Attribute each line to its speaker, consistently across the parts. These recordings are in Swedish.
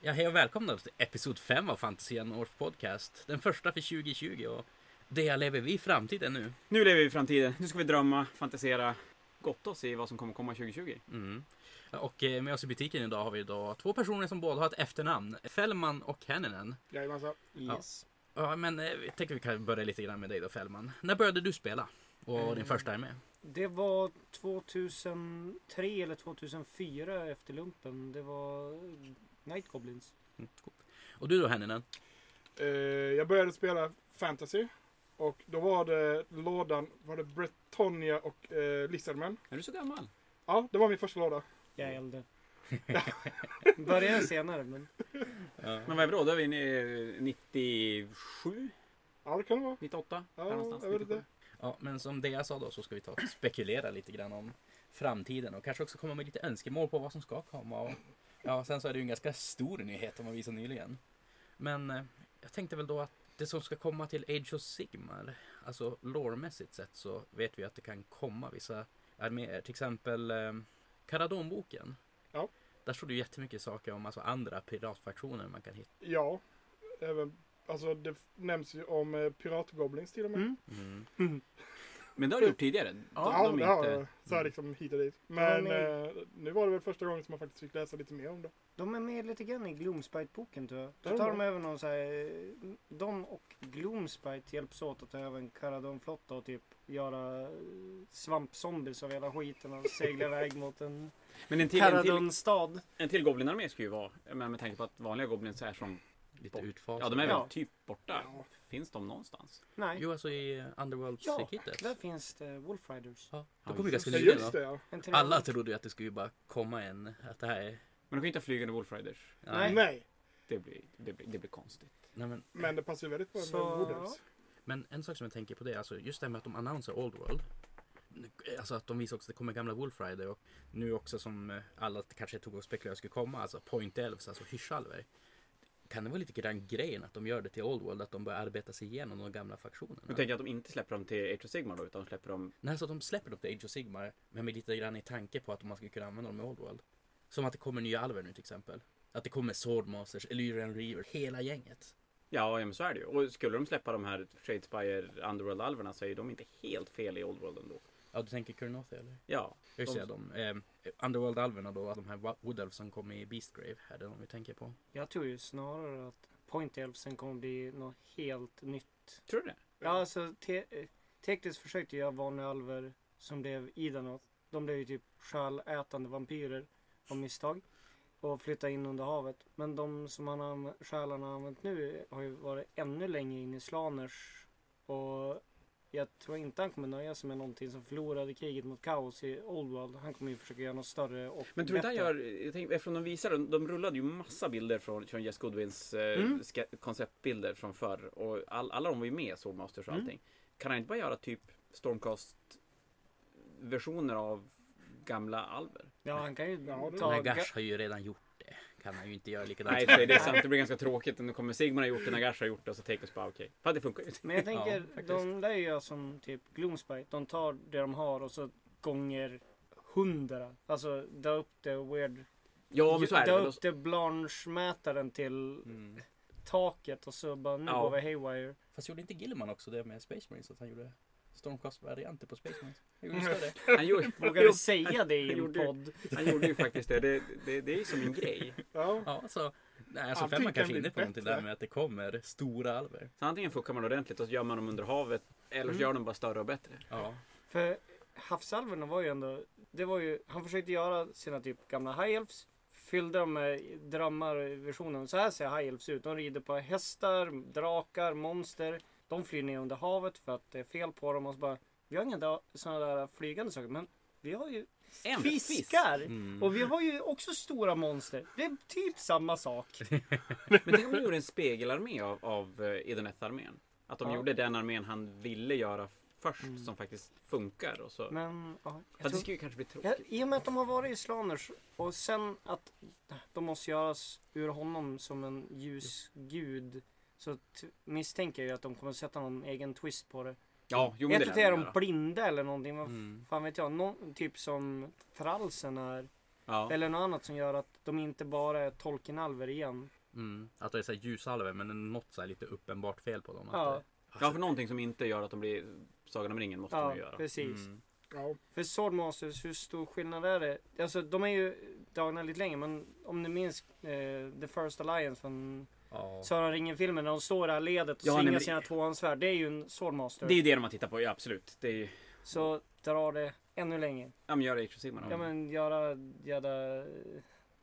Speaker 1: Ja, hej och välkomna till episod 5 av Fantasian Års podcast. Den första för 2020 och det lever vi i framtiden nu.
Speaker 2: Nu lever vi i framtiden. Nu ska vi drömma, fantisera, gotta oss i vad som kommer komma 2020.
Speaker 1: Mm. Och eh, med oss i butiken idag har vi då två personer som båda har ett efternamn. Fällman och Hänninen.
Speaker 3: Jajamensan.
Speaker 2: Yes.
Speaker 1: Ja, men eh, vi tänker vi kan börja lite grann med dig då Fällman. När började du spela? Och din
Speaker 3: Eh,
Speaker 1: första är med.
Speaker 3: Det var 2003 eller 2004 efter lumpen. Det var Night Goblins.
Speaker 1: Mm, coolt. Och du då Hänninen?
Speaker 4: Eh, jag började spela fantasy. Och då var det lådan, var det Bretonia och eh, Lizardman.
Speaker 2: Är du så gammal?
Speaker 4: Ja, det var min första låda.
Speaker 3: Jag är äldre. Började senare men
Speaker 2: Men vad är vi då? Då är vi inne i eh, 97?
Speaker 4: Ja, det kan det vara.
Speaker 2: 98?
Speaker 4: Ja,
Speaker 2: där någonstans.
Speaker 4: jag vet inte.
Speaker 2: 97.
Speaker 1: Ja, men som det jag sa då så ska vi ta och spekulera lite grann om framtiden och kanske också komma med lite önskemål på vad som ska komma. Och, ja, sen så är det ju en ganska stor nyhet om man visar nyligen. Men eh, jag tänkte väl då att det som ska komma till Age of Sigmar, alltså lore-mässigt sett så vet vi att det kan komma vissa arméer, till exempel eh, Karadonboken.
Speaker 4: Ja.
Speaker 1: Där står det ju jättemycket saker om alltså andra piratfraktioner man kan hitta.
Speaker 4: Ja, även, alltså det f- nämns ju om eh, piratgoblins till och med.
Speaker 3: Mm.
Speaker 1: Mm.
Speaker 2: Men det har du gjort tidigare?
Speaker 4: Ja,
Speaker 2: de
Speaker 4: det
Speaker 2: är
Speaker 4: har
Speaker 2: inte...
Speaker 4: jag. Så här liksom hit och dit. Men
Speaker 3: Men,
Speaker 4: eh, nu var det väl första gången som man faktiskt fick läsa lite mer om det.
Speaker 3: de är med lite grann i Gloomspite-boken tror jag.
Speaker 4: Ja,
Speaker 3: Då tar de
Speaker 4: bra.
Speaker 3: över någon så här. eh, De och Gloomspite hjälps åt att ta över en Caradon-flotta och typ göra eh, svampzombies av hela skiten och segla iväg mot en
Speaker 2: Men en till, en till,
Speaker 3: Caradon-stad.
Speaker 2: en till Goblinarmé ska ju vara... Men med tanke på att vanliga Goblins är som...
Speaker 1: Lite
Speaker 2: Bort.
Speaker 1: utfas.
Speaker 2: Ja, de är väl
Speaker 3: Ja.
Speaker 2: typ borta.
Speaker 4: Ja.
Speaker 2: Finns de någonstans?
Speaker 3: Nej,
Speaker 1: Jo, alltså i eh,
Speaker 3: Ja,
Speaker 1: Underworld-kittet.
Speaker 3: där finns det Wolf Riders.
Speaker 1: Ja,
Speaker 2: Ja,
Speaker 1: det kom ju
Speaker 2: just
Speaker 1: ganska
Speaker 4: Ja,
Speaker 2: det.
Speaker 1: nyligen.
Speaker 4: just
Speaker 1: va?
Speaker 4: det ja.
Speaker 3: En tredje-
Speaker 1: Alla trodde ju att det skulle ju bara komma en, att det här är...
Speaker 2: Men de kan ju inte ha flygande Wolf Riders.
Speaker 3: Nej.
Speaker 4: Nej,
Speaker 2: Det blir, det blir, det blir konstigt.
Speaker 1: nej men,
Speaker 4: men det passar ju väldigt bra med
Speaker 3: Så-
Speaker 4: Wooders.
Speaker 1: men en sak som jag tänker på det är alltså just det här med att de annonserar Old World. Alltså att de visar också att det kommer gamla Wolf Rider och nu också som eh, alla kanske tog och spekulerade skulle komma, alltså Point Elves, alltså hyschalver. Kan det vara lite grann grejen att de gör det till Old World, att de börjar arbeta sig igenom de gamla
Speaker 2: Du
Speaker 1: fraktionerna?
Speaker 2: tänker att de inte släpper dem till Age of Sigmar då, utan de släpper dem...
Speaker 1: Nej, så att de släpper dem till Age of Sigmar, men med lite grann i tanke på att man skulle kunna använda dem i Old World. Som att det kommer nya alver nu till exempel. Att det kommer Swordmasters, Illyrian Reaver, hela gänget.
Speaker 2: Ja, ja, men så är det ju. Och skulle de släppa de här Tradespire Underworld-alverna så är ju de inte helt fel i Old World ändå.
Speaker 1: Ja, du tänker Kurnothi eller?
Speaker 2: Ja,
Speaker 1: Jag
Speaker 2: De-
Speaker 1: ser de. Eh, Underworld-alverna då, de här Wa- Wood Elves som kom i Beastgrave, är det de vi tänker på.
Speaker 3: Jag tror ju snarare att Point Elfsen kommer bli något helt nytt.
Speaker 2: tror du det?
Speaker 3: Ja, alltså te- eh, tekniskt försökte jag varna alver som blev Idanoth. De blev ju typ själätande vampyrer av misstag och flyttade in under havet. Men de som han anv- själarna har använt nu har ju varit ännu längre in i Slaners och jag tror inte han kommer nöja sig med någonting som förlorade kriget mot kaos i Old World. Han kommer ju försöka göra något större och
Speaker 2: Men tror du inte han
Speaker 3: bättre.
Speaker 2: gör... Jag tänker, eftersom de visar de, de rullade ju massa bilder från, från Jess Goodwins eh,
Speaker 3: Mm.
Speaker 2: ska- konceptbilder från förr. Och all, alla de var ju med, Swordmasters och
Speaker 3: Mm.
Speaker 2: allting. Kan han inte bara göra typ Stormcast-versioner av gamla alver?
Speaker 3: Ja, han kan ju
Speaker 4: Ja, det-
Speaker 3: ta...
Speaker 1: Nagash har ju redan gjort det. Kan han ju inte göra likadant.
Speaker 2: Nej, för det är sant. Det blir ganska tråkigt. Nu kommer Sigmar ha gjort det, Nagash har gjort det och så Tekos bara okej. Fan, det funkar ju inte.
Speaker 3: Men jag tänker,
Speaker 1: faktiskt.
Speaker 3: de lär ju göra som typ Gloomspite. De tar det de har och så gånger hundra. Alltså dra upp det weird.
Speaker 2: Ja, men så är det. Alltså-
Speaker 3: dra
Speaker 2: väl. Och
Speaker 3: upp det Blanche-mätaren till
Speaker 2: så- Mm.
Speaker 3: taket och så bara nu
Speaker 2: Ja.
Speaker 3: går vi haywire.
Speaker 1: Fast gjorde inte Gilman också det med Space Marines? Att han gjorde Stormcast-varianter på Space Marines? Jag gjorde så det.
Speaker 2: Han gjorde,
Speaker 3: Vågar vi säga det i
Speaker 2: han
Speaker 3: en
Speaker 2: gjorde ju-
Speaker 3: podd?
Speaker 2: Han gjorde ju faktiskt det. Det, det, det är ju som en grej.
Speaker 4: Ja.
Speaker 1: Ja, så. Nej, alltså Femman
Speaker 4: Ja, tycker
Speaker 1: kanske är
Speaker 4: han
Speaker 1: inne på
Speaker 4: blir
Speaker 1: någonting
Speaker 4: bättre.
Speaker 1: där med att det kommer stora alver.
Speaker 2: Så antingen fuckar man ordentligt och så gör man dem under havet. Eller så
Speaker 3: Mm.
Speaker 2: gör de bara större och bättre.
Speaker 1: Ja.
Speaker 3: För havsalverna var ju ändå, det var ju, han försökte göra sina typ gamla high elves. Fyllde dem med drömmarversionen. Så här ser high elves ut. De rider på hästar, drakar, monster. De flyr ner under havet för att det är fel på dem och så bara. Vi har inga sådana där flygande saker men vi har ju
Speaker 2: En
Speaker 3: fiskar.
Speaker 1: Mm.
Speaker 3: Och vi har ju också stora monster. Det är typ samma sak.
Speaker 2: Men tänk om de gjorde en spegelarmé av, av eh, Idoneth-armén. Att de
Speaker 3: Ja.
Speaker 2: gjorde den armén han ville göra först
Speaker 3: Mm.
Speaker 2: som faktiskt funkar. Och så.
Speaker 3: Men ja,
Speaker 2: Fast
Speaker 3: jag
Speaker 2: det
Speaker 3: tror,
Speaker 2: skulle ju kanske bli
Speaker 3: Ja,
Speaker 2: tråkigt.
Speaker 3: I och med att de har varit i Slaners och sen att de måste göras ur honom som en ljus gud. Så t- misstänker jag ju att de kommer sätta någon egen twist på det.
Speaker 2: Ja, jo men
Speaker 3: jag
Speaker 2: det
Speaker 3: tror att det är
Speaker 2: lär de Mm.
Speaker 3: de
Speaker 2: göra.
Speaker 3: blinda eller någonting. Vad
Speaker 1: Mm.
Speaker 3: fan vet jag. Någon, typ som Tralsen är.
Speaker 2: Ja.
Speaker 3: Eller något annat som gör att de inte bara är Tolkien-alver igen.
Speaker 1: Mm. Att det är så här ljusalver men något så här lite uppenbart fel på dem. Att
Speaker 3: Ja.
Speaker 1: det-
Speaker 2: ja, för någonting som inte gör att de blir Sagan om ringen måste de
Speaker 3: Ja,
Speaker 2: ju göra.
Speaker 3: precis.
Speaker 1: Mm.
Speaker 4: Ja.
Speaker 3: För Swordmasters, hur stor skillnad är det? Alltså de är ju dragna lite längre men om ni minns eh, The First Alliance från
Speaker 1: Ja.
Speaker 3: Sagan om ringen-filmen när de står i det här ledet och
Speaker 2: Ja, nej,
Speaker 3: svingar
Speaker 2: men det-
Speaker 3: sina tvåhandsvärd. Det är ju en Swordmaster.
Speaker 2: Det är ju det de har tittat på, ja, absolut. Det är ju,
Speaker 3: Så drar det ännu längre.
Speaker 2: ja men gör det i Sigmar. då.
Speaker 3: Ja men göra jävla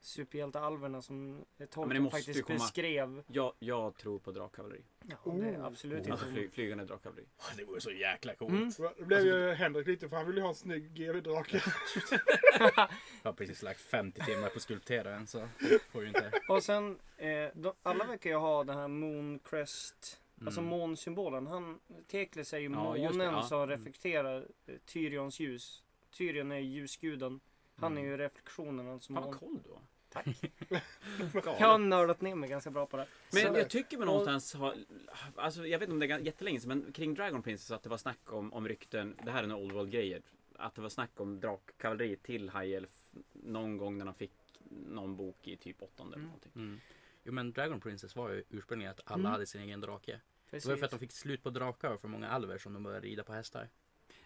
Speaker 3: superhjältealverna som
Speaker 2: det
Speaker 3: Tolkien
Speaker 2: måste ju
Speaker 3: faktiskt
Speaker 2: komma-
Speaker 3: beskrev.
Speaker 2: Jag, jag tror på drakkavalleri.
Speaker 3: Ja, det är
Speaker 4: Oh.
Speaker 3: absolut
Speaker 1: Oh.
Speaker 2: Alltså
Speaker 3: inte...
Speaker 2: fly, flygande drakkavalleri.
Speaker 1: Det vore så jäkla coolt.
Speaker 3: Mm.
Speaker 4: Det blev ju Henrik lite för han ville ju ha en snygg GW-drake.
Speaker 1: Jag har precis lagt 50 timmar på skulpteraren så får ju inte.
Speaker 3: Och sen, eh, de, alla verkar ju ha den här Mooncrest, alltså
Speaker 1: Mm.
Speaker 3: månsymbolen. Han, Tekles är ju
Speaker 2: Ja, just
Speaker 3: månen
Speaker 2: det, ja.
Speaker 3: som
Speaker 2: Mm.
Speaker 3: reflekterar eh, Tyrions ljus. Tyrion är ju ljusguden. Han är ju reflektionen, alltså
Speaker 2: Mm. Fan vad
Speaker 3: månen.
Speaker 2: koll du har.
Speaker 3: Tack.
Speaker 2: Galet.
Speaker 3: Jag har nördat ner mig ganska bra på det.
Speaker 2: Men
Speaker 3: Så-
Speaker 2: jag tycker väl någonstans, ha, alltså jag vet inte om det är gan- jättelänge sedan, men kring Dragon Princess att det var snack om, om rykten, det här är några Old World grejer, att det var snack om drakkavalleri till High Elf någon gång när de fick någon bok i typ åttonde eller
Speaker 3: Mm.
Speaker 2: någonting.
Speaker 1: Mm. Jo men Dragon Princess var ju ursprungligen att alla
Speaker 3: Mm.
Speaker 1: hade sin egen drake. Det
Speaker 3: Precis.
Speaker 1: var ju för att de fick slut på drakar och för många alver som de började rida på hästar.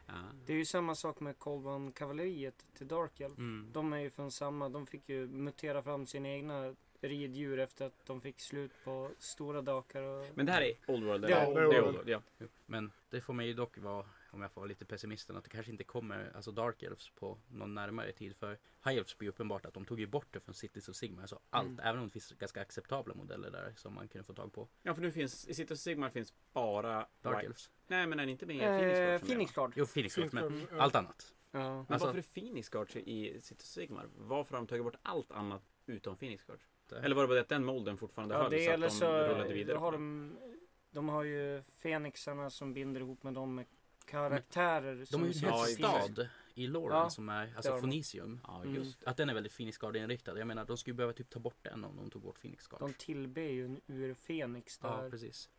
Speaker 2: Ja.
Speaker 3: Det är ju samma sak med Kolban kavalleriet till Dark Elf.
Speaker 1: Mm.
Speaker 3: De är ju från samma, de fick ju mutera fram sina egna riddjur efter att de fick slut på stora drakar och...
Speaker 2: Men det här är Old World,
Speaker 3: Det är
Speaker 2: eller?
Speaker 3: Old
Speaker 2: Det är
Speaker 4: World.
Speaker 2: Old World, ja.
Speaker 1: Jo, Men det får mig ju dock vara, om jag får vara lite pessimisten, att det kanske inte kommer alltså Dark Elves på någon närmare tid. För High Elves blir ju uppenbart att de tog ju bort det från Cities of Sigmar. Så allt,
Speaker 3: Mm.
Speaker 1: även om det finns ganska acceptabla modeller där som man kunde få tag på.
Speaker 2: Ja, för nu finns, i City of Sigmar finns bara...
Speaker 1: Dark
Speaker 2: White-
Speaker 1: Elves.
Speaker 2: Nej, men är det inte med i Phoenix Guard
Speaker 3: Eh,
Speaker 2: som är, va?
Speaker 3: Phoenix Guard.
Speaker 1: Jo, Phoenix Elves, men
Speaker 4: Finns det-
Speaker 1: allt annat.
Speaker 3: Ja.
Speaker 2: Men
Speaker 1: Alltså-
Speaker 2: varför är Phoenix Guard i City of Sigmar? Varför har de tagit bort allt annat utom Phoenix Guard?
Speaker 1: Det-
Speaker 2: Eller var det bara det att den molden fortfarande
Speaker 3: Ja,
Speaker 2: höll
Speaker 3: det
Speaker 2: så
Speaker 3: eller
Speaker 2: att de
Speaker 3: så
Speaker 2: rullade vidare?
Speaker 3: då har
Speaker 2: på den?
Speaker 3: de, de har ju Fenixarna som binder ihop med dem med karaktärer.
Speaker 1: De
Speaker 3: som
Speaker 1: har ju en hel
Speaker 2: Ja, i
Speaker 3: syns i
Speaker 2: och för sig.
Speaker 3: filmen.
Speaker 1: stad i Loren
Speaker 3: Ja,
Speaker 1: som är
Speaker 3: det har
Speaker 1: alltså
Speaker 3: de.
Speaker 1: Fonisium.
Speaker 2: Ja,
Speaker 3: Mm.
Speaker 2: just
Speaker 1: Att den är väldigt Phoenix Guard inriktad. Jag menar de skulle behöva typ ta bort den om de tog bort Phoenix Guard.
Speaker 3: De tillber ju en urfenix
Speaker 1: Ja
Speaker 3: där.
Speaker 1: precis.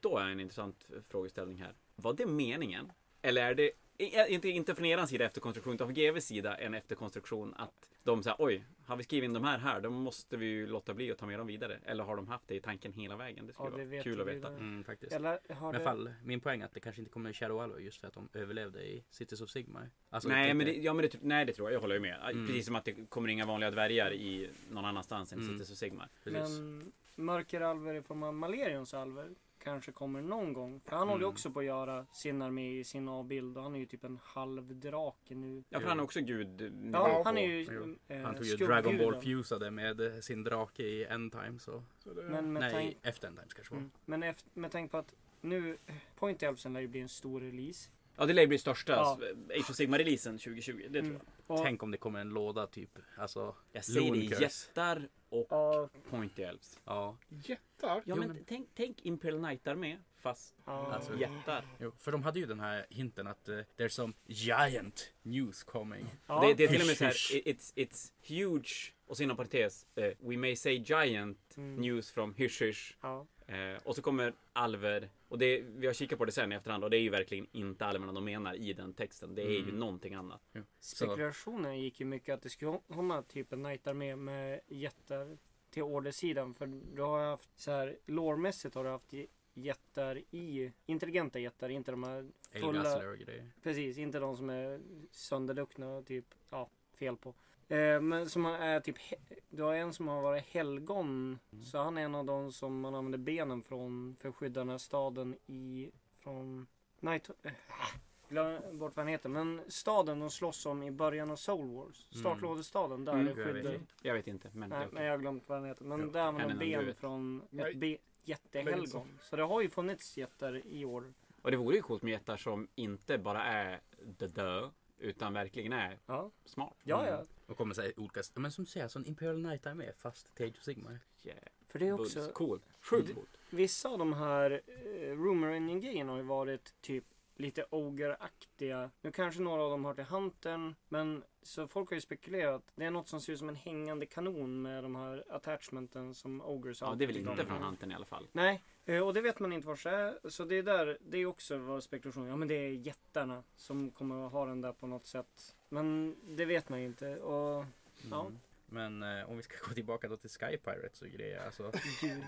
Speaker 2: Då är en intressant eh, frågeställning här. Var det meningen? Eller är det, i- inte, inte från er sida efterkonstruktion, utan från GVs sida en efterkonstruktion att de säger oj, har vi skrivit in de här här, då måste vi ju låta bli att ta med dem vidare. Eller har de haft det i tanken hela vägen? Det skulle
Speaker 3: Ja, det
Speaker 2: vara
Speaker 3: vet
Speaker 2: kul att
Speaker 3: vi
Speaker 2: veta.
Speaker 3: väl.
Speaker 1: Mm, faktiskt.
Speaker 3: Eller har
Speaker 1: Men i
Speaker 3: det...
Speaker 1: fall, min poäng är att det kanske inte kommer en Shadow Allow just för att de överlevde i Cities of Sigmar. Alltså, jag
Speaker 2: nej,
Speaker 1: tänker-
Speaker 2: men det, ja, men det, tr- nej, det tror jag. Jag håller ju med.
Speaker 1: Mm.
Speaker 2: Precis som att det kommer inga vanliga dvärgar i någon annanstans än i
Speaker 1: Mm.
Speaker 2: Cities of Sigmar.
Speaker 1: Precis.
Speaker 3: Men mörkeralver i form av Malerions alver kanske kommer någon gång. För han håller ju
Speaker 1: Mm.
Speaker 3: också på att göra sin armé i sin avbild och han är ju typ en halvdrake nu.
Speaker 2: Ja, för
Speaker 1: Jo.
Speaker 2: han är också gud.
Speaker 3: Ja,
Speaker 4: Ja,
Speaker 3: han är
Speaker 1: jo.
Speaker 3: ju eh,
Speaker 1: Han tog ju
Speaker 3: skuggguden.
Speaker 1: Dragon Ball fusade med eh, sin drake i End Times. Och,
Speaker 4: Så det-
Speaker 3: Men med,
Speaker 1: nej,
Speaker 3: tank,
Speaker 1: efter End Times kanske var.
Speaker 3: mm, men efter, med tanke på att nu Point Elfsen lär ju bli en stor release.
Speaker 2: Ja, det lär ju bli största
Speaker 3: Ja.
Speaker 2: alltså, Age of Sigmar-releasen 2020. Det tror
Speaker 3: Mm.
Speaker 2: jag.
Speaker 3: Och,
Speaker 1: Tänk om det kommer en låda typ. Alltså,
Speaker 2: Jag säger det,
Speaker 1: Lonecursed.
Speaker 2: jättar och
Speaker 3: Ja,
Speaker 2: Pointy Elves.
Speaker 1: ja.
Speaker 4: Jättar?
Speaker 2: Ja,
Speaker 1: Jo,
Speaker 2: men,
Speaker 1: men-
Speaker 2: Tänk, tänk Imperial Knight med fast
Speaker 3: ja.
Speaker 1: Alltså-
Speaker 2: jättar.
Speaker 1: Jo, för de hade ju den här hinten att eh, there's some giant news coming.
Speaker 3: ja.
Speaker 2: Det, det är till och
Speaker 1: Hysch,
Speaker 2: med så här,
Speaker 1: hysch.
Speaker 2: i- it's, it's huge och så inom parentes, eh, we may say giant
Speaker 3: Mm.
Speaker 2: news from hysch hysch.
Speaker 3: Ja.
Speaker 2: Eh, och så kommer alver, och det, vi har kikat på det sen i efterhand och det är ju verkligen inte alverna de menar i den texten. Det är ju
Speaker 1: Mm.
Speaker 2: någonting annat.
Speaker 3: Spekulationen gick ju mycket att det skulle komma typ en knight med, med jättar till ordersidan. För du har ju haft så här, lårmässigt har du haft j- jättar i, intelligenta jättar, inte de här fulla,
Speaker 1: Elgassler och grejer.
Speaker 3: precis, inte de som är sönderluckna och typ, ja, fel på. Eh, men som är typ, he- du har en som har varit helgon. Så han är en av de som man använder benen från för att skydda den här staden i, från, nej, to- eh, glöm bort vad han heter. Men staden de slåss om i början av Soul Wars.
Speaker 1: Mm.
Speaker 3: Startlådestaden, där
Speaker 2: Mm,
Speaker 3: det
Speaker 1: jag vet
Speaker 3: skyddar.
Speaker 1: inte.
Speaker 2: Jag vet inte, men det
Speaker 3: Nej,
Speaker 2: är
Speaker 3: men
Speaker 2: okej.
Speaker 3: jag har glömt vad han heter. Men
Speaker 1: Jo,
Speaker 3: där använder
Speaker 2: en
Speaker 3: de
Speaker 2: annan du
Speaker 3: ben
Speaker 2: vet.
Speaker 3: från
Speaker 4: Nej.
Speaker 3: ett be- jättehelgon. Så det har ju funnits jättar i år.
Speaker 2: Och det vore ju coolt med jättar som inte bara är the dö utan verkligen är
Speaker 3: Ja,
Speaker 2: smart.
Speaker 3: ja. ja.
Speaker 1: Mm. Och kommer säga olika, men som du säger, alltså en Imperial Knight är med fast Tage och Sigmar.
Speaker 2: Yeah.
Speaker 3: För det är
Speaker 2: Bulls.
Speaker 3: också, Mm.
Speaker 2: Cool. Sjukt
Speaker 3: Det-
Speaker 2: coolt.
Speaker 3: vissa av de här eh, rumor engine grejerna har ju varit typ lite ogeraktiga. Nu kanske några av dem hör till Huntern, men så folk har ju spekulerat. Det är något som ser ut som en hängande kanon med de här attachmenten som Ogers
Speaker 2: Ja, det är väl
Speaker 3: alltid
Speaker 2: inte
Speaker 3: har.
Speaker 2: från Anten i alla fall.
Speaker 3: Nej, eh, och det vet man inte vart det är. Så det är där, det är också vår spekulation. Ja men det är jättarna som kommer att ha den där på något sätt. Men det vet man ju inte. Och ja,
Speaker 2: Mm.
Speaker 1: Men eh, om vi ska gå tillbaka då till Sky Pirates och grejer. Alltså,
Speaker 3: Gud.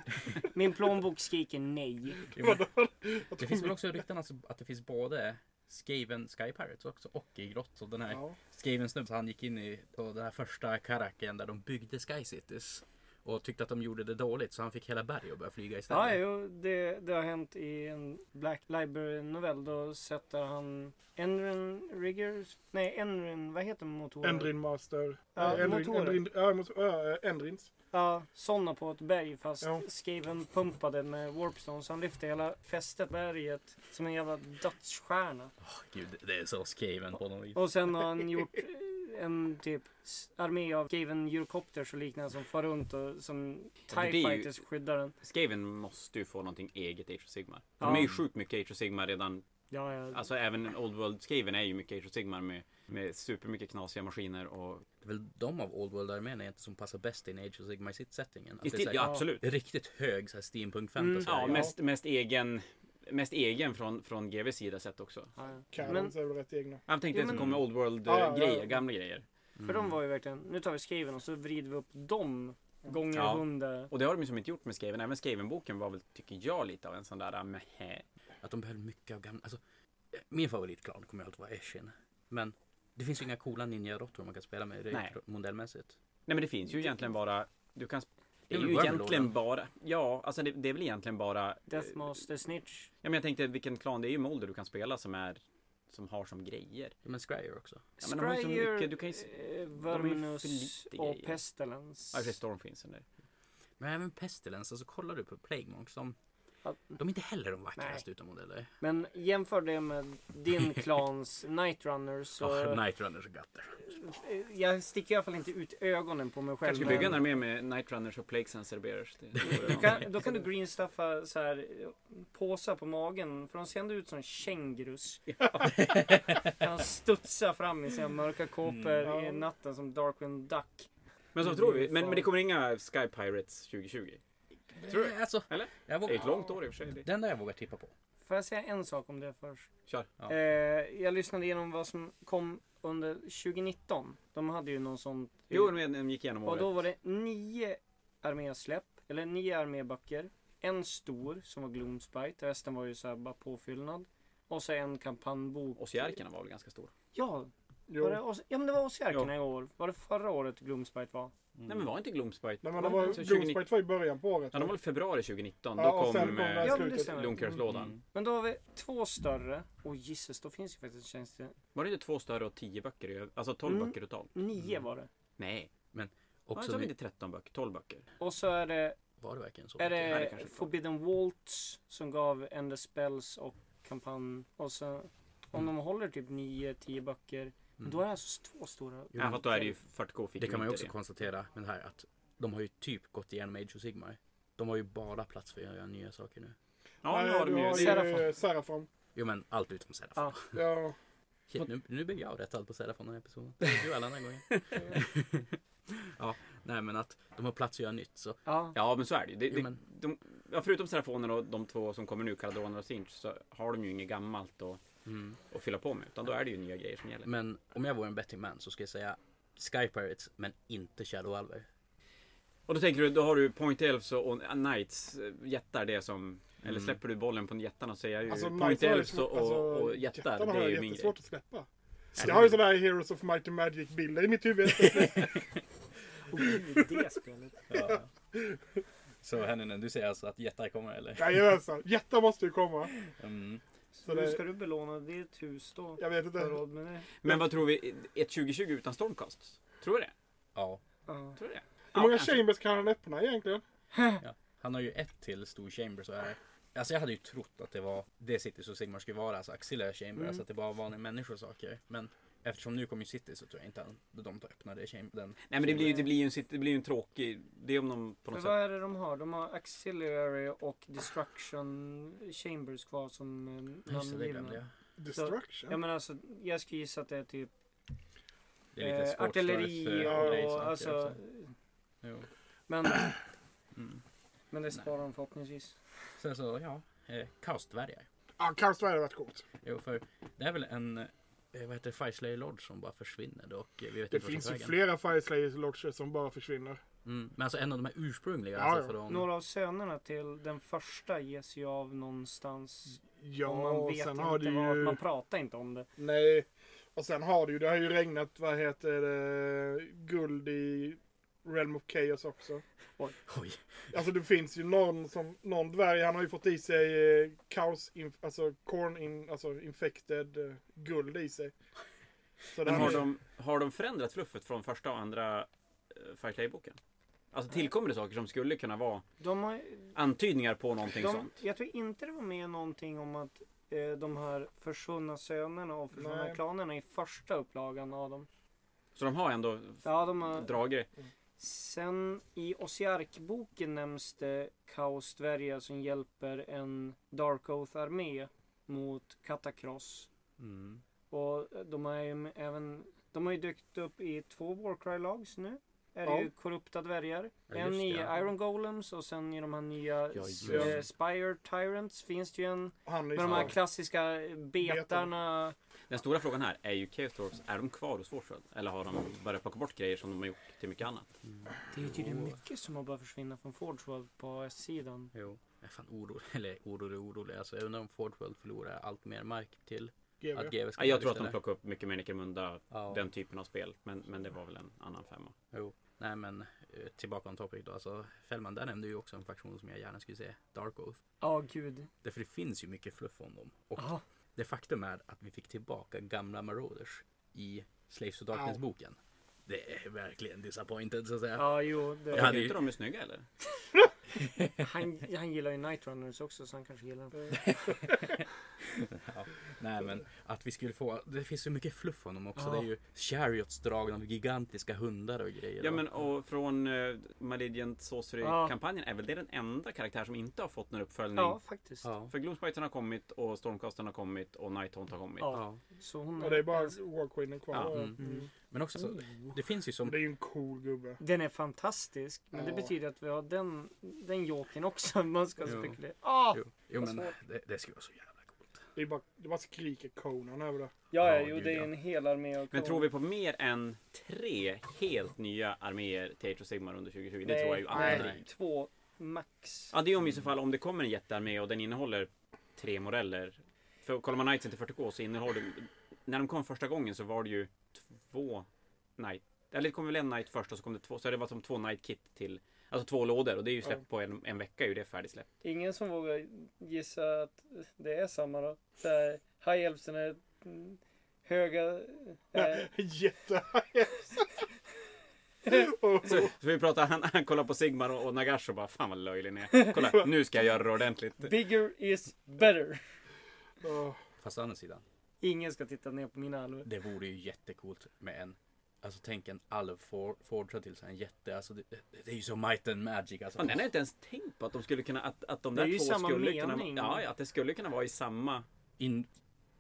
Speaker 3: Min plånbok skriker nej.
Speaker 1: jo, men det finns väl också rykten alltså att det finns både Skaven Sky Pirates också och i grott. Och den här
Speaker 4: Ja.
Speaker 1: Skaven snubben så han gick in i på den här första karaken där de byggde Sky Cities. Och tyckte att de gjorde det dåligt så han fick hela berg och började flyga istället.
Speaker 3: Ja, jo, det, det har hänt i en Black Library-novell. Då sätter han Enrin Riggers... Nej, Enrin... Vad heter motorer?
Speaker 4: Endrin Master.
Speaker 3: Ja,
Speaker 4: Eh, Endrin,
Speaker 3: motorer.
Speaker 4: Endrin, ja, mot- ja, eh, Endrins.
Speaker 3: Ja, sådana på ett berg fast
Speaker 4: Ja.
Speaker 3: Skaven pumpade med warpstone så han lyfte hela fästet berget som en jävla dödsstjärna.
Speaker 1: Gud, det är så Skaven på något vis.
Speaker 3: Och sen har han gjort eh, en typ s- armé av Skaven Eurocopters och liknande som far runt och som
Speaker 2: Ja, men det
Speaker 3: TIE
Speaker 2: är ju-
Speaker 3: Fighters skyddar den.
Speaker 2: Skaven måste ju få någonting eget Age of Sigmar. De
Speaker 3: Ja.
Speaker 2: är ju sjukt mycket Age of Sigmar redan.
Speaker 3: Ja, ja.
Speaker 2: Alltså även Old World Skaven är ju mycket Age of Sigmar med, med supermycket knasiga maskiner och...
Speaker 1: Det är väl de av Old World-armén egentligen som passar bäst in i Age of Sigmar settingen
Speaker 2: I
Speaker 1: Att det är så här-
Speaker 2: ja, absolut.
Speaker 1: Riktigt hög så här steampunk
Speaker 3: Mm.
Speaker 1: fantasy.
Speaker 2: Ja, mest, mest egen. Mest egen från, från GVs sida sett också.
Speaker 3: ja, ja. Men-
Speaker 4: Cannons är väl rätt egna.
Speaker 2: Jag tänkte
Speaker 3: Jo,
Speaker 2: att det
Speaker 3: men-
Speaker 2: kommer Old World
Speaker 4: Ja, ja,
Speaker 2: eh,
Speaker 4: ja.
Speaker 2: grejer, gamla grejer.
Speaker 3: För
Speaker 2: Mm.
Speaker 3: de var ju verkligen, nu tar vi Skaven och så vrider vi upp dem gånger
Speaker 2: Ja. Eh,
Speaker 3: hundra.
Speaker 2: Och det har de ju som inte gjort med Skaven. Även Skaven-boken var väl, tycker jag, lite av en sån där äh, meh.
Speaker 1: Att de behöll mycket av gamla... Alltså, eh, min favoritklan kommer ju alltid vara Eshin. Men det finns ju inga coola ninja-råttor man kan spela med
Speaker 2: Nej.
Speaker 1: rent modellmässigt.
Speaker 2: Nej men det finns ju egentligen bara... Du kan... sp- Det
Speaker 1: är
Speaker 2: är
Speaker 1: väl
Speaker 2: ju
Speaker 1: Warlord,
Speaker 2: egentligen
Speaker 1: eller?
Speaker 2: bara... Ja, alltså det, det är väl egentligen bara...
Speaker 3: Deathmaster Snitch.
Speaker 2: Ja, men jag tänkte vilken klan, det är ju Molder du kan spela som är... Som har som grejer.
Speaker 1: Ja, Men Scryer också.
Speaker 2: Ja, men de har ju så mycket, du kan ju s-
Speaker 3: Scryer, eh,
Speaker 2: är ju för
Speaker 3: Verminus
Speaker 2: lite
Speaker 3: och
Speaker 2: grejer. Ja, i och för sig
Speaker 3: Pestilence.
Speaker 2: Storm finns ju där.
Speaker 1: Men även Pestilence, alltså kollar du på Plague Monks, de,
Speaker 3: Ja.
Speaker 1: de är inte heller de vackraste utan modeller.
Speaker 3: Men jämför det med din klans Night Runners så...
Speaker 1: Ja, Night Runners och Gutter.
Speaker 3: eh, Jag sticker i alla fall inte ut ögonen på mig själv.
Speaker 2: Kanske bygga en
Speaker 3: men
Speaker 2: armé med Night Runners och Plague Senser Bearers. Det-
Speaker 3: då, kan, då kan du greenstaffa så här eh, påsar på magen för de ser ändå ut som kängurus. Han studsar fram i sina mörka kåpor
Speaker 4: Mm.
Speaker 3: i natten som Darkwing Duck.
Speaker 2: Men så tror vi. Men, men det kommer inga Sky Pirates 2020. Tror du?
Speaker 1: Eh, Alltså,
Speaker 2: Eller?
Speaker 1: Jag
Speaker 2: Det är
Speaker 1: vågar,
Speaker 2: ett långt år i och för sig. Det-
Speaker 1: Det enda jag vågar tippa på.
Speaker 3: Får jag säga en sak om det först?
Speaker 2: Kör.
Speaker 1: Ja.
Speaker 3: Eh, jag lyssnade igenom vad som kom under 2019. De hade ju någon sån...
Speaker 2: Jo, men de gick igenom
Speaker 3: Och
Speaker 2: året.
Speaker 3: då var det nio armésläpp, eller nio arméböcker. En stor som var Gloomspite, resten var ju så här bara påfyllnad. Och så en kampanjbok.
Speaker 2: Ossiarkerna var väl ganska stor?
Speaker 3: Ja, var det
Speaker 4: Jo.
Speaker 3: Os- ja men det var Ossiarkerna i år. Var det förra året Gloomspite var?
Speaker 2: Nej, men var inte Gloomspite?
Speaker 4: Nej, men de var,
Speaker 2: Så 2019
Speaker 4: Gloomspite var i början på året.
Speaker 2: Ja, de var väl februari 2019.
Speaker 4: Ja,
Speaker 2: Då
Speaker 4: och sen
Speaker 2: kom
Speaker 4: kom det här
Speaker 2: eh,
Speaker 3: Ja, men det
Speaker 4: slutet.
Speaker 3: stämmer.
Speaker 2: Domkyrkslådan.
Speaker 1: Mm.
Speaker 3: Men då har vi två större. Och jisses, då finns ju faktiskt tjänst
Speaker 2: Var det inte två större och tio böcker? i öv- Alltså 12
Speaker 3: Mm.
Speaker 2: böcker totalt?
Speaker 3: Nio var det.
Speaker 2: Nej. Också
Speaker 1: Också,
Speaker 2: ja,
Speaker 1: ny-
Speaker 2: inte 13 böcker, 12 böcker.
Speaker 3: Och så är det,
Speaker 1: var det verkligen så?
Speaker 3: är
Speaker 2: Ja, det
Speaker 3: det
Speaker 2: kanske inte var.
Speaker 3: Forbidden Waltz som gav Ender Spells och kampanj. Och så om de håller typ nio, tio böcker.
Speaker 1: Mm.
Speaker 3: Då är det alltså två stora.
Speaker 1: Jo,
Speaker 2: ja, för att då är det ju 40K fick
Speaker 1: Det kan man ju
Speaker 2: inte
Speaker 1: också konstatera med det här att de har ju typ gått igenom Age of Sigmar. De har ju bara plats för att göra nya saker nu.
Speaker 2: Ja, nu
Speaker 4: Nej,
Speaker 2: har de
Speaker 4: du
Speaker 2: ju...
Speaker 4: har
Speaker 2: det-
Speaker 4: ju
Speaker 3: Serafon.
Speaker 4: eh, Serafon.
Speaker 1: Jo men allt utom Serafon.
Speaker 3: Ja.
Speaker 4: Ja.
Speaker 1: Shit, nu, nu blev jag rättad på Serafon den här episoden. Du alla den här gången. ja, nej men att de har plats att göra nytt så.
Speaker 3: Ja.
Speaker 2: Ja, men så är det ju. Det,
Speaker 1: Jo,
Speaker 2: det,
Speaker 1: men-
Speaker 2: de, ja, förutom Serafoner och de två som kommer nu, Caradona och Sinch, så har de ju inget gammalt att,
Speaker 1: Mm.
Speaker 2: att fylla på med. Utan då är det ju nya grejer som gäller.
Speaker 1: Men om jag vore en betting man så skulle jag säga Sky Pirates men inte Shadow Alver.
Speaker 2: Och då tänker du, då har du Point Elves och, och Knights, eh, jättar det som... Eller
Speaker 1: Mm.
Speaker 2: släpper du bollen på jättarna så är ju
Speaker 4: Alltså,
Speaker 2: Point
Speaker 4: Knights har ju
Speaker 2: Elves
Speaker 4: svårt-
Speaker 2: och,
Speaker 4: alltså,
Speaker 2: och, och jättar,
Speaker 4: jättarna
Speaker 2: det är
Speaker 4: har
Speaker 2: ju min grej.
Speaker 4: jättesvårt att släppa.
Speaker 2: Ja,
Speaker 4: Jag har ju sådana här Heroes of Might and Magic bilder i mitt huvud.
Speaker 3: Och gud, det spelet.
Speaker 1: Ja. Så Henninen, du säger alltså att jättar kommer eller?
Speaker 4: Jajamensan, jättar måste ju komma.
Speaker 1: Mm.
Speaker 3: Så
Speaker 4: Så
Speaker 3: nu
Speaker 4: det-
Speaker 3: ska du belåna ditt hus då.
Speaker 4: Jag vet
Speaker 3: Har du
Speaker 4: inte.
Speaker 3: råd med det?
Speaker 2: Men vad tror vi? Ett 2020 utan Stormcast? Tror du det?
Speaker 1: Ja.
Speaker 3: Ja.
Speaker 2: Tror du det?
Speaker 4: Hur många chambers kan han öppna egentligen?
Speaker 1: Han har ju ett till stor chamber så här. Alltså jag hade ju trott att det var det Cities och Sigmar skulle vara, alltså Axilla chamber,
Speaker 3: Mm.
Speaker 1: alltså att det bara var en människor och saker. Men eftersom nu kommer ju City så tror jag inte att de tar öppna det chamber, den.
Speaker 2: Nej men det blir ju det blir ju en, sit- det blir ju en tråkig... Det är om de på
Speaker 3: För
Speaker 2: något
Speaker 3: vad
Speaker 2: sätt...
Speaker 3: är det de har? De har Auxiliary och Destruction Chambers kvar som
Speaker 1: Just det,
Speaker 3: eh,
Speaker 1: det
Speaker 3: namngivna.
Speaker 1: glömde jag.
Speaker 3: Ja
Speaker 4: Destruction?
Speaker 3: men alltså, jag skulle gissa att det är typ
Speaker 1: Det är lite
Speaker 3: eh,
Speaker 1: svårt
Speaker 3: artilleri
Speaker 1: för- för dig, så
Speaker 3: och
Speaker 1: att-
Speaker 3: alltså.
Speaker 1: Jo.
Speaker 3: Men,
Speaker 2: Mm.
Speaker 3: men det sparar de förhoppningsvis.
Speaker 1: Sen så, ja. Eh, Kaosdvärgar.
Speaker 4: Ja, Kaos hade varit coolt.
Speaker 1: Jo, för det är väl en eh, vad heter det, Fireslayer Lodge som bara försvinner och eh, vi vet inte
Speaker 4: Det
Speaker 1: vart den
Speaker 4: finns
Speaker 1: tog
Speaker 4: ju
Speaker 1: vägen.
Speaker 4: flera Fireslayers Lodger som bara försvinner.
Speaker 1: Mm, men alltså en av de här ursprungliga.
Speaker 4: Ja,
Speaker 1: alltså,
Speaker 4: ja.
Speaker 1: för de,
Speaker 3: Några av sönerna till den första ges ju av någonstans.
Speaker 4: Ja,
Speaker 3: och man
Speaker 4: och
Speaker 3: vet
Speaker 4: sen
Speaker 3: inte
Speaker 4: har du
Speaker 3: vad,
Speaker 4: ju...
Speaker 3: man pratar inte om det.
Speaker 4: Nej. Och sen har du ju, det har ju regnat, vad heter det, guld i Realm of Chaos också.
Speaker 1: Oj,
Speaker 4: Alltså det finns ju någon som, någon dvärg, han har ju fått i sig eh, kaos, in, alltså corn, in, alltså infected eh, guld i sig. Så det
Speaker 2: Men
Speaker 4: här
Speaker 2: har,
Speaker 4: är-
Speaker 2: de, har de förändrat fluffet från första och andra Firefly-boken? Alltså tillkommer det saker som skulle kunna vara
Speaker 3: De har,
Speaker 2: antydningar på någonting
Speaker 3: de,
Speaker 2: sånt?
Speaker 3: jag tror inte det var med någonting om att eh, de här försvunna sönerna och försvunna
Speaker 4: Nej.
Speaker 3: klanerna i första upplagan av dem.
Speaker 2: Så de har ändå
Speaker 3: Ja, de har,
Speaker 2: dragit.
Speaker 3: Sen i Osiark-boken nämns det Kaos-dvärgar som hjälper en Dark Oath-armé mot Katakross.
Speaker 1: Mm.
Speaker 3: Och eh, de har ju även, de har ju dykt upp i två Warcry-lags nu. Är det
Speaker 4: Ja.
Speaker 3: ju korrupta dvärgar.
Speaker 1: Ja,
Speaker 3: en
Speaker 1: just
Speaker 3: i
Speaker 1: det, ja.
Speaker 3: Iron Golems och sen i de här nya
Speaker 1: just
Speaker 4: det.
Speaker 3: eh, Spire Tyrants finns det ju en.
Speaker 4: han är
Speaker 3: Med de här
Speaker 4: ju
Speaker 3: klassiska eh, betarna.
Speaker 2: Den stora frågan här är ju Chaos Dwarfs, är de kvar hos Forsfred? Eller har de börjat plocka bort grejer som de har gjort till mycket annat?
Speaker 3: Det är tydligen mycket som har börjat försvinna från Forgeworld på S-sidan.
Speaker 1: Jo. Jag är fan orolig, eller orolig orolig. Alltså, jag undrar om Fordworld förlorar allt mer mark till
Speaker 4: GV.
Speaker 1: att GW
Speaker 2: Ja,
Speaker 1: ska
Speaker 2: jag tror att de
Speaker 1: istället.
Speaker 2: plockar upp mycket mer Nickelmunda,
Speaker 1: Ja.
Speaker 2: den typen av spel. Men, men det var väl en annan femma.
Speaker 1: Jo. Nej men eh, tillbaka om topic då. Alltså Fällman där nämnde ju också en fraktion som jag gärna skulle se. Dark Oath.
Speaker 3: Ja, gud.
Speaker 1: Därför det finns ju mycket fluff om dem. Och
Speaker 3: Ja.
Speaker 1: det faktum är att vi fick tillbaka gamla Marauders i Slaves of Darkness boken. Det är verkligen disappointed så att säga.
Speaker 3: Ja, jo. Det...
Speaker 1: Jag
Speaker 2: Tycker
Speaker 1: hade ju-
Speaker 2: inte de är snygga eller?
Speaker 3: Han, han gillar ju Night Runners också så han kanske gillar dem.
Speaker 1: Mm. Nej men att vi skulle få, det finns så mycket fluff om dem också.
Speaker 3: Ja.
Speaker 1: Det är ju chariots dragna av gigantiska hundar och grejer.
Speaker 2: Ja
Speaker 1: och-
Speaker 2: men och från uh, Malidiant Sorcery-kampanjen är väl det den enda karaktär som inte har fått någon uppföljning?
Speaker 3: Ja, faktiskt.
Speaker 1: Ja.
Speaker 2: För Gloomspiten har kommit och Stormcastern har kommit och Nighthaunt har kommit.
Speaker 3: Ja.
Speaker 1: ja.
Speaker 3: Så hon
Speaker 4: Och det är bara War Queenen kvar.
Speaker 2: Ja,
Speaker 1: mm.
Speaker 4: Mm.
Speaker 1: Men också så, det finns ju som
Speaker 4: Det är ju en cool gubbe.
Speaker 3: Den är fantastisk. Men det
Speaker 4: Ja.
Speaker 3: betyder att vi har den, den joken också. Man ska
Speaker 1: Jo.
Speaker 3: spekulera. Ah!
Speaker 1: Jo, jo
Speaker 3: Vad
Speaker 1: men
Speaker 3: svårt.
Speaker 1: det, det skulle vara så jävla coolt.
Speaker 4: Det är bara, det bara skriker Conan över det.
Speaker 1: Ja, jo, gud, det är ja.
Speaker 3: en hel armé av
Speaker 2: Men tror vi på mer än tre helt nya arméer till Age of Sigmar under 2020? Det tror jag ju
Speaker 1: nej.
Speaker 2: aldrig.
Speaker 3: Två max.
Speaker 2: Ja, det är om i så fall om det kommer en jättearmé och den innehåller tre modeller. För kollar man Knightsen till 40K så innehåller det... När de kom första gången så var det ju två Knight. Eller det kom väl en Knight först och så kom det två. Så det var som två Knight-kit till... Alltså två lådor och det är ju släppt på en, en vecka. Är ju det färdigsläppt.
Speaker 3: Ingen som vågar gissa att det är samma då? Så här, High Elfsen är mm, höga... eh,
Speaker 4: Jätte...
Speaker 2: Så, så vi pratar, han, han kollar på Sigmar och, och Nagash och bara Fan vad löjlig ni är. Kolla, nu ska jag göra det ordentligt.
Speaker 3: bigger is better.
Speaker 4: Åh,
Speaker 1: Fast å andra sidan,
Speaker 3: Ingen ska titta ner på mina alver.
Speaker 1: det vore ju jättecoolt med en Alltså tänk en alv for- forgad till sig en jätte. Alltså det, det är ju så might and magic. Alltså.
Speaker 2: Fan, den har jag inte ens tänkt på att de skulle kunna, att, att de
Speaker 3: Det är
Speaker 2: där
Speaker 3: ju
Speaker 2: två
Speaker 3: samma
Speaker 2: skulle
Speaker 3: mening.
Speaker 2: kunna, ja, ja, att det skulle kunna vara i samma.
Speaker 1: In,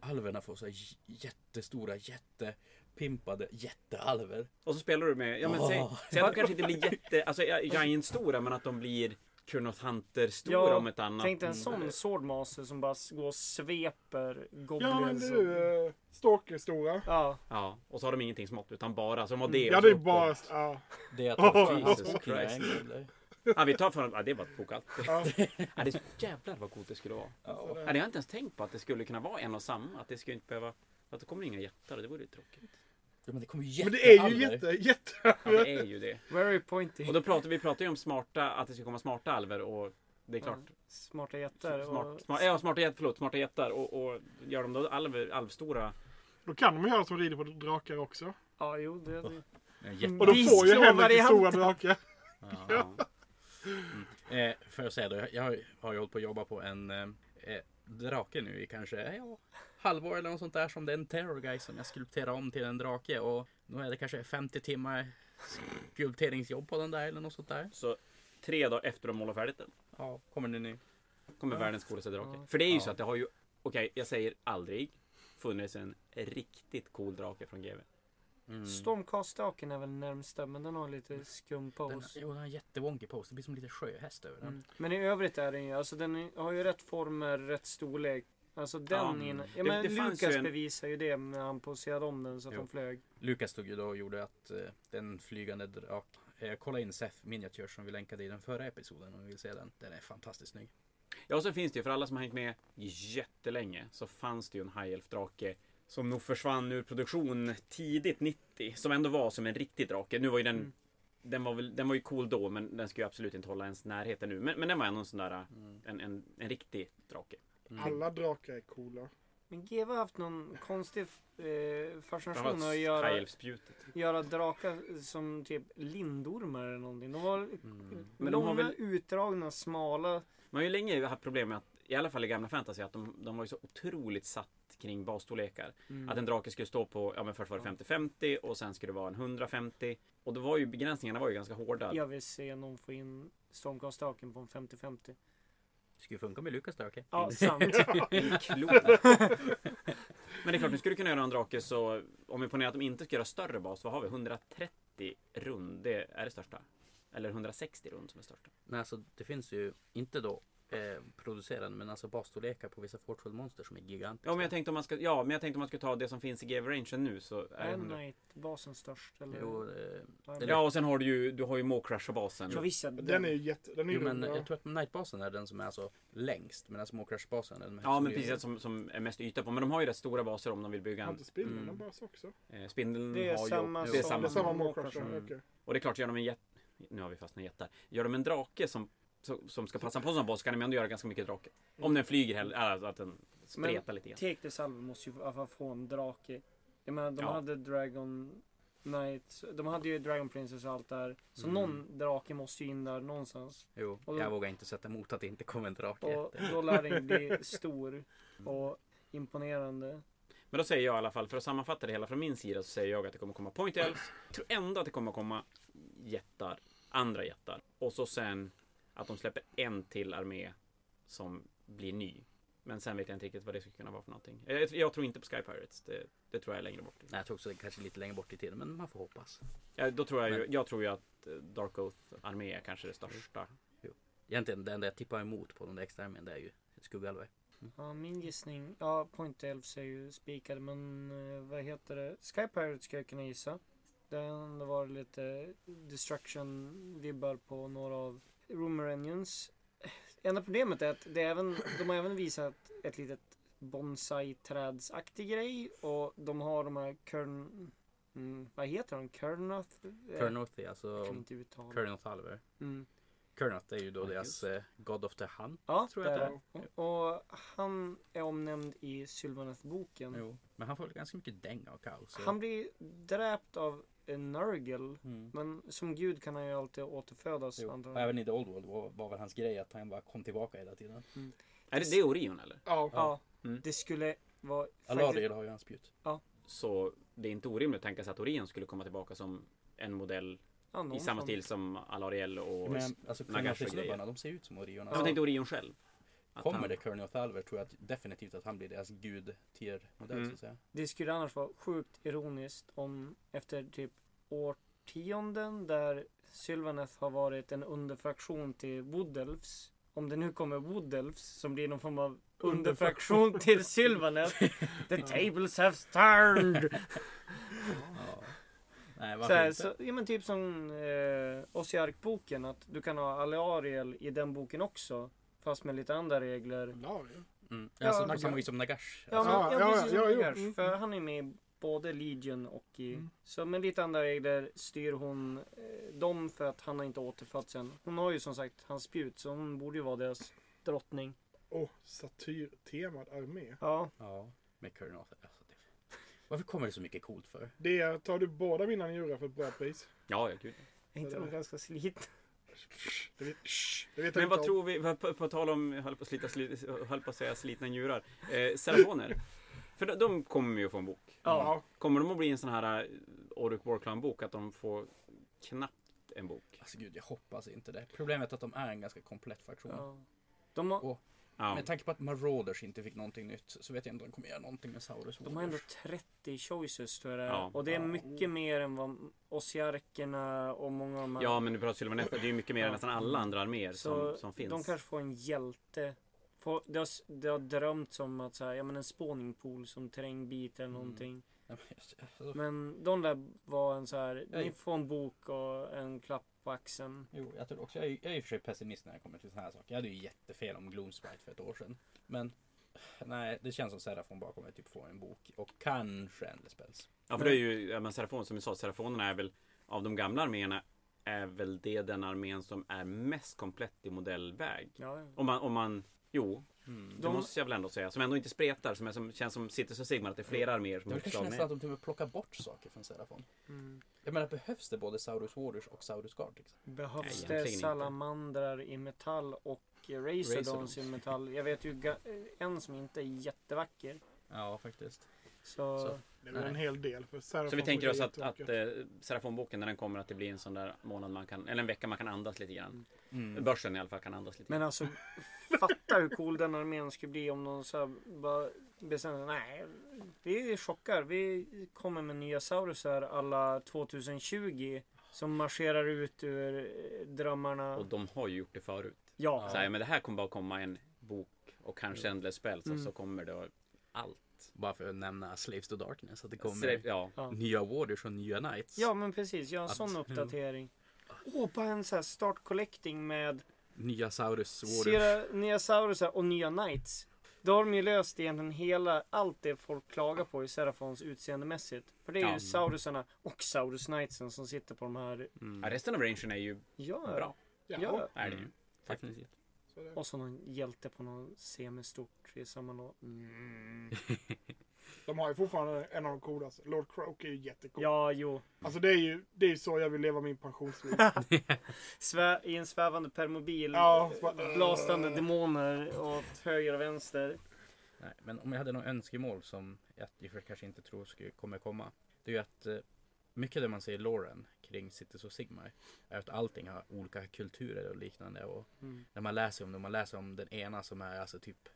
Speaker 1: alverna får så här j- jättestora, jättepimpade jättealver.
Speaker 2: Och så spelar du med, ja men säg,
Speaker 1: Åh.
Speaker 2: säg att de kanske inte blir jätte, alltså giant stora men att de blir Kurnoth Hunter stora
Speaker 3: Ja,
Speaker 2: om ett annat.
Speaker 3: Tänk dig en sån swordmaster som bara s- går och sveper goblins.
Speaker 4: Ja men
Speaker 3: och-
Speaker 4: du, eh, Stalker-stora.
Speaker 3: Ja,
Speaker 2: Ja, och så har de ingenting smått utan bara, så de har det.
Speaker 4: Mm. Ja
Speaker 2: och
Speaker 4: det är
Speaker 2: så-
Speaker 4: bara... Ja.
Speaker 1: Det är att
Speaker 4: Åh,
Speaker 1: Jesus
Speaker 2: Jesus
Speaker 1: Christ.
Speaker 2: Christ. Ja, vi tar från, ja det är bara att koka allt. Ja, det är så jävlar vad coolt det skulle vara.
Speaker 1: Ja.
Speaker 2: Ja, det har jag inte ens tänkt på att det skulle kunna vara en och samma, att det skulle inte behöva, att det kommer inga jättar, det vore ju tråkigt.
Speaker 1: Ja, men det kommer ju
Speaker 4: Men
Speaker 1: jättealver.
Speaker 4: det är ju jätte, jätte...
Speaker 2: Ja, det är ju det.
Speaker 3: very pointy.
Speaker 2: Och då pratar vi pratar ju om smarta, att det ska komma smarta alver och det är klart.
Speaker 3: Smarta jättar.
Speaker 2: Smart,
Speaker 3: och-
Speaker 2: smart, ja, smarta jättar, förlåt, smarta jättar och, och gör de då alv, alvstora.
Speaker 4: Då kan de göra som rider på drakar också.
Speaker 3: Ja, jo, det, det.
Speaker 1: En jätte-
Speaker 4: Och då får ju Henrik den
Speaker 3: Bisklåvariant.
Speaker 4: stora drake.
Speaker 2: Ja.
Speaker 1: Eh, får jag säga då, jag, jag har ju- har ju hållit på att jobba på en eh, eh, drake nu i kanske eh, ja, halvår eller något sånt där som det är en terror guy som jag skulpterar om till en drake och nu är det kanske 50 timmar skulpteringsjobb på den där eller något sånt där.
Speaker 2: Så tre dagar efter de målar färdigt den
Speaker 1: Ja, kommer ni nu?
Speaker 2: kommer världens coolaste drake. För det är ju så
Speaker 1: Ja.
Speaker 2: att det har ju, okej jag säger aldrig, funnits en riktigt cool drake från GW. Mm.
Speaker 3: Stormcast-staken är väl närmsta, men den har lite skum
Speaker 1: Den,
Speaker 3: pose.
Speaker 1: jo, den har jättewonkig pose. Det blir som lite sjöhäst över den.
Speaker 3: Mm. Men i övrigt är den ju, alltså den är- har ju rätt former, rätt storlek. Alltså den
Speaker 2: Ja.
Speaker 3: in...
Speaker 1: Mm.
Speaker 2: Det-
Speaker 3: Ja, men
Speaker 2: det fanns
Speaker 3: Lucas
Speaker 2: ju en-
Speaker 3: bevisar ju det när han poserade om den så att
Speaker 2: Jo.
Speaker 3: den flög.
Speaker 1: Lukas tog ju då och gjorde att eh, den flygande drak... Eh, kolla in Seth Miniature som vi länkade i den förra episoden om ni vill se den. Den är fantastiskt snygg.
Speaker 2: Ja, och så finns det ju, för alla som har hängt med jättelänge, så fanns det ju en hajelfdrake som nog försvann ur produktion tidigt 90, som ändå var som en riktig drake. Nu var ju den,
Speaker 3: Mm.
Speaker 2: den, var väl, den var ju cool då, men den ska ju absolut inte hålla ens närheten nu. Men, men den var ändå en sån där,
Speaker 3: Mm.
Speaker 2: en, en, en riktig drake.
Speaker 4: Alla drakar är coola.
Speaker 3: Men GW har haft någon konstig eh, fascination att
Speaker 2: Framförallt
Speaker 3: göra,
Speaker 2: hajelfspjutet.
Speaker 3: göra drakar som typ lindormar eller någonting. De var
Speaker 2: Men de
Speaker 3: långa,
Speaker 2: har väl-
Speaker 3: utdragna, smala.
Speaker 2: Man har ju länge haft problem med att, i alla fall i gamla fantasy, att de, de var ju så otroligt satt kring basstorlekar.
Speaker 3: Mm.
Speaker 2: Att en drake skulle stå på, ja men först var det 50-50 och sen skulle det vara en 150. Och det var ju, begränsningarna var ju ganska hårda.
Speaker 3: Jag vill se någon få in stormkastdraken på en 50-50.
Speaker 1: Skulle funka med Lukas drake.
Speaker 3: Ja, sant.
Speaker 2: Klokt. Men det är klart, nu skulle du kunna göra en drake så om vi ponerar att de inte ska göra större bas, vad har vi? 130 rund, det är det största. Eller 160 rund som är största.
Speaker 1: Nej, alltså det finns ju inte då eh, producerande men alltså basstorlekar på vissa Fortworld monster som är gigantiska.
Speaker 2: Ja, men jag tänkte om man ska, ja, men jag tänkte om man ska ta det som finns i GW rangen nu så är det 100.
Speaker 3: Night-basen störst. Eller?
Speaker 1: Jo, eh,
Speaker 3: Ja,
Speaker 1: den-
Speaker 2: Ja, och sen har du ju, du har ju Mawcrusher basen.
Speaker 3: jag visste att
Speaker 4: Den är ju jätte... Den är ju
Speaker 1: jo men
Speaker 4: rund, ja.
Speaker 1: jag tror att Nightbasen är den som är alltså längst medan Mawcrush-basen är den med
Speaker 2: Ja, men
Speaker 1: högst
Speaker 2: precis som, som är mest yta på. Men de har ju rätt stora baser om de vill bygga
Speaker 4: Har
Speaker 2: en.
Speaker 4: inte spindeln
Speaker 1: Mm.
Speaker 4: en bas också?
Speaker 2: Eh, Spindeln
Speaker 3: Det är
Speaker 2: har ju...
Speaker 3: samma
Speaker 2: det är
Speaker 3: som-
Speaker 4: Det är
Speaker 2: samma.
Speaker 4: samma
Speaker 3: som
Speaker 4: Mawcrusher,
Speaker 3: Mawcrusher.
Speaker 4: okej.
Speaker 2: Mm. Och det är klart, gör de en jätte... Nu har vi fastnat i jättar. Gör de en drake som, som, som ska passa på en sån boss kan de ändå göra ganska mycket drake. Om den flyger heller, alltså att den spretar lite grann.
Speaker 3: Take this album måste ju i alla fall få en drake. Jag menar, de
Speaker 2: Ja.
Speaker 3: hade Dragon Knight, de hade ju Dragon Princess och allt där. Så
Speaker 2: Mm.
Speaker 3: någon drake måste ju in där någonstans.
Speaker 1: Jo,
Speaker 3: Och-
Speaker 1: jag vågar inte sätta emot att det inte kom en drake.
Speaker 3: Och då lär den bli stor och imponerande.
Speaker 2: Men då säger jag i alla fall, för att sammanfatta det hela från min sida, så säger jag att det kommer komma Point Elves. Jag tror ändå att det kommer komma jättar, andra jättar. Och så sen att de släpper en till armé som blir ny. Men sen vet jag inte riktigt vad det skulle kunna vara för någonting. Jag, jag tror inte på Sky Pirates. Det, det tror jag är längre bort.
Speaker 1: Nej, jag tror också det kanske är lite längre bort i tiden men man får hoppas.
Speaker 2: Ja, då tror jag, ju, jag tror ju att eh, Dark Oath-armé är kanske det största.
Speaker 3: Mm.
Speaker 1: Egentligen det enda jag tippar emot på den där extra armén det är ju skuggalver.
Speaker 3: Ja, min gissning. Ja, Point Elves är ju spikade, men eh, vad heter det? Sky Pirate ska jag kunna gissa. Det har ändå varit lite destruction-vibbar på några av Rumor Engines. Enda problemet är att det är även, de har även visat ett litet bonsai-trädsaktig grej och de har de här Kern... Mm, vad heter de? Kernoth? Eh,
Speaker 1: Kernoth är
Speaker 3: Jag kan
Speaker 1: alltså
Speaker 3: inte uttala.
Speaker 1: Kernoth Alver.
Speaker 3: Mm.
Speaker 1: Kernoth är ju då
Speaker 2: Ja,
Speaker 1: deras
Speaker 2: just.
Speaker 1: eh, God of the Hunt.
Speaker 3: Ja,
Speaker 1: Tror jag
Speaker 3: där
Speaker 1: att
Speaker 3: är han. Och han är omnämnd i Sylvaneth-boken.
Speaker 1: Jo. Men han får väl ganska mycket dänga och kaos. så-
Speaker 3: Mm. Han blir dräpt av en Nurgle.
Speaker 1: Mm.
Speaker 3: Men som gud kan han ju alltid återfödas
Speaker 1: Jo.
Speaker 3: antar
Speaker 1: Och
Speaker 3: jag.
Speaker 1: även i The Old World var, var väl hans grej att han bara kom tillbaka hela tiden.
Speaker 2: Är det, det är Orion eller?
Speaker 4: Ja.
Speaker 3: Ja.
Speaker 2: Mm.
Speaker 3: Det skulle vara...
Speaker 1: Alariel har ju hans spjut.
Speaker 2: Så det är inte orimligt att tänka sig att Orion skulle komma tillbaka som en modell
Speaker 3: ja, någon
Speaker 2: i samma
Speaker 3: form.
Speaker 2: stil som Alariel och...
Speaker 1: Men alltså
Speaker 2: Nagash och
Speaker 1: Kernoth-snubbarna de ser ju ut som Orion.
Speaker 2: Jag
Speaker 1: Alltså,
Speaker 2: tänkte Orion själv. Att
Speaker 1: Kommer
Speaker 2: han-
Speaker 1: det Kernoth Alver tror jag att, definitivt att han blir deras gud tier modell
Speaker 2: Mm.
Speaker 1: så att säga.
Speaker 3: Det skulle annars vara sjukt ironiskt om efter typ årtionden där Sylvaneth har varit en underfraktion till Woodelfs. Om det nu kommer Woodelfs som blir någon form av underfraktion till Sylvaneth. The tables have turned!
Speaker 1: Ja. Nej,
Speaker 3: Så,
Speaker 1: varför
Speaker 3: här,
Speaker 1: inte?
Speaker 3: så, ja, men typ som eh, Ossiark-boken, att du kan ha Alariel i den boken också. Fast med lite andra regler.
Speaker 4: Larian.
Speaker 1: Mm.
Speaker 3: Ja,
Speaker 1: alltså,
Speaker 3: man
Speaker 1: på
Speaker 4: kan-
Speaker 1: samma vis som Nagash.
Speaker 3: Ja,
Speaker 1: alltså,
Speaker 3: men,
Speaker 4: Ja,
Speaker 3: ja,
Speaker 4: ja,
Speaker 3: precis som
Speaker 4: ja, jo.
Speaker 3: Nagash,
Speaker 4: Mm,
Speaker 3: För han är med i både Legion och i... Så med lite andra regler styr hon eh, dem för att han har inte återfötts än. Hon har ju som sagt hans spjut, så hon borde ju vara deras drottning.
Speaker 4: Och satyrtemad armé.
Speaker 3: Ja,
Speaker 1: ja, med Kernoth. Alltså, det... Varför kommer det så mycket coolt för?
Speaker 4: Det tar du båda mina njurar för ett bra pris.
Speaker 2: Ja, ja, gud.
Speaker 3: är inte de ganska slitna?
Speaker 4: Det vet, det vet jag
Speaker 2: Men
Speaker 4: inte
Speaker 2: vad
Speaker 4: om.
Speaker 2: tror vi, vad- på, på tal om, jag höll på, att slita, sli, höll på att säga slitna njurar, eh, Serafoner. För de, de kommer ju få en bok.
Speaker 4: Ja.
Speaker 2: Kommer de att bli en sån här eh, Oruk Warclan-bok? Att de får knappt en bok?
Speaker 1: Alltså gud, jag hoppas inte det. Problemet är att de är en ganska komplett fraktion.
Speaker 3: Ja. De har,
Speaker 2: Ja.
Speaker 1: Med tanke på att Marauders inte fick någonting nytt så vet jag inte om de kommer göra någonting med Saurus.
Speaker 3: De har ändå 30 choices tror jag det är.
Speaker 2: Ja.
Speaker 3: Och det är
Speaker 1: Ja.
Speaker 3: mycket mer än vad Ossiarkerna och många av de här
Speaker 2: Ja, men du pratar Sylvanetta. Det är ju mycket mer än
Speaker 3: Ja.
Speaker 2: nästan alla andra arméer
Speaker 3: Så
Speaker 2: som, som finns.
Speaker 3: De kanske får en hjälte Få- Det har, s- det har drömt om att så här, ja men en spåningpool som terrängbit eller
Speaker 1: Mm.
Speaker 3: någonting.
Speaker 1: Nej, men, alltså,
Speaker 3: Men de där var en så här,
Speaker 1: Ja,
Speaker 3: ni
Speaker 1: ja.
Speaker 3: får en bok och en klapp på axeln.
Speaker 1: Jo, jag tror också. Jag är, jag är i och för sig pessimist när det kommer till såna här saker. Jag hade ju jättefel om Gloomsprite för ett år sedan. Men nej, det känns som Serafon bara kommer typ få en bok och kanske en spels.
Speaker 2: Ja, för det är ju, ja, men Serafon, som vi sa, Serafonerna är väl, av de gamla arméerna, är väl det den armén som är mest komplett i modellväg.
Speaker 3: Ja, ja.
Speaker 2: Om man, om man, jo,
Speaker 1: Mm.
Speaker 2: det
Speaker 3: De-
Speaker 2: måste jag väl ändå säga. Som ändå inte spretar, som, är, som känns som sitter så Sigmar att det är flera arméer som är
Speaker 1: Mm. Jag tycker nästan
Speaker 2: uppslagna.
Speaker 1: att de till och med plockar bort saker från Serafon.
Speaker 3: Mm.
Speaker 1: Jag menar, behövs det både Saurus Warriors och Saurus Guard? Liksom?
Speaker 2: Nej,
Speaker 3: Behövs
Speaker 2: egentligen
Speaker 3: det
Speaker 2: inte.
Speaker 3: salamandrar i metall och razordons i metall? Jag vet ju ga- en som inte är jättevacker.
Speaker 1: Ja, faktiskt.
Speaker 3: Så,
Speaker 1: Så.
Speaker 4: Det är väl
Speaker 1: Nej.
Speaker 4: en hel del. För Serafon
Speaker 2: Så vi tänker
Speaker 4: är
Speaker 2: oss att, att
Speaker 4: jättevacker.
Speaker 2: eh, Serafonboken, när den kommer, att det blir en sån där månad man kan, eller en vecka man kan andas lite grann.
Speaker 1: Mm.
Speaker 2: Börsen i alla fall kan andas lite grann.
Speaker 3: men alltså fatta hur cool den armén skulle bli om de så här bara bestämde nej, vi chockar. Vi kommer med nya saurusar alla 2020 som marscherar ut ur eh, drömmarna.
Speaker 2: Och de har ju gjort det förut.
Speaker 3: ja,
Speaker 2: Så här, men det här kommer bara komma en bok och kanske en Spells och
Speaker 3: Mm.
Speaker 2: så kommer det allt.
Speaker 1: Bara för att nämna Slaves to Darkness, att det kommer
Speaker 2: Sre- Ja,
Speaker 1: nya Warriors och nya Knights.
Speaker 3: ja, men precis. Gör en sån
Speaker 1: Absolut.
Speaker 3: uppdatering. Åh, bara en så här start collecting med
Speaker 1: Nya Saurus Warriors.
Speaker 3: Sera, nya saurusar och nya knights. Då har de ju löst egentligen hela, allt det folk klagar på i Serafons utseendemässigt. För det är
Speaker 2: Ja.
Speaker 3: ju saurusarna och saurus knightsen som sitter på de här.
Speaker 2: Ja, resten av rangen är ju
Speaker 3: Ja,
Speaker 2: bra.
Speaker 4: Ja,
Speaker 3: ja.
Speaker 2: Är det ju.
Speaker 1: Mm. Definitivt.
Speaker 4: så det-
Speaker 3: Och så någon hjälte på någon semistort i samma låt. Mm.
Speaker 4: De har ju fortfarande en av de coolaste. Lord Croak är ju jättecool.
Speaker 3: Ja, jo.
Speaker 4: Alltså det är ju det är ju så jag vill leva min pensionsliv.
Speaker 3: Svä, I en svävande permobil.
Speaker 4: Ja, så bara-
Speaker 3: Blastande demoner åt höger och vänster.
Speaker 1: Nej, men om jag hade något önskemål som jag i och för sig kanske inte tror skulle- kommer komma. Det är ju att eh, mycket av det man ser i Lauren kring Cities och Sigmar är att allting har olika kulturer och liknande. Och
Speaker 3: Mm.
Speaker 1: när man läser om det, man läser om den ena som är alltså typ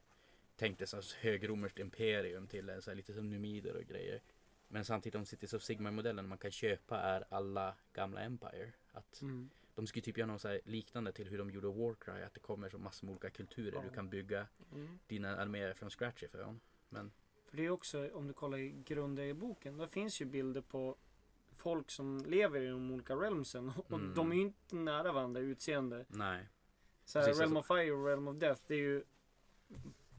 Speaker 1: tänkte sig alltså högromerskt imperium till eh, så här, lite som numider och grejer. Men samtidigt om Cities of sigmar modellen man kan köpa är alla gamla Empire. Att
Speaker 3: Mm.
Speaker 1: de skulle typ göra något så här liknande till hur de gjorde Warcry. Att det kommer så massor med olika kulturer. Du kan bygga
Speaker 4: Mm.
Speaker 1: dina arméer från scratch ifrån.
Speaker 3: För det är också, om du kollar i grunden i boken, där finns ju bilder på folk som lever i de olika realmsen. Och
Speaker 1: Mm.
Speaker 3: de är ju inte nära varandra i utseende.
Speaker 1: Nej.
Speaker 3: Så här,
Speaker 1: Precis,
Speaker 3: Realm of Fire och Realm of Death, det är ju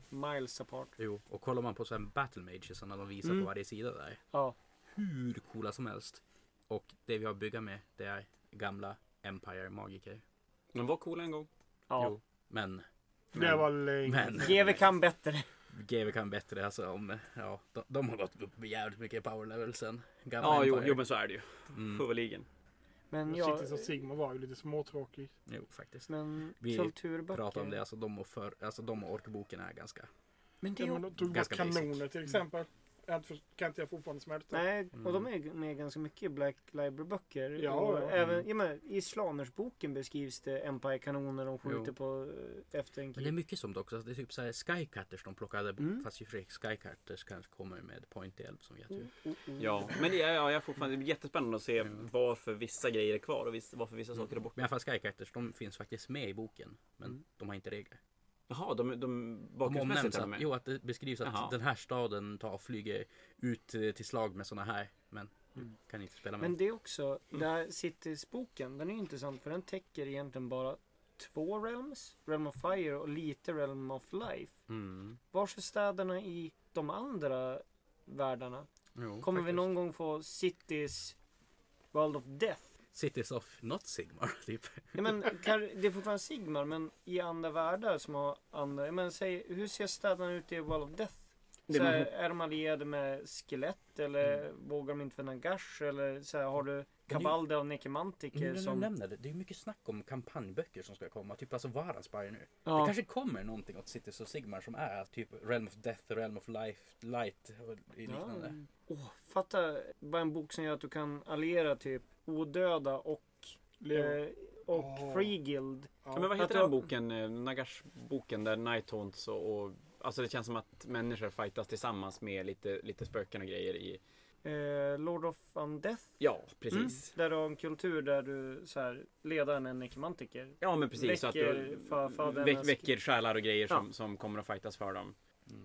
Speaker 3: miles apart.
Speaker 1: Jo, och kollar man på så här battle mages när de visar
Speaker 3: Mm.
Speaker 1: på varje sida där.
Speaker 3: Ja.
Speaker 1: Hur coola som helst. Och det vi har att bygga med det är gamla Empire magiker.
Speaker 2: De var coola en gång.
Speaker 3: ja.
Speaker 1: Jo, men
Speaker 4: Det var länge.
Speaker 1: Men-
Speaker 3: GW kan bättre.
Speaker 1: GW kan bättre alltså. Om, ja, de, de har gått upp med jävligt mycket power level sen. Gamla
Speaker 2: Ja, jo,
Speaker 1: Empire.
Speaker 2: jo, men så är det ju.
Speaker 1: Mm,
Speaker 2: Huvudligen.
Speaker 3: Men ja,
Speaker 4: Cities of liksom, Sigma var ju lite småtråkig.
Speaker 1: jo, faktiskt.
Speaker 3: men
Speaker 1: Vi
Speaker 3: kulturböcker.
Speaker 1: Prata om det, alltså de och, för, alltså, de och orkboken är ganska...
Speaker 3: Men det
Speaker 4: Ja,
Speaker 3: är
Speaker 4: men
Speaker 3: ju...
Speaker 4: de tog bort
Speaker 1: Ganska basic.
Speaker 4: kanoner till exempel. Jag har inte för- kan inte jag fortfarande smälta.
Speaker 3: Nej,
Speaker 1: Mm.
Speaker 3: och de är ju med ganska mycket i Black Library-böcker.
Speaker 4: Ja,
Speaker 3: och
Speaker 4: ja.
Speaker 3: Även,
Speaker 1: Mm.
Speaker 3: ja, men, I Slanersboken beskrivs det Empire-kanoner de skjuter
Speaker 1: Jo.
Speaker 3: på eh, efter en
Speaker 1: Men det är
Speaker 3: krig.
Speaker 1: mycket som också, det är typ så här skycutters de plockade bort.
Speaker 3: Mm.
Speaker 1: Fast i och för sig skycutters kanske kommer med pointy elb som vet hur.
Speaker 3: Oh, oh, oh.
Speaker 2: Ja, men det är, ja, jag är fortfarande det är jättespännande att se
Speaker 1: Mm.
Speaker 2: varför vissa grejer är kvar och vis- varför vissa saker är borta.
Speaker 1: Men i alla fall skycutters, de finns faktiskt med i boken. Men
Speaker 2: Mm.
Speaker 1: de har inte regler.
Speaker 2: Jaha, de, de
Speaker 1: De omnämns
Speaker 2: bakgrundsmässigt är
Speaker 1: att,
Speaker 2: de med.
Speaker 1: jo, att det beskrivs att
Speaker 2: Jaha.
Speaker 1: den här staden tar och flyger ut eh, till slag med såna här. Men
Speaker 3: Mm.
Speaker 1: kan inte spela med.
Speaker 3: Men det är också,
Speaker 1: Mm.
Speaker 3: där Cities-boken, den är ju intressant för den täcker egentligen bara två realms. Realm of Fire och lite Realm of Life.
Speaker 1: Mm.
Speaker 3: Vars är städerna i de andra världarna?
Speaker 1: Jo,
Speaker 3: Kommer vi
Speaker 1: faktiskt.
Speaker 3: någon gång få Cities World of Death?
Speaker 1: Cities of not Sigmar, typ.
Speaker 3: Ja, men, kan, det är fortfarande Sigmar, men i andra världar som har andra... ja, Men, säg, hur ser städerna ut i World of Death?
Speaker 2: Det
Speaker 3: Så
Speaker 2: man-
Speaker 3: här, är de allierade med skelett eller vågar de inte vända gash? Eller så här, har du kabalder av
Speaker 1: Nu
Speaker 3: nekemantiker
Speaker 1: när du
Speaker 3: som...
Speaker 1: Mm, nämner det, det är mycket snack om kampanjböcker som ska komma. Typ alltså Varanspire nu. Det
Speaker 3: Ja,
Speaker 1: kanske kommer någonting åt Cities of Sigmar som är typ Realm of Death, Realm of Life, Light och liknande.
Speaker 3: Mm. Åh, fatta bara en bok som gör att du kan alliera typ odöda och,
Speaker 4: Leo.
Speaker 3: eh, och
Speaker 4: Åh.
Speaker 3: Free Guild.
Speaker 2: Ja, men vad heter
Speaker 3: Att
Speaker 2: den
Speaker 3: jag-
Speaker 2: boken? eh, Nagash-boken där Night Haunts och, och... Alltså det känns som att människor fightas tillsammans med lite, lite spöken och grejer i
Speaker 3: eh, Lord of Undeath.
Speaker 2: Ja, precis.
Speaker 3: Där du har en kultur där du så här, ledaren är nekromantiker.
Speaker 2: Ja, men precis. så att
Speaker 3: Väcker
Speaker 2: du
Speaker 3: farfadernas-
Speaker 2: väck, väcker själar och grejer som,
Speaker 3: Ja. Mm.
Speaker 2: som kommer att fightas för dem.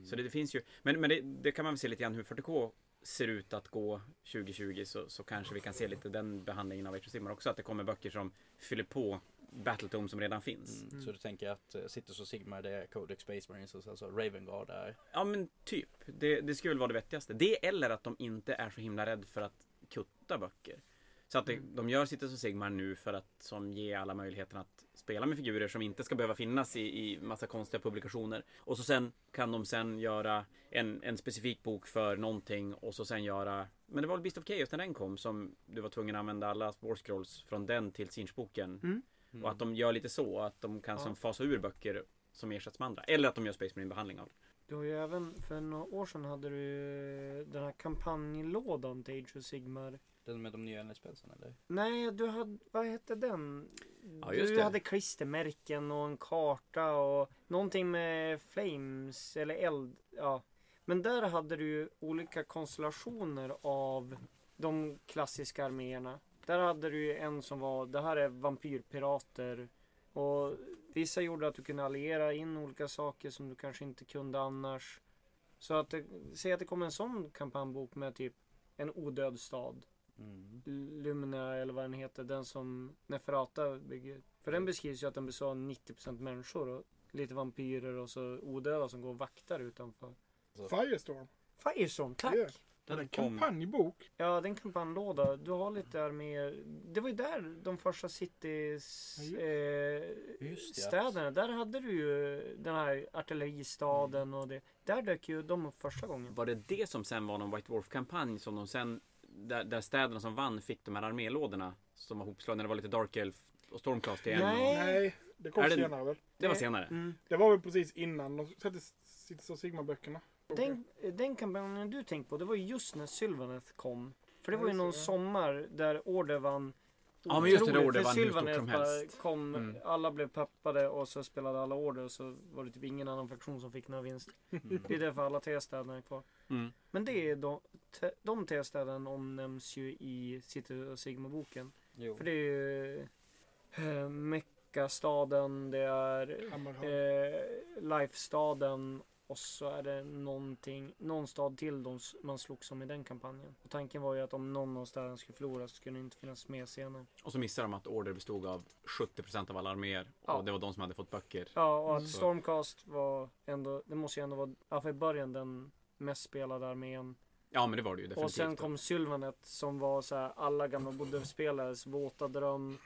Speaker 2: Så det, det finns ju. Men, men det, det kan man väl se lite grann hur 40K ser ut att gå 2020 så, så kanske vi kan se lite den behandlingen av Age of Sigmar också. Att det kommer böcker som fyller på Battletome som redan finns.
Speaker 1: Mm. Så du tänker att eh, Citus och Sigmar det är Codex Space Marines och sen så Raven Guard är...
Speaker 2: Ja men typ. Det, det skulle väl vara det vettigaste. Det eller att de inte är så himla rädd för att kutta böcker. Så att det,
Speaker 3: Mm.
Speaker 2: de gör Cities och Sigmar nu för att som ge alla möjligheten att spela med figurer som inte ska behöva finnas i, i massa konstiga publikationer. Och så sen kan de sen göra en, en specifik bok för någonting och så sen göra Men det var väl Beast of Chaos när den kom som du var tvungen att använda alla War Scrolls från den till Sinch-boken.
Speaker 3: Mm.
Speaker 2: Och att de gör lite så att de kan
Speaker 3: Ja.
Speaker 2: som fasa ur böcker som ersätts med andra. Eller att de gör Space Marine behandling av det.
Speaker 3: Du har ju även, för några år sedan hade du ju den här kampanjlådan till Age of Sigmar.
Speaker 1: Den med de nya NSPelsen eller?
Speaker 3: Nej, du hade, vad hette den?
Speaker 2: Ja, just
Speaker 3: du
Speaker 2: det.
Speaker 3: hade klistermärken och en karta och någonting med flames eller eld. Ja. Men där hade du ju olika konstellationer av de klassiska arméerna. Där hade du ju en som var, det här är vampyrpirater. Och vissa gjorde att du kunde alliera in olika saker som du kanske inte kunde annars. Så att det, säg att det kom en sån kampanjbok med typ en odöd stad.
Speaker 1: Mm.
Speaker 3: Lumina eller vad den heter, den som Neferata bygger. För den beskrivs ju att den består av 90% människor och lite vampyrer och så odöda som går och vaktar utanför.
Speaker 4: Firestorm.
Speaker 3: Firestorm, tack!
Speaker 4: Yeah.
Speaker 2: Den
Speaker 4: En
Speaker 2: kom-
Speaker 4: kampanjbok.
Speaker 3: Ja, den kampanjlåda. Du har lite arméer. Det var ju där de första cities
Speaker 4: Ja,
Speaker 3: eh,
Speaker 1: Just det.
Speaker 3: städerna. Där hade du ju den här artilleristaden och det. Där dök ju de upp första gången.
Speaker 2: Var det det som sen var någon White Dwarf-kampanj som de sen där, där städerna som vann fick de här armélådorna som var hopslagna. Det var lite Dark Elf och Stormcast igen.
Speaker 3: Nej.
Speaker 2: Och,
Speaker 4: Nej, det kom
Speaker 2: Är det-
Speaker 4: senare väl?
Speaker 2: det var senare.
Speaker 3: Mm.
Speaker 4: Det var väl precis innan de satte Cities och Sigma-böckerna.
Speaker 3: Den, den kampanjen du tänkte på, det var ju just när Sylvaneth kom. För det
Speaker 4: Ja,
Speaker 3: var ju
Speaker 4: just
Speaker 3: någon
Speaker 4: det, ja.
Speaker 3: sommar där Order vann.
Speaker 2: Ja, men just det, där
Speaker 3: otroligt,
Speaker 2: Order
Speaker 3: för
Speaker 2: vann hur
Speaker 3: Sylvaneth
Speaker 2: stort som
Speaker 3: bara
Speaker 2: helst.
Speaker 3: Kom,
Speaker 2: Mm.
Speaker 3: Alla blev peppade och så spelade alla Order och så var det typ ingen annan fraktion som fick några vinst.
Speaker 1: Mm.
Speaker 3: Det är därför alla tre städerna är kvar.
Speaker 2: Mm.
Speaker 3: Men det är de, te, de tre städerna omnämns ju i City och Sigma-boken.
Speaker 1: Jo.
Speaker 3: För det är ju eh, Meckastaden, det är
Speaker 4: Hammerhall.
Speaker 3: eh, Lifestaden och så är det någonting, någon stad till de s- man slogs om i den kampanjen. Och tanken var ju att om någon av städerna skulle förlora så skulle det inte finnas med senare.
Speaker 2: Och så missade de att Order bestod av 70% av alla arméer.
Speaker 3: Ja.
Speaker 2: Och det var de som hade fått böcker.
Speaker 3: Ja, och
Speaker 4: Mm.
Speaker 3: att Stormcast var ändå, det måste ju ändå vara, i alla fall i början, den mest spelade armén.
Speaker 2: Ja men det var det ju definitivt.
Speaker 3: Och sen kom Sylvanet som var så här alla gamla Bodøv-spelares våta dröm.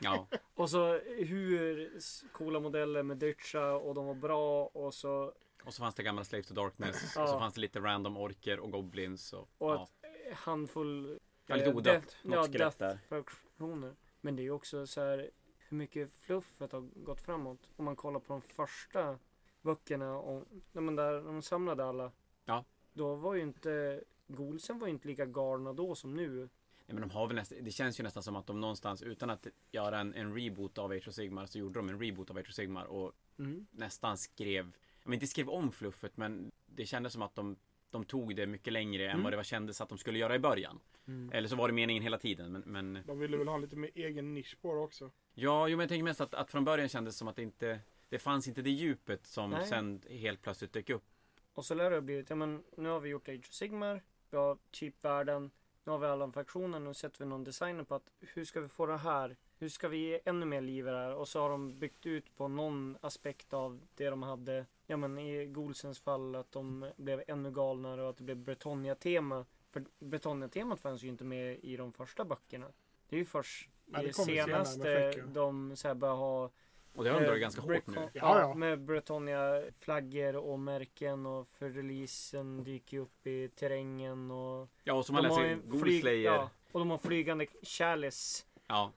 Speaker 2: Ja.
Speaker 3: Och så hur s- coola modeller med Dycha och de var bra och så
Speaker 2: Och så fanns det gamla Slaves to Darkness.
Speaker 3: Ja.
Speaker 2: Och så fanns det lite random orker och goblins. Och,
Speaker 3: Och
Speaker 2: ja.
Speaker 3: att- handfull
Speaker 2: Ja, lite
Speaker 3: eh,
Speaker 2: odött.
Speaker 3: death-
Speaker 2: Något
Speaker 3: ja,
Speaker 2: skelett där.
Speaker 3: death-fraktioner. Men det är ju också så här hur mycket fluffet har gått framåt. Om man kollar på de första böckerna och när, man där, när de samlade alla.
Speaker 2: Ja.
Speaker 3: Då var ju inte Golsen var ju inte lika galna då som nu.
Speaker 2: Nej, men de har väl nästan, det känns ju nästan som att de någonstans utan att göra en, en reboot av Age of Sigmar så gjorde de en reboot av Age of Sigmar. Och
Speaker 3: Mm.
Speaker 2: nästan skrev, jag menar inte skrev om fluffet men det kändes som att de, de tog det mycket längre än
Speaker 3: Mm.
Speaker 2: vad det var kändes att de skulle göra i början.
Speaker 3: Mm.
Speaker 2: Eller så var det meningen hela tiden. Men, men
Speaker 4: De ville väl ha lite mer egen nisch på det också.
Speaker 2: ja, jo, men jag tänker mest att, att från början kändes det som att det inte det fanns inte det djupet som
Speaker 3: Nej.
Speaker 2: sen helt plötsligt dök upp.
Speaker 3: Och så lär det ha blivit, ja men nu har vi gjort Age of Sigmar. Vi har typ världen. Nu har vi alla fraktionen. Nu sätter vi någon designer på att hur ska vi få det här? Hur ska vi ge ännu mer liv i det här? Och så har de byggt ut på någon aspekt av det de hade. Ja men i Golsens fall att de blev ännu galnare och att det blev Bretonia-tema. För Bretonia-temat fanns ju inte med i de första böckerna. Det är ju först
Speaker 4: Nej, det
Speaker 3: i
Speaker 4: kommer senare med
Speaker 3: senaste
Speaker 4: Fräcker.
Speaker 3: de så här börjar ha
Speaker 2: Och det har de
Speaker 3: Eh,
Speaker 2: dragit ganska hårt nu.
Speaker 3: Brecon-
Speaker 4: Ja,
Speaker 3: Ja,
Speaker 4: ja.
Speaker 3: Med Bretonia-flaggor och märken och för releasen dyker ju upp i terrängen och...
Speaker 2: Ja, och som man läser
Speaker 3: en
Speaker 2: Ghoul
Speaker 3: flyg-
Speaker 2: Slayer.
Speaker 3: ja,
Speaker 2: Ja.
Speaker 3: och de har flygande chalice.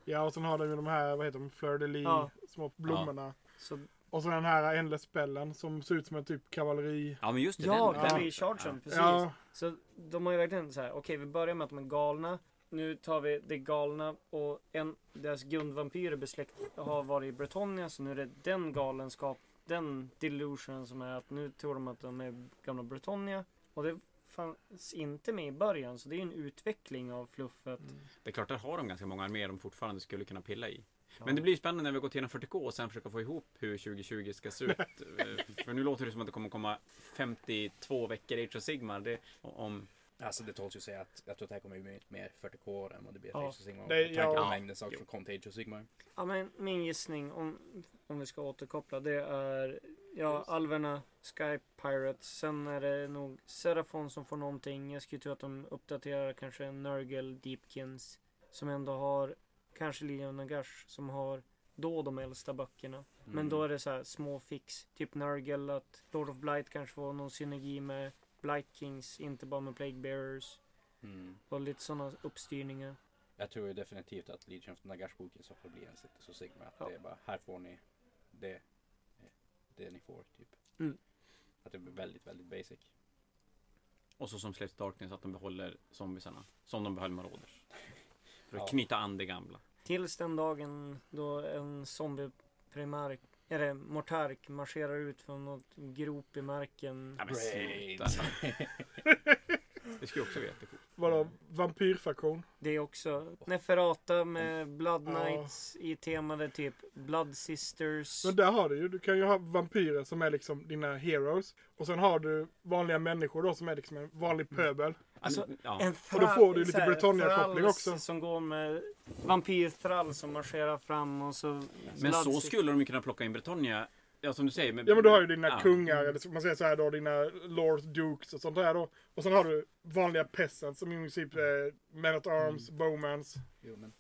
Speaker 4: Ja, och sen har de ju de här, vad heter de, fleur de lis,
Speaker 3: Ja.
Speaker 4: små blommorna.
Speaker 3: Så,
Speaker 4: Och så den här endless spellen som ser ut som en typ kavalleri.
Speaker 2: ja, men just det.
Speaker 3: ja,
Speaker 2: den- den-
Speaker 3: Cavalry Chargen, precis.
Speaker 4: Ja,
Speaker 3: Så de har ju verkligen så här, okej vi börjar med att de är galna. Nu tar vi det galna och en, deras grundvampyr är besläkt, har varit i Bretonia så nu är det den galenskap, den delusionen som är att nu tror de att de är gamla Bretonia. Och det fanns inte med i början så det är ju en utveckling av fluffet.
Speaker 2: Det är klart, där har de ganska många arméer de fortfarande skulle kunna pilla i.
Speaker 3: Ja.
Speaker 2: Men det blir ju spännande när vi går till 40K och sen försöka få ihop hur 2020 ska se ut. Eh, För nu låter det som att det kommer komma 52 veckor i Age of Sigmar. Det, om,
Speaker 1: Alltså det tåls ju att säga att jag tror att det här kommer bli mer 40K än vad det blir
Speaker 3: Ja.
Speaker 1: Age of Sigmar.
Speaker 4: Det-
Speaker 1: Med tanke på
Speaker 4: ja.
Speaker 1: mängden saker som kom till Age of Sigmar.
Speaker 3: Ja, men min gissning om, om vi ska återkoppla det är ja, alverna, Sky Pirates. Sen är det nog Serafon som får någonting. Jag skulle tro att de uppdaterar kanske en Nurgle Deepkins som ändå har kanske Leon Nagash som har då de äldsta böckerna.
Speaker 1: Mm.
Speaker 3: Men då är det så här små fix. Typ Nurgle att Lord of Blight kanske får någon synergi med Blight Kings, inte bara med Plague Bearers.
Speaker 1: Mm.
Speaker 3: Och lite sådana uppstyrningar.
Speaker 1: Jag tror ju definitivt att Legion of Nagash-boken så får bli en Age of Sigmar. Att
Speaker 3: Ja.
Speaker 1: det är bara, här får ni det, eh, det ni får typ.
Speaker 3: Mm.
Speaker 1: Att det blir väldigt, väldigt basic.
Speaker 2: och så som Slaves to Darkness, att de behåller zombisarna. Som de behöll Marauders. För att
Speaker 1: Ja.
Speaker 2: knyta an det gamla.
Speaker 3: Tills den dagen då en zombie primark, eller mortark marscherar ut från något grop i marken.
Speaker 2: Ja, men
Speaker 1: Great.
Speaker 2: sluta. Det skulle ju också vara jättecoolt.
Speaker 4: Vadå? Vampyrfaktion?
Speaker 3: Det är också Neferata med
Speaker 2: Mm.
Speaker 3: Blood
Speaker 4: Ja.
Speaker 3: Knights i temade typ Blood Sisters.
Speaker 4: Men där har du ju, du kan ju ha vampyrer som är liksom dina heroes. Och sen har du vanliga människor då som är liksom en
Speaker 2: Mm.
Speaker 4: vanlig pöbel.
Speaker 3: Alltså,
Speaker 2: ja.
Speaker 3: En
Speaker 4: Och då får du lite
Speaker 3: så här,
Speaker 4: Britannia-koppling
Speaker 3: thrall
Speaker 4: också.
Speaker 3: Som går med vampyrtrall som marscherar fram och så...
Speaker 2: Men
Speaker 3: Blood
Speaker 2: så
Speaker 3: Sisters.
Speaker 2: skulle de ju kunna plocka in Bretonia. Ja, som du säger. Med,
Speaker 4: Ja men du har ju dina
Speaker 2: ja.
Speaker 4: kungar, eller så- man säger så här då, dina lords, dukes och sånt där då. Och sen har du vanliga peasants som i princip är men at arms,
Speaker 2: Mm.
Speaker 4: bowmans.
Speaker 1: Jo, men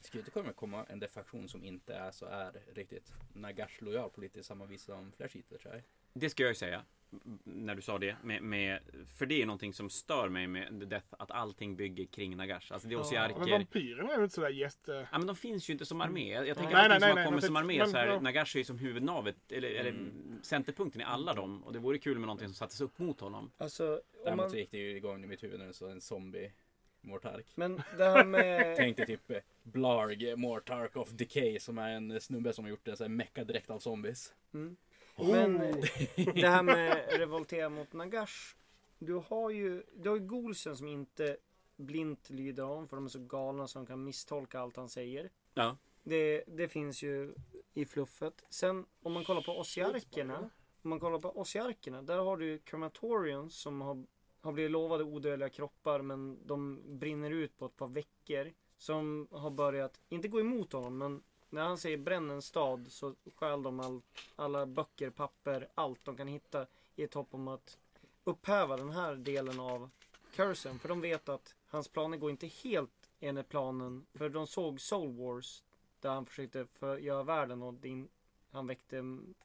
Speaker 1: det skulle inte kunna komma en defaktion som inte är så är riktigt Nagash lojal på lite samma vis som Flash Eater, tror jag.
Speaker 2: Det ska jag ju säga. m- När du sa det. Med, med, för det är någonting som stör mig med The Death. Att allting bygger kring Nagash. Alltså det är
Speaker 4: Ja, men
Speaker 2: osiarker.
Speaker 4: vampyrerna är väl inte sådär jätte...
Speaker 2: Ja men de finns ju inte som armé. Jag tänker
Speaker 3: Nej,
Speaker 2: att
Speaker 4: nej,
Speaker 2: de som
Speaker 4: nej,
Speaker 2: har
Speaker 4: nej,
Speaker 2: kommit
Speaker 4: men
Speaker 2: som
Speaker 4: för-
Speaker 2: armé
Speaker 4: men Mm.
Speaker 2: så är
Speaker 4: bra.
Speaker 2: Nagash är ju som huvudnavet. Eller, eller centerpunkten i alla dem. Och det vore kul med någonting som sattes upp mot honom.
Speaker 3: Alltså, om
Speaker 1: Däremot
Speaker 3: man...
Speaker 1: så gick det ju igång i mitt huvud när det stod en zombie Mortark.
Speaker 3: Men det här med...
Speaker 1: Tänkte typ eh, Blarg eh, Mortark of Decay som är en eh, snubbe som har gjort en sån här mecka-dräkt av zombies.
Speaker 3: Mm.
Speaker 4: Oh.
Speaker 3: Men eh, det här med revoltera mot Nagash. Du har ju, du har ju Golsen som inte blint lyder om för de är så galna så de kan misstolka allt han säger.
Speaker 2: Ja.
Speaker 3: Det, det finns ju i fluffet. Sen om man kollar på Ossiarkerna. Om man kollar på Ossiarkerna. Där har du ju Crematorium som har, har blivit lovade odödliga kroppar men de brinner ut på ett par veckor. Som har börjat, inte gå emot honom men när han säger bränn en stad så stjäl de all, alla böcker, papper, allt de kan hitta i ett hopp om att upphäva den här delen av cursen. För de vet att hans planer går inte helt enligt planen. För de såg Soul Wars där han försökte förgöra världen och din, han väckte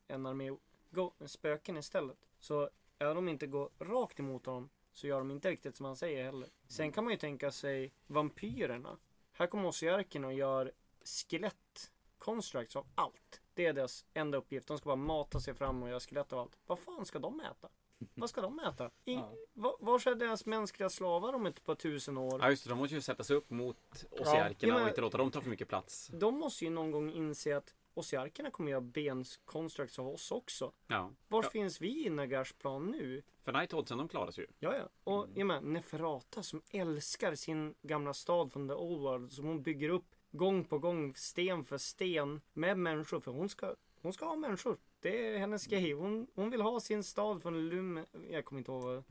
Speaker 3: en armé go- spöken istället. Så även om de inte går rakt emot honom så gör de inte riktigt som han säger heller. Sen kan man ju tänka sig vampyrerna. Här kommer Ossiarkerna och gör skelett constructs av allt. Det är deras enda uppgift. De ska bara mata sig fram och göra skelett av allt. Vad fan ska de äta? Vad ska de äta? I,
Speaker 1: Ja.
Speaker 3: va, var är deras mänskliga slavar om ett par tusen år?
Speaker 2: Ja just det, de måste ju sätta sig upp mot osiarkerna
Speaker 3: Ja, men-
Speaker 2: och inte låta dem ta för mycket plats.
Speaker 3: De måste ju någon gång inse att ossiarkerna kommer göra benskonstrukts av oss också.
Speaker 2: Ja.
Speaker 3: Var
Speaker 2: Ja.
Speaker 3: finns vi i Nagars plan nu?
Speaker 2: För Nighthodsen, de klarar sig ju.
Speaker 3: Ja, ja. Och jag menar, Neferata som älskar sin gamla stad från The Old World som hon bygger upp gång på gång, sten för sten med människor. För hon ska, hon ska ha människor. Det är hennes grej. Hon, hon vill ha sin stad från Lum... Jag kommer inte ihåg. vad-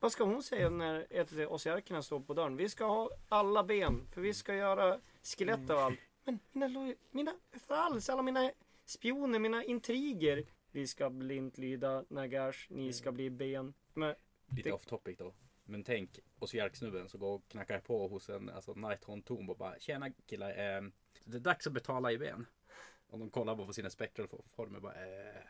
Speaker 3: Vad ska hon säga när ett av ossiarkerna står på dörren? Vi ska ha alla ben, för vi ska göra skelett av allt. Men mina, loj- mina thralls, alla mina spioner, mina intriger. Vi ska blint lyda Nagash, ni ska bli ben. Men
Speaker 1: Lite
Speaker 3: Det-
Speaker 1: off topic då. Men tänk Osiark-snubben som går och knackar på hos en alltså, Nighthorn Tom och bara Tjena killar, eh, det är dags att betala i ben. Och de kollar bara på sina spektral former och bara eh.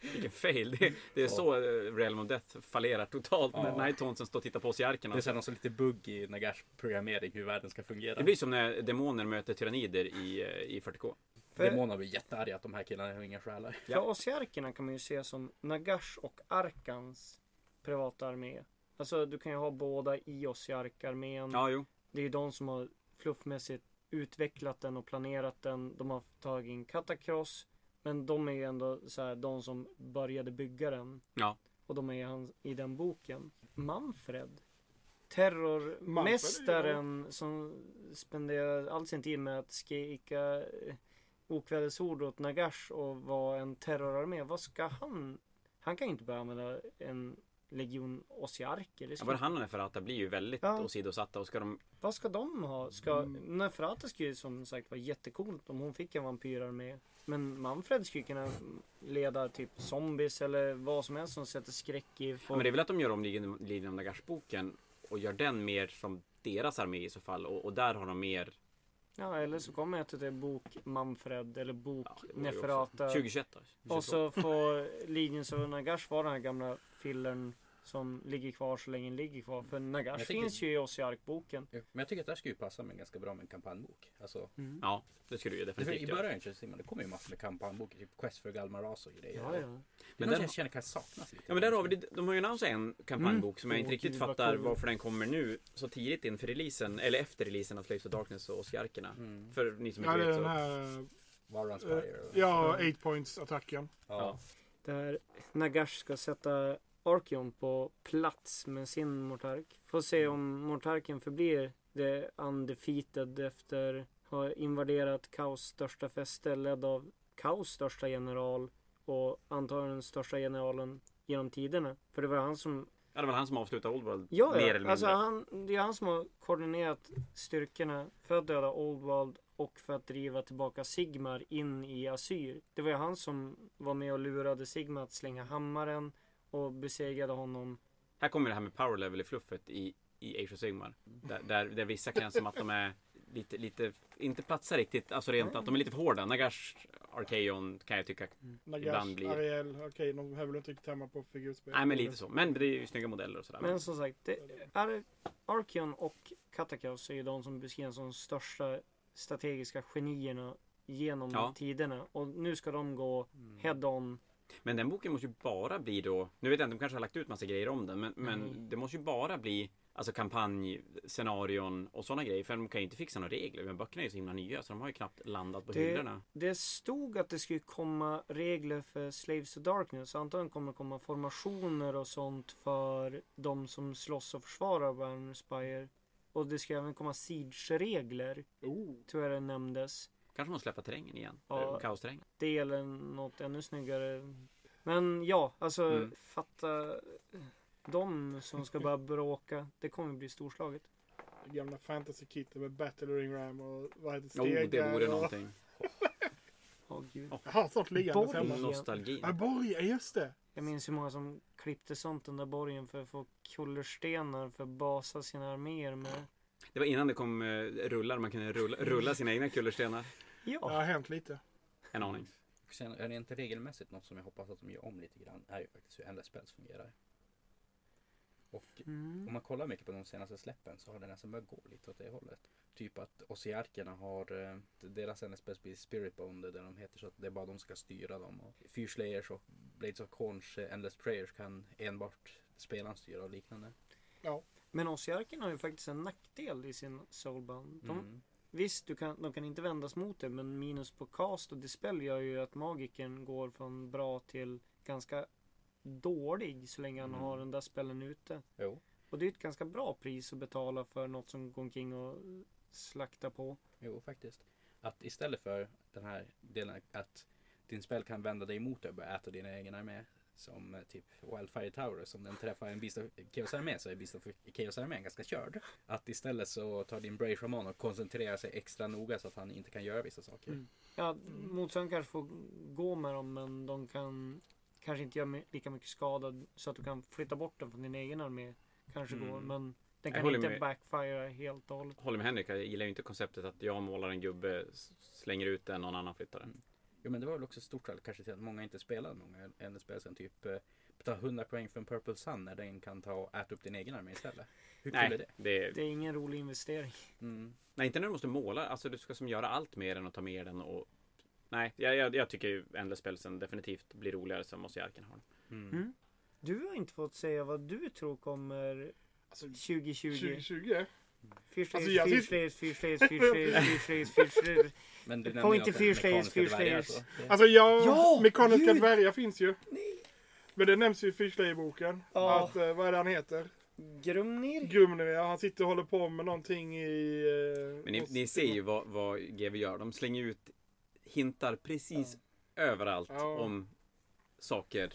Speaker 2: Vilken fail. Det, det är så eh, Realm of Death fallerar totalt när
Speaker 1: Ja.
Speaker 2: Nighthornsen står och tittar på
Speaker 1: Det
Speaker 2: osiarkerna.
Speaker 1: är så här någon sån lite bugg i Nagash programmering hur världen ska fungera.
Speaker 2: Det blir som när demoner möter tyrannider i, eh, i 40K.
Speaker 3: För-
Speaker 1: Demonerna blir jättearga att de här killarna har inga själar.
Speaker 3: För Ossiarkerna kan man ju se som Nagash och Arkans privata armé. Alltså du kan ju ha båda i Ossiark-armén.
Speaker 2: Ja, jo.
Speaker 3: Det är ju de som har fluffmässigt utvecklat den och planerat den. De har tagit in Katakross. Men de är ju ändå så här, de som började bygga den.
Speaker 2: Ja.
Speaker 3: och de är i hans, i den boken. Manfred. Terrormästaren som spenderar all sin tid med att skrika eh, okvädesord åt Nagash och vara en terrorarmé. Vad ska han? Han kan ju inte börja använda en legion osiarker. Det
Speaker 2: Ja,
Speaker 3: ska-
Speaker 2: både han och Neferata blir ju väldigt
Speaker 3: Ja.
Speaker 2: åsidosatta och ska de...
Speaker 3: Vad ska de ha? Ska...
Speaker 2: Mm.
Speaker 3: Neferata skulle ju som sagt vara jättecoolt om hon fick en vampyrarmé. Men Manfred skulle kunna leda typ zombies eller vad som helst som sätter skräck i
Speaker 2: Ja,
Speaker 3: folk.
Speaker 2: men det är väl att de gör om Lin- Lilian Nagash-boken och gör den mer som deras armé i så fall och, och där har de mer...
Speaker 3: Ja, eller så kommer jag till det bok Manfred eller bok
Speaker 2: Ja, det vore ju också- alltså.
Speaker 3: Neferata.
Speaker 2: 2021 då.
Speaker 3: Och så får Legions of Nagash vara den här gamla fillern som ligger kvar så länge den ligger kvar. För Nagash
Speaker 1: Jag tycker-
Speaker 3: finns ju i Osiark-boken.
Speaker 1: Men jag tycker att det här skulle ju passa med ganska bra med en kampanjbok.
Speaker 2: Mm.
Speaker 1: Alltså,
Speaker 2: Ja, det skulle du ju
Speaker 1: för
Speaker 2: definitivt
Speaker 1: I
Speaker 2: göra.
Speaker 1: början känns det, men det kommer ju massor med kampanjboker, typ Quest för Galmaras och grejer.
Speaker 3: Ja, ja.
Speaker 1: Men
Speaker 2: Men
Speaker 1: den
Speaker 2: där-
Speaker 1: jag känner kan saknas lite.
Speaker 2: Ja men där har vi det. De har ju annonserat en kampanjbok som jag inte
Speaker 3: Åh,
Speaker 2: riktigt
Speaker 3: gud, vad
Speaker 2: fattar
Speaker 3: kul.
Speaker 2: varför den kommer nu så tidigt inför releasen, eller efter releasen av Slaves of Darkness och Oscarkerna.
Speaker 1: Mm.
Speaker 2: För ni som
Speaker 4: Ja,
Speaker 2: inte
Speaker 4: det är
Speaker 2: vet
Speaker 4: den
Speaker 2: så.
Speaker 4: här...
Speaker 1: Warrants
Speaker 4: eh,
Speaker 1: Fire. och-
Speaker 4: Ja, 8 points-attacken.
Speaker 1: ja.
Speaker 3: Där Nagash ska sätta Arkion på plats med sin Mortark. Får se om Mortarken förblir det undefeated efter ha invaderat Kaos största fäste ledd av Kaos största general och antagligen den största generalen genom tiderna. För det var han som
Speaker 2: Ja, det var han som avslutade Old World,
Speaker 3: Ja,
Speaker 2: mer
Speaker 3: ja.
Speaker 2: eller mindre.
Speaker 3: alltså han, det är han som har koordinerat styrkorna för att döda Oldwald och för att driva tillbaka Sigmar in i Asyr. Det var ju han som var med och lurade Sigmar att slänga hammaren och besegrade honom.
Speaker 2: Här kommer det här med power level i fluffet i, i Age of Sigmar. Där, där, där vissa känns som att de är lite, lite, inte platsar riktigt, alltså rent att de är lite för hårda. Nagash Arkeon kan jag tycka. Ibland
Speaker 4: Nagash,
Speaker 2: blir-
Speaker 4: Ariel. Okej, de här vill inte riktigt hemma på figurspel.
Speaker 2: Nej men lite så. Men det är ju snygga modeller och sådär.
Speaker 3: Men som sagt, det är Arkion och Katakaos är ju de som beskrivs som de största strategiska genierna genom
Speaker 2: Ja. Mm.
Speaker 3: tiderna. Och nu ska de gå head on.
Speaker 2: Men den boken måste ju bara bli då, nu vet jag inte, de kanske har lagt ut massa grejer om den, men,
Speaker 3: Mm.
Speaker 2: men det måste ju bara bli alltså kampanj, scenarion och sådana grejer. För de kan ju inte fixa några regler, men böckerna är ju så himla nya så de har ju knappt landat på hyllorna.
Speaker 3: Det stod att det skulle komma regler för Slaves to Darkness. Antagligen kommer det komma formationer och sånt för de som slåss och försvarar Warhammer Spire. Och det ska även komma siege-regler,
Speaker 4: Oh.
Speaker 3: tror jag det nämndes.
Speaker 2: Kanske måste släppa terrängen igen,
Speaker 3: Ja.
Speaker 2: ja. kaosterrängen.
Speaker 3: Det gäller något ännu snyggare. Men ja, alltså
Speaker 2: Mm.
Speaker 3: fatta de som ska börja bråka. Det kommer bli storslaget.
Speaker 4: Gamla fantasy-kittet med Battle Ring Ram och vad heter
Speaker 2: Jo,
Speaker 4: stegar
Speaker 2: det vore
Speaker 4: och...
Speaker 2: någonting.
Speaker 3: Åh gud.
Speaker 4: Jag har snart liggandes
Speaker 3: Borg.
Speaker 2: Mm.
Speaker 4: hemma.
Speaker 2: Nostalgin.
Speaker 4: Ja, Borg, ja, just det.
Speaker 3: Jag minns hur många som klippte sånt den där borgen för att få kullerstenar för att basa sina arméer med.
Speaker 2: Det var innan det kom eh, rullar, man kunde rulla, rulla sina egna kullerstenar.
Speaker 4: Det
Speaker 3: Ja.
Speaker 4: har hänt lite.
Speaker 2: En aning.
Speaker 1: Och Sen är det inte regelmässigt något som jag hoppas att de gör om lite grann är ju faktiskt hur Endless Spells fungerar. Och om
Speaker 3: Mm.
Speaker 1: man kollar mycket på de senaste släppen så har det nästan börjat gå lite åt det hållet. Typ att Ossiarkerna har, eh, deras Endless Spells blir Spirit Bonded eller de heter så att det är bara de som ska styra dem. Och Fyrsleyers och Blades of Corns eh, Endless Prayers kan enbart spelaren styra och liknande.
Speaker 3: Men Ossiarken har ju faktiskt en nackdel i sin soulbound. De,
Speaker 1: Mm.
Speaker 3: Visst, du kan, de kan inte vändas mot det men minus på cast och dispel gör ju att magiken går från bra till ganska dålig så länge han
Speaker 1: Mm.
Speaker 3: har den där spellen ute.
Speaker 1: Jo.
Speaker 3: Och det är ett ganska bra pris att betala för något som går omkring och slaktar på.
Speaker 1: Jo, faktiskt. Att istället för den här delen att din spel kan vända dig emot dig och börja äta dina egna armé. Som eh, typ Wildfire Tower, som den träffar en Beast of Chaos armé så är Beast of Chaos armén ganska körd. Att istället så tar din Brave Shaman och koncentrerar sig extra noga så att han inte kan göra vissa saker.
Speaker 4: Mm.
Speaker 3: Ja, motståndaren kanske får gå med dem men de kan kanske inte göra mi- lika mycket skada så att du kan flytta bort den från din egen armé. Kanske
Speaker 2: Mm.
Speaker 3: går men den
Speaker 2: Jag
Speaker 3: kan
Speaker 2: håller
Speaker 3: inte
Speaker 2: med.
Speaker 3: backfira helt och hållet.
Speaker 2: Håller med Henrik, jag gillar ju inte konceptet att jag målar en gubbe, s- slänger ut den och någon annan flyttar den.
Speaker 1: Jo men det var väl också ett stort skäl kanske till att många inte spelar många äldre spel sen typ eh, ta 100 poäng för en Purple Sun när den kan ta och äta upp din egen armé istället. Hur kul är
Speaker 2: Nej,
Speaker 1: det?
Speaker 2: det är
Speaker 3: Det är ingen rolig investering.
Speaker 1: Mm.
Speaker 2: Nej, inte när du måste måla. Alltså du ska som göra allt med den och ta med den och... Nej, jag, jag, jag tycker ju Endless Spelsen definitivt blir roligare som Ossiarken har den.
Speaker 1: Mm.
Speaker 3: Mm. Du har inte fått säga vad du tror kommer
Speaker 4: Alltså,
Speaker 3: 2020.
Speaker 4: 2020? Alltså, jag tyck-
Speaker 3: Fyrstlayers, Fyrstlayers, Fyrstlayers, Fyrstlayers, Fyrstlayers.
Speaker 1: Men du
Speaker 3: Point
Speaker 1: nämnde ju
Speaker 3: to
Speaker 1: också
Speaker 3: Fear Stays,
Speaker 1: mekaniska
Speaker 3: Fear
Speaker 1: dvärgar
Speaker 3: Stays.
Speaker 1: så. Det-
Speaker 4: Alltså ja,
Speaker 3: Ja,
Speaker 4: Alltså, mekaniska
Speaker 3: gud!
Speaker 4: dvärgar finns ju. Men det nämns ju i Fishley-boken.
Speaker 3: Ja.
Speaker 4: Att, eh, vad är det han heter?
Speaker 3: Grumnir?
Speaker 4: Grumnir, ja. Han sitter och håller på med någonting i... Eh,
Speaker 2: Men ni,
Speaker 4: och-
Speaker 2: ni ser ju vad, vad GW gör. De slänger ut hintar precis överallt
Speaker 4: Ja.
Speaker 2: om saker.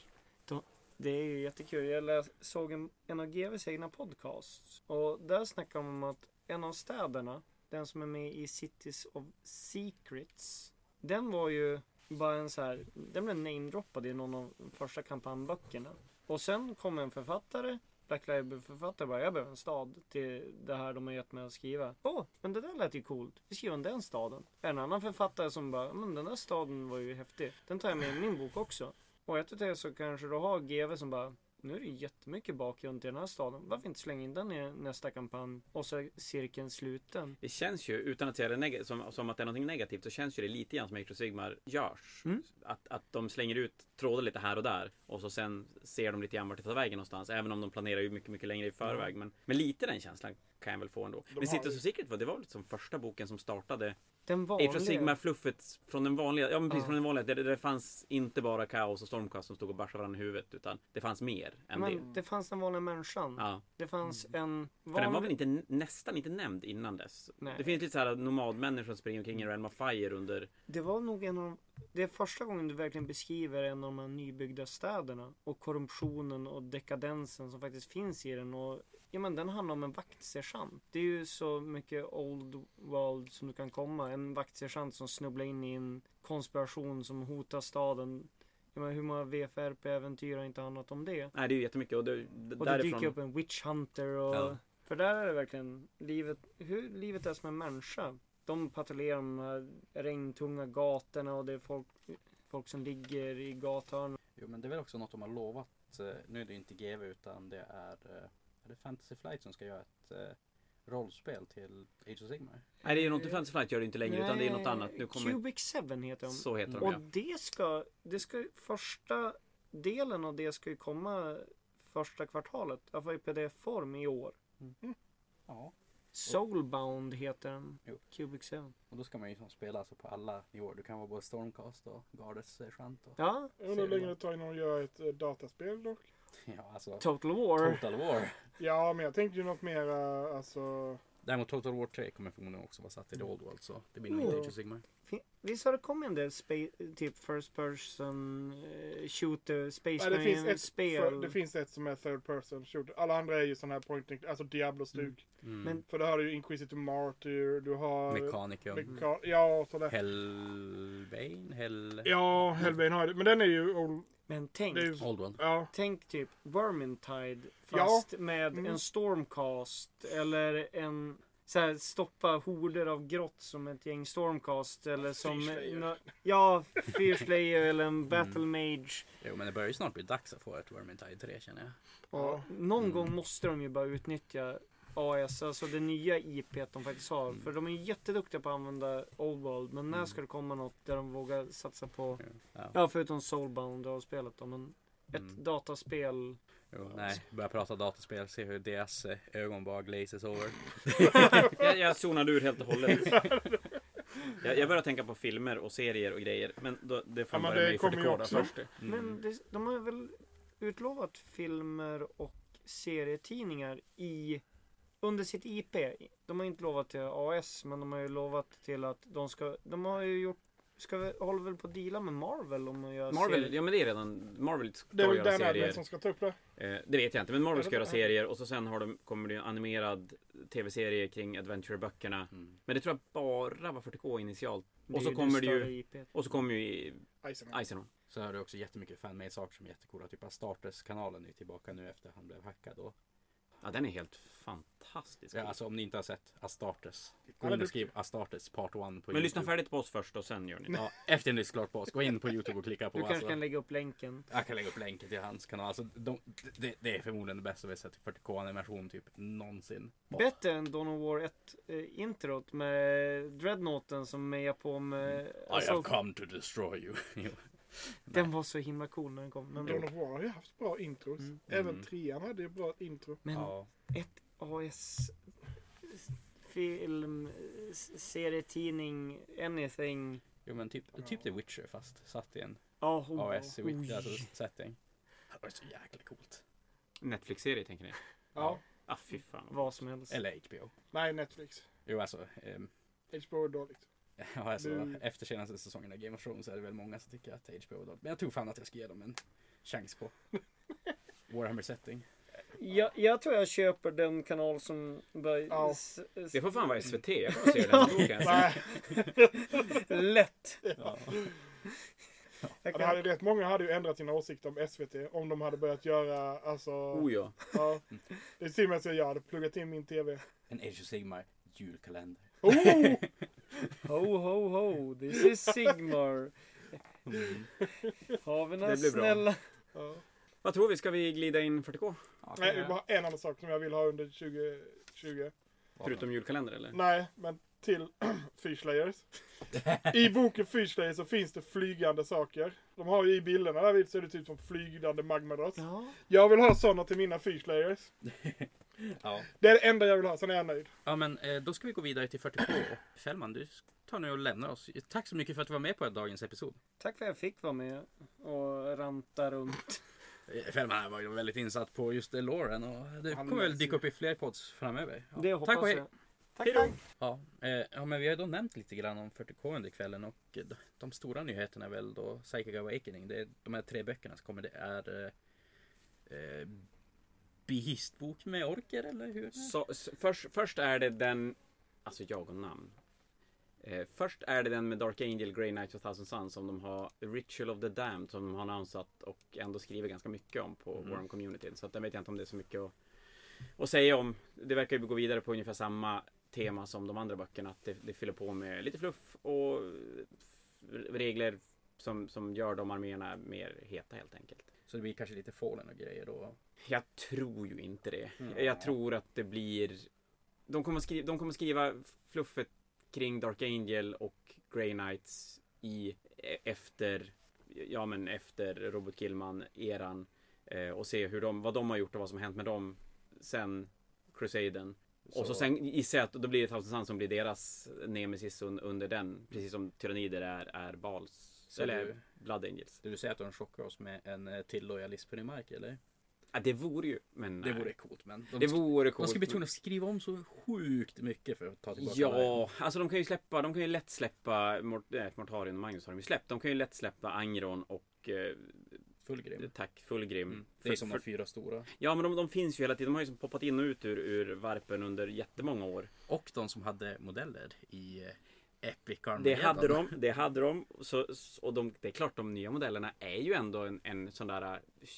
Speaker 3: Det är ju jättekul. Jag läs, såg en, en av GVs egna podcasts. Och där snackar de om att en av städerna, den som är med i Cities of Secrets. Den var ju bara en så här, den blev namedroppad i någon av de första kampanjböckerna. Och sen kom en författare, Black Library författare bara, jag behöver en stad till det här de har gett mig att skriva. Åh, men det där lät ju coolt. Vi skriver om den staden. En annan författare som bara, men den där staden var ju häftig. Den tar jag med i min bok också. Och efter det så kanske du har GV som bara nu är det jättemycket bakgrund till den här staden. Varför inte slänga in den i nästa kampanj? Och så är cirkeln sluten.
Speaker 2: Det känns ju, utan att säga det neg- som, som att det är någonting negativt, så känns ju det lite grann som Age of Sigmar görs.
Speaker 3: Mm.
Speaker 2: Att, att de slänger ut trådar lite här och där och så sen ser de lite grann vart det tar vägen någonstans. Även om de planerar ju mycket, mycket längre i förväg. Men, men lite den känslan kan jag väl få ändå. men
Speaker 4: har
Speaker 2: Cities
Speaker 4: ju-
Speaker 2: of Secret, var- det var väl som första boken som startade
Speaker 3: Den
Speaker 2: Age
Speaker 3: vanliga.
Speaker 2: of Sigmar fluffet från den vanliga, ja men precis
Speaker 3: Ja.
Speaker 2: från den vanliga. Där, där det fanns inte bara kaos och stormkast som stod och barsade varandra i huvudet utan det fanns mer än det.
Speaker 3: Men det fanns den vanliga människan.
Speaker 2: Ja,
Speaker 3: Det fanns en
Speaker 2: för den var väl
Speaker 3: vanlig...
Speaker 2: inte, nästan inte nämnd innan dess.
Speaker 3: Nej.
Speaker 2: Det finns lite så här nomadmänniskor som springer omkring i Realm of Fire under
Speaker 3: Det var nog en av de... Det är första gången du verkligen beskriver en av de här nybyggda städerna. Och korruptionen och dekadensen som faktiskt finns i den. Och ja, men den handlar om en vaktsergeant. Det är ju så mycket old world som du kan komma. En vaktsergeant som snubblar in i en konspiration som hotar staden. Jag menar, hur många VFRP-äventyr har inte handlat om det?
Speaker 2: Nej, det är ju jättemycket. Och, det,
Speaker 3: Och det
Speaker 2: därifrån,
Speaker 3: dyker upp en witch hunter och...
Speaker 2: Ja.
Speaker 3: För där är det verkligen livet, hur livet är som en människa. De patrullerar de här regntunga gatorna och det är folk, folk som ligger i gathörn.
Speaker 1: Jo men det är väl också något de har lovat. eh, Nu är det inte GV utan det är, eh, är det Fantasy Flight som ska göra ett eh, rollspel till Age of Sigmar.
Speaker 2: Nej, det är ju något Fantasy Flight gör det inte längre, utan det är något annat. Nu kommer...
Speaker 3: Cubic 7 heter de.
Speaker 2: Så heter de,
Speaker 3: och
Speaker 2: ja.
Speaker 3: det ska, det ska, första delen av det ska ju komma första kvartalet. I alla fall i pdf-form i år.
Speaker 1: Ja.
Speaker 3: Soulbound heter den.
Speaker 1: Jo.
Speaker 3: Cubic 7.
Speaker 1: Och då ska man ju liksom spela alltså på alla nivåer. Du kan vara både Stormcast och Gardes sergeant och
Speaker 3: Ja,
Speaker 4: Jag undrar hur länge det tar innan de gör ett eh, dataspel dock.
Speaker 1: ja alltså
Speaker 3: Total War.
Speaker 1: Total War.
Speaker 4: Ja, men jag tänkte ju något mer eh, alltså...
Speaker 1: Däremot Total War 3 kommer förmodligen också vara satt i the old world så det blir nog inte
Speaker 3: Mm.
Speaker 1: Age of Sigmar.
Speaker 3: Fin- Visst har det kommit en del spa- typ first person eh, shooter, space
Speaker 4: Nej, det, finns ett,
Speaker 3: spel.
Speaker 4: för, det finns ett som är third person shooter. Alla andra är ju sån här point and- alltså Diablo-stug.
Speaker 3: Men-
Speaker 4: För då har du ju Inquisitor Martyr, du har...
Speaker 1: Mechanicum.
Speaker 4: Meka- ja, sådär.
Speaker 1: Hellbane? Hell...
Speaker 4: Ja, Hellbane har det. Men den är ju... old-
Speaker 3: Men tänk,
Speaker 4: Det är ju
Speaker 1: Old World.
Speaker 4: ja.
Speaker 3: tänk typ Vermintide fast med
Speaker 4: Mm.
Speaker 3: en stormcast eller en så här, stoppa horder av grott som ett gäng stormcast eller som...
Speaker 4: Fyrslayer.
Speaker 3: nå- ja, Fyrslayer eller en battle mage.
Speaker 1: Jo men det börjar ju snart bli dags att få ett Vermintide 3 känner jag.
Speaker 3: Och
Speaker 4: Ja.
Speaker 3: Någon gång måste de ju bara utnyttja AS, alltså det nya IP t de faktiskt har. För de är ju jätteduktiga på att använda Old World, men när ska det komma något där de vågar satsa på,
Speaker 1: Ja.
Speaker 3: ja förutom Soulbound och spelet då, men ett dataspel.
Speaker 1: Jo, nej, börja prata dataspel, se hur deras eh, ögon bara glazes over.
Speaker 2: jag, jag zonade ur helt och hållet. jag, jag börjar tänka på filmer och serier och grejer. Men då, det får
Speaker 4: Ja,
Speaker 2: man
Speaker 4: men
Speaker 2: börja
Speaker 4: det
Speaker 2: med för det
Speaker 4: kommer ju
Speaker 2: koda
Speaker 4: också.
Speaker 2: först.
Speaker 3: Men det, de har väl utlovat filmer och serietidningar i, under sitt IP. De har inte lovat till AS, men de har ju lovat till att de ska, de har ju gjort Ska vi, håller väl på att deala med Marvel om att göra
Speaker 2: Marvel, ja men det är redan... Marvel ska
Speaker 4: Det är väl
Speaker 2: göra
Speaker 4: Dan
Speaker 2: serier.
Speaker 4: Adler som ska ta upp det.
Speaker 2: Eh, det vet jag inte, men Marvel ska
Speaker 4: Jag
Speaker 2: göra
Speaker 4: vet inte.
Speaker 2: serier och så sen har de, kommer det en animerad tv-serie kring Adventure-böckerna.
Speaker 1: Mm.
Speaker 2: Men det tror jag bara var 40K initialt.
Speaker 3: Det
Speaker 2: Och
Speaker 3: är
Speaker 2: så kommer det
Speaker 3: större
Speaker 2: ju...
Speaker 3: IP.
Speaker 2: Och så kommer ju
Speaker 4: Eisenhower.
Speaker 2: Eisenhorn.
Speaker 1: Så har du också jättemycket fanmade saker som är jättekula. Typ att Starters-kanalen är tillbaka nu efter han blev hackad. Och,
Speaker 2: Ja, den är helt fantastisk.
Speaker 1: ja, alltså om ni inte har sett Astartes. Gå
Speaker 4: Alla
Speaker 1: in
Speaker 4: duktiga.
Speaker 1: och skriv Astartes Part 1 på YouTube.
Speaker 2: Men lyssna färdigt på oss först och sen gör ni det.
Speaker 1: Ja, efter ni klart på oss. Gå in på YouTube och klicka på.
Speaker 3: Du kanske
Speaker 1: Alltså,
Speaker 3: kan lägga upp länken.
Speaker 1: Jag kan lägga upp länken till hans kanal. Alltså, de, det, det är förmodligen det bästa vi har sett i 40K animation typ någonsin.
Speaker 3: Bättre än Dawn of War 1 eh, introt med Dreadnoughten som mejar på med...
Speaker 1: I have
Speaker 3: Alltså,
Speaker 1: come to destroy you. Jo.
Speaker 3: den var så himla cool när den kom. Men,
Speaker 4: Dawn of War har ju haft bra intros. Även trean hade ju bra intro.
Speaker 3: men
Speaker 1: ja.
Speaker 3: ett AS... Film, eh, serietidning, anything.
Speaker 1: Jo men typ, typ The Witcher fast satt i en
Speaker 3: Ja, oh,
Speaker 1: AS i Witcher alltså, setting. var så jäkla coolt.
Speaker 2: Netflix-serie tänker ni?
Speaker 4: Ja.
Speaker 2: Ah, fy fan.
Speaker 3: Vad som helst.
Speaker 1: Eller HBO.
Speaker 4: Nej, Netflix.
Speaker 1: Jo, alltså. ehm,
Speaker 4: HBO är dåligt.
Speaker 1: Ja, alltså,
Speaker 4: Du-
Speaker 1: Efter senaste säsongen av Game of Thrones är det väl många som tycker att HBO är dåligt. Men jag tror fan att jag ska ge dem en chans på Warhammer-setting.
Speaker 3: Jag, jag tror jag köper den kanal som börjar...
Speaker 4: Ja.
Speaker 3: s- s-
Speaker 2: Det får fan vara SVT. Jag får se den boken.
Speaker 4: Nej,
Speaker 3: Lätt.
Speaker 1: Ja.
Speaker 3: Jag
Speaker 4: det
Speaker 3: kan...
Speaker 4: hade, rätt många hade ju ändrat sina åsikter om SVT om de hade börjat göra, alltså...
Speaker 2: Oh ja.
Speaker 4: ja. Det är till och med så jag hade pluggat in min TV.
Speaker 1: En Age of Sigmar julkalender.
Speaker 4: Oh!
Speaker 3: Ho, ho, ho. This is Sigmar. Har vi några
Speaker 2: Det blir bra.
Speaker 3: snälla...
Speaker 4: Ja.
Speaker 2: Vad tror vi? Ska vi glida in 40K?
Speaker 1: Ja,
Speaker 4: Nej, det är bara en annan sak som jag vill ha under 2020.
Speaker 2: Förutom julkalender eller?
Speaker 4: Nej, men till Fishlayers. I boken Fishlayers så finns det flygande saker. De har ju i bilderna där vid ser det ut som flygande magmadrass.
Speaker 3: Ja.
Speaker 4: Jag vill ha sådana till mina Fishlayers.
Speaker 1: Ja.
Speaker 4: Det är det enda jag vill ha, sen är jag nöjd.
Speaker 1: ja, men eh, då ska vi gå vidare till 42. Och Fällman, du tar nu och lämnar oss. Tack så mycket för att du var med på dagens episod.
Speaker 3: Tack för att jag fick vara med och ranta runt.
Speaker 1: Eh, Fällman var ju väldigt insatt på just eh, Lauren och det
Speaker 4: Han-
Speaker 1: kommer väl dyka upp i fler pods framöver. Ja.
Speaker 3: Det
Speaker 1: Tack och
Speaker 3: hoppas
Speaker 1: hej.
Speaker 3: jag. Tack, tack.
Speaker 1: Ja, eh, ja, men vi har ju då nämnt lite grann om 40K under kvällen och eh, de- de stora nyheterna är väl då Psychic Awakening. Det är de här tre böckerna som kommer. Det är eh, eh, Behistbok med orker eller hur?
Speaker 2: Så, s- först, först är det den... Alltså jag och namn. Eh, först är det den med Dark Angel, Grey Knight och Thousand Suns som de har Ritual of the Damned som de har annonsat och ändå skriver ganska mycket om på
Speaker 1: Mhm.
Speaker 2: Worm Communityn. Så att den vet jag inte om det är så mycket att, att säga om. Det verkar ju gå vidare på ungefär samma tema som de andra böckerna. Att det, det fyller på med lite fluff och f- regler som, som gör de arméerna mer heta helt enkelt.
Speaker 1: Så det blir kanske lite Fallen och grejer då.
Speaker 2: Jag tror ju inte det.
Speaker 1: Mm.
Speaker 2: Jag tror att det blir... De kommer, skriva, de kommer skriva fluffet kring Dark Angel och Grey Knights i e- efter, ja men efter Robert Killman-eran. Eh, och se hur de, vad de har gjort och vad som har hänt med dem sen Crusaden. Och så sen gissar jag att då blir det Thousand Suns som blir deras nemesis un, under den. Precis som Tyrannider är, är Bals.
Speaker 1: Så
Speaker 2: eller
Speaker 1: du-
Speaker 2: Blood Angels.
Speaker 1: Det du säger att de chockar oss med en eh, till lojalist på din mark eller?
Speaker 2: Ja, det vore ju, men
Speaker 1: Det vore coolt men. De,
Speaker 2: det vore coolt.
Speaker 1: de ska bli
Speaker 2: men-
Speaker 1: tvungna att skriva om så sjukt mycket för att ta tillbaka
Speaker 2: Ja, alltså de kan ju släppa, de kan ju lätt släppa Mort, nej, Mortarion och Magnus har de ju släppt. De kan ju lätt släppa Angron och eh,
Speaker 1: Full grim.
Speaker 2: Tack Fullgrim.
Speaker 1: Mm. Det är
Speaker 2: För-
Speaker 1: som
Speaker 2: för-
Speaker 1: de fyra stora.
Speaker 2: Ja men de, de finns ju hela tiden. De har ju som poppat in och ut ur, ur varpen under jättemånga år.
Speaker 1: Och de som hade modeller i eh, Epic
Speaker 2: Det
Speaker 1: Armageddon.
Speaker 2: hade de, det hade de. Så, och de, det är klart de nya modellerna är ju ändå en, en sån där eh,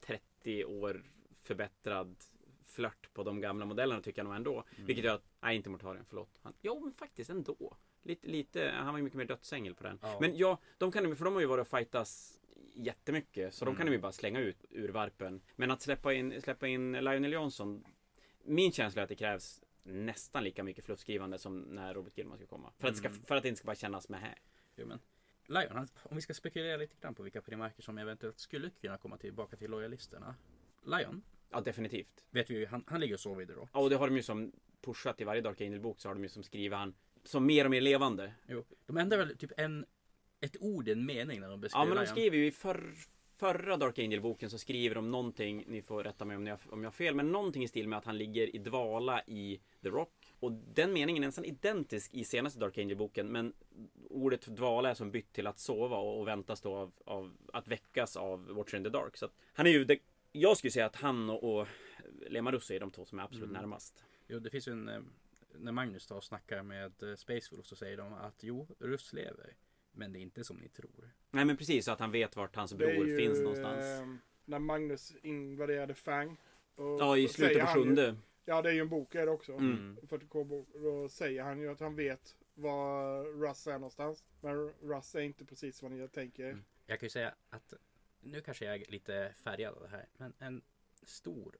Speaker 2: 30 år förbättrad flört på de gamla modellerna tycker jag nog ändå. Vilket gör att, nej inte Mortarion, förlåt. Han, jo men faktiskt ändå. Lite, lite, han var ju mycket mer dödsängel på den.
Speaker 1: Ja.
Speaker 2: Men ja, de kan ju- för de har ju varit och fightas jättemycket. Så de kan de ju bara slänga ut ur varpen. Men att släppa in, släppa in Lionel Johnson. Min känsla är att det krävs nästan lika mycket fluffskrivande som när Robert Gilman ska komma. För att, det ska, för att det inte ska bara kännas med här.
Speaker 1: Jo, men Lion, han- om vi ska spekulera lite grann på vilka primarker som eventuellt skulle kunna komma tillbaka till lojalisterna. Lion,
Speaker 2: Ja, definitivt.
Speaker 1: vet vi ju, han, han ligger och sover i The Rock.
Speaker 2: Ja, och det har de ju som pushat i varje Dark Angel-bok så har de ju som skriver han som mer och mer levande.
Speaker 1: Jo, de ändrar väl typ en, ett ord, en mening när de beskriver
Speaker 2: Ja, men de
Speaker 1: Lion.
Speaker 2: skriver ju i förr, förra Dark Angel-boken så skriver de någonting, ni får rätta mig om, ni har, om jag har fel, men någonting i stil med att han ligger i dvala i The Rock. Och den meningen är nästan identisk i senaste Dark Angel-boken, men ordet för dvala är som bytt till att sova och, och väntas då av, av att väckas av Watcher in the Dark. Så att han är ju, det, jag skulle säga att han och, och Lemarusso är de två som är absolut
Speaker 4: Mm.
Speaker 2: närmast.
Speaker 1: Jo, det finns ju en... eh, När Magnus tar och snackar med eh, Space Wolf så säger de att jo, Russ lever. Men det är inte som ni tror.
Speaker 2: Nej men precis, så att han vet vart hans
Speaker 4: Det är
Speaker 2: bror
Speaker 4: ju,
Speaker 2: finns någonstans.
Speaker 4: ehm, när Magnus invaderade Fang. Och
Speaker 2: ja, i
Speaker 4: då säger
Speaker 2: slutet på
Speaker 4: han ju-
Speaker 2: sjunde.
Speaker 4: Ja, det är ju en bok är det också.
Speaker 2: Mm.
Speaker 4: 40k-bok. Då säger han ju att han vet var Russ är någonstans. Men Russ är inte precis vad ni tänker.
Speaker 1: Mm. Jag kan ju säga att nu kanske jag är lite färgad av det här, men en stor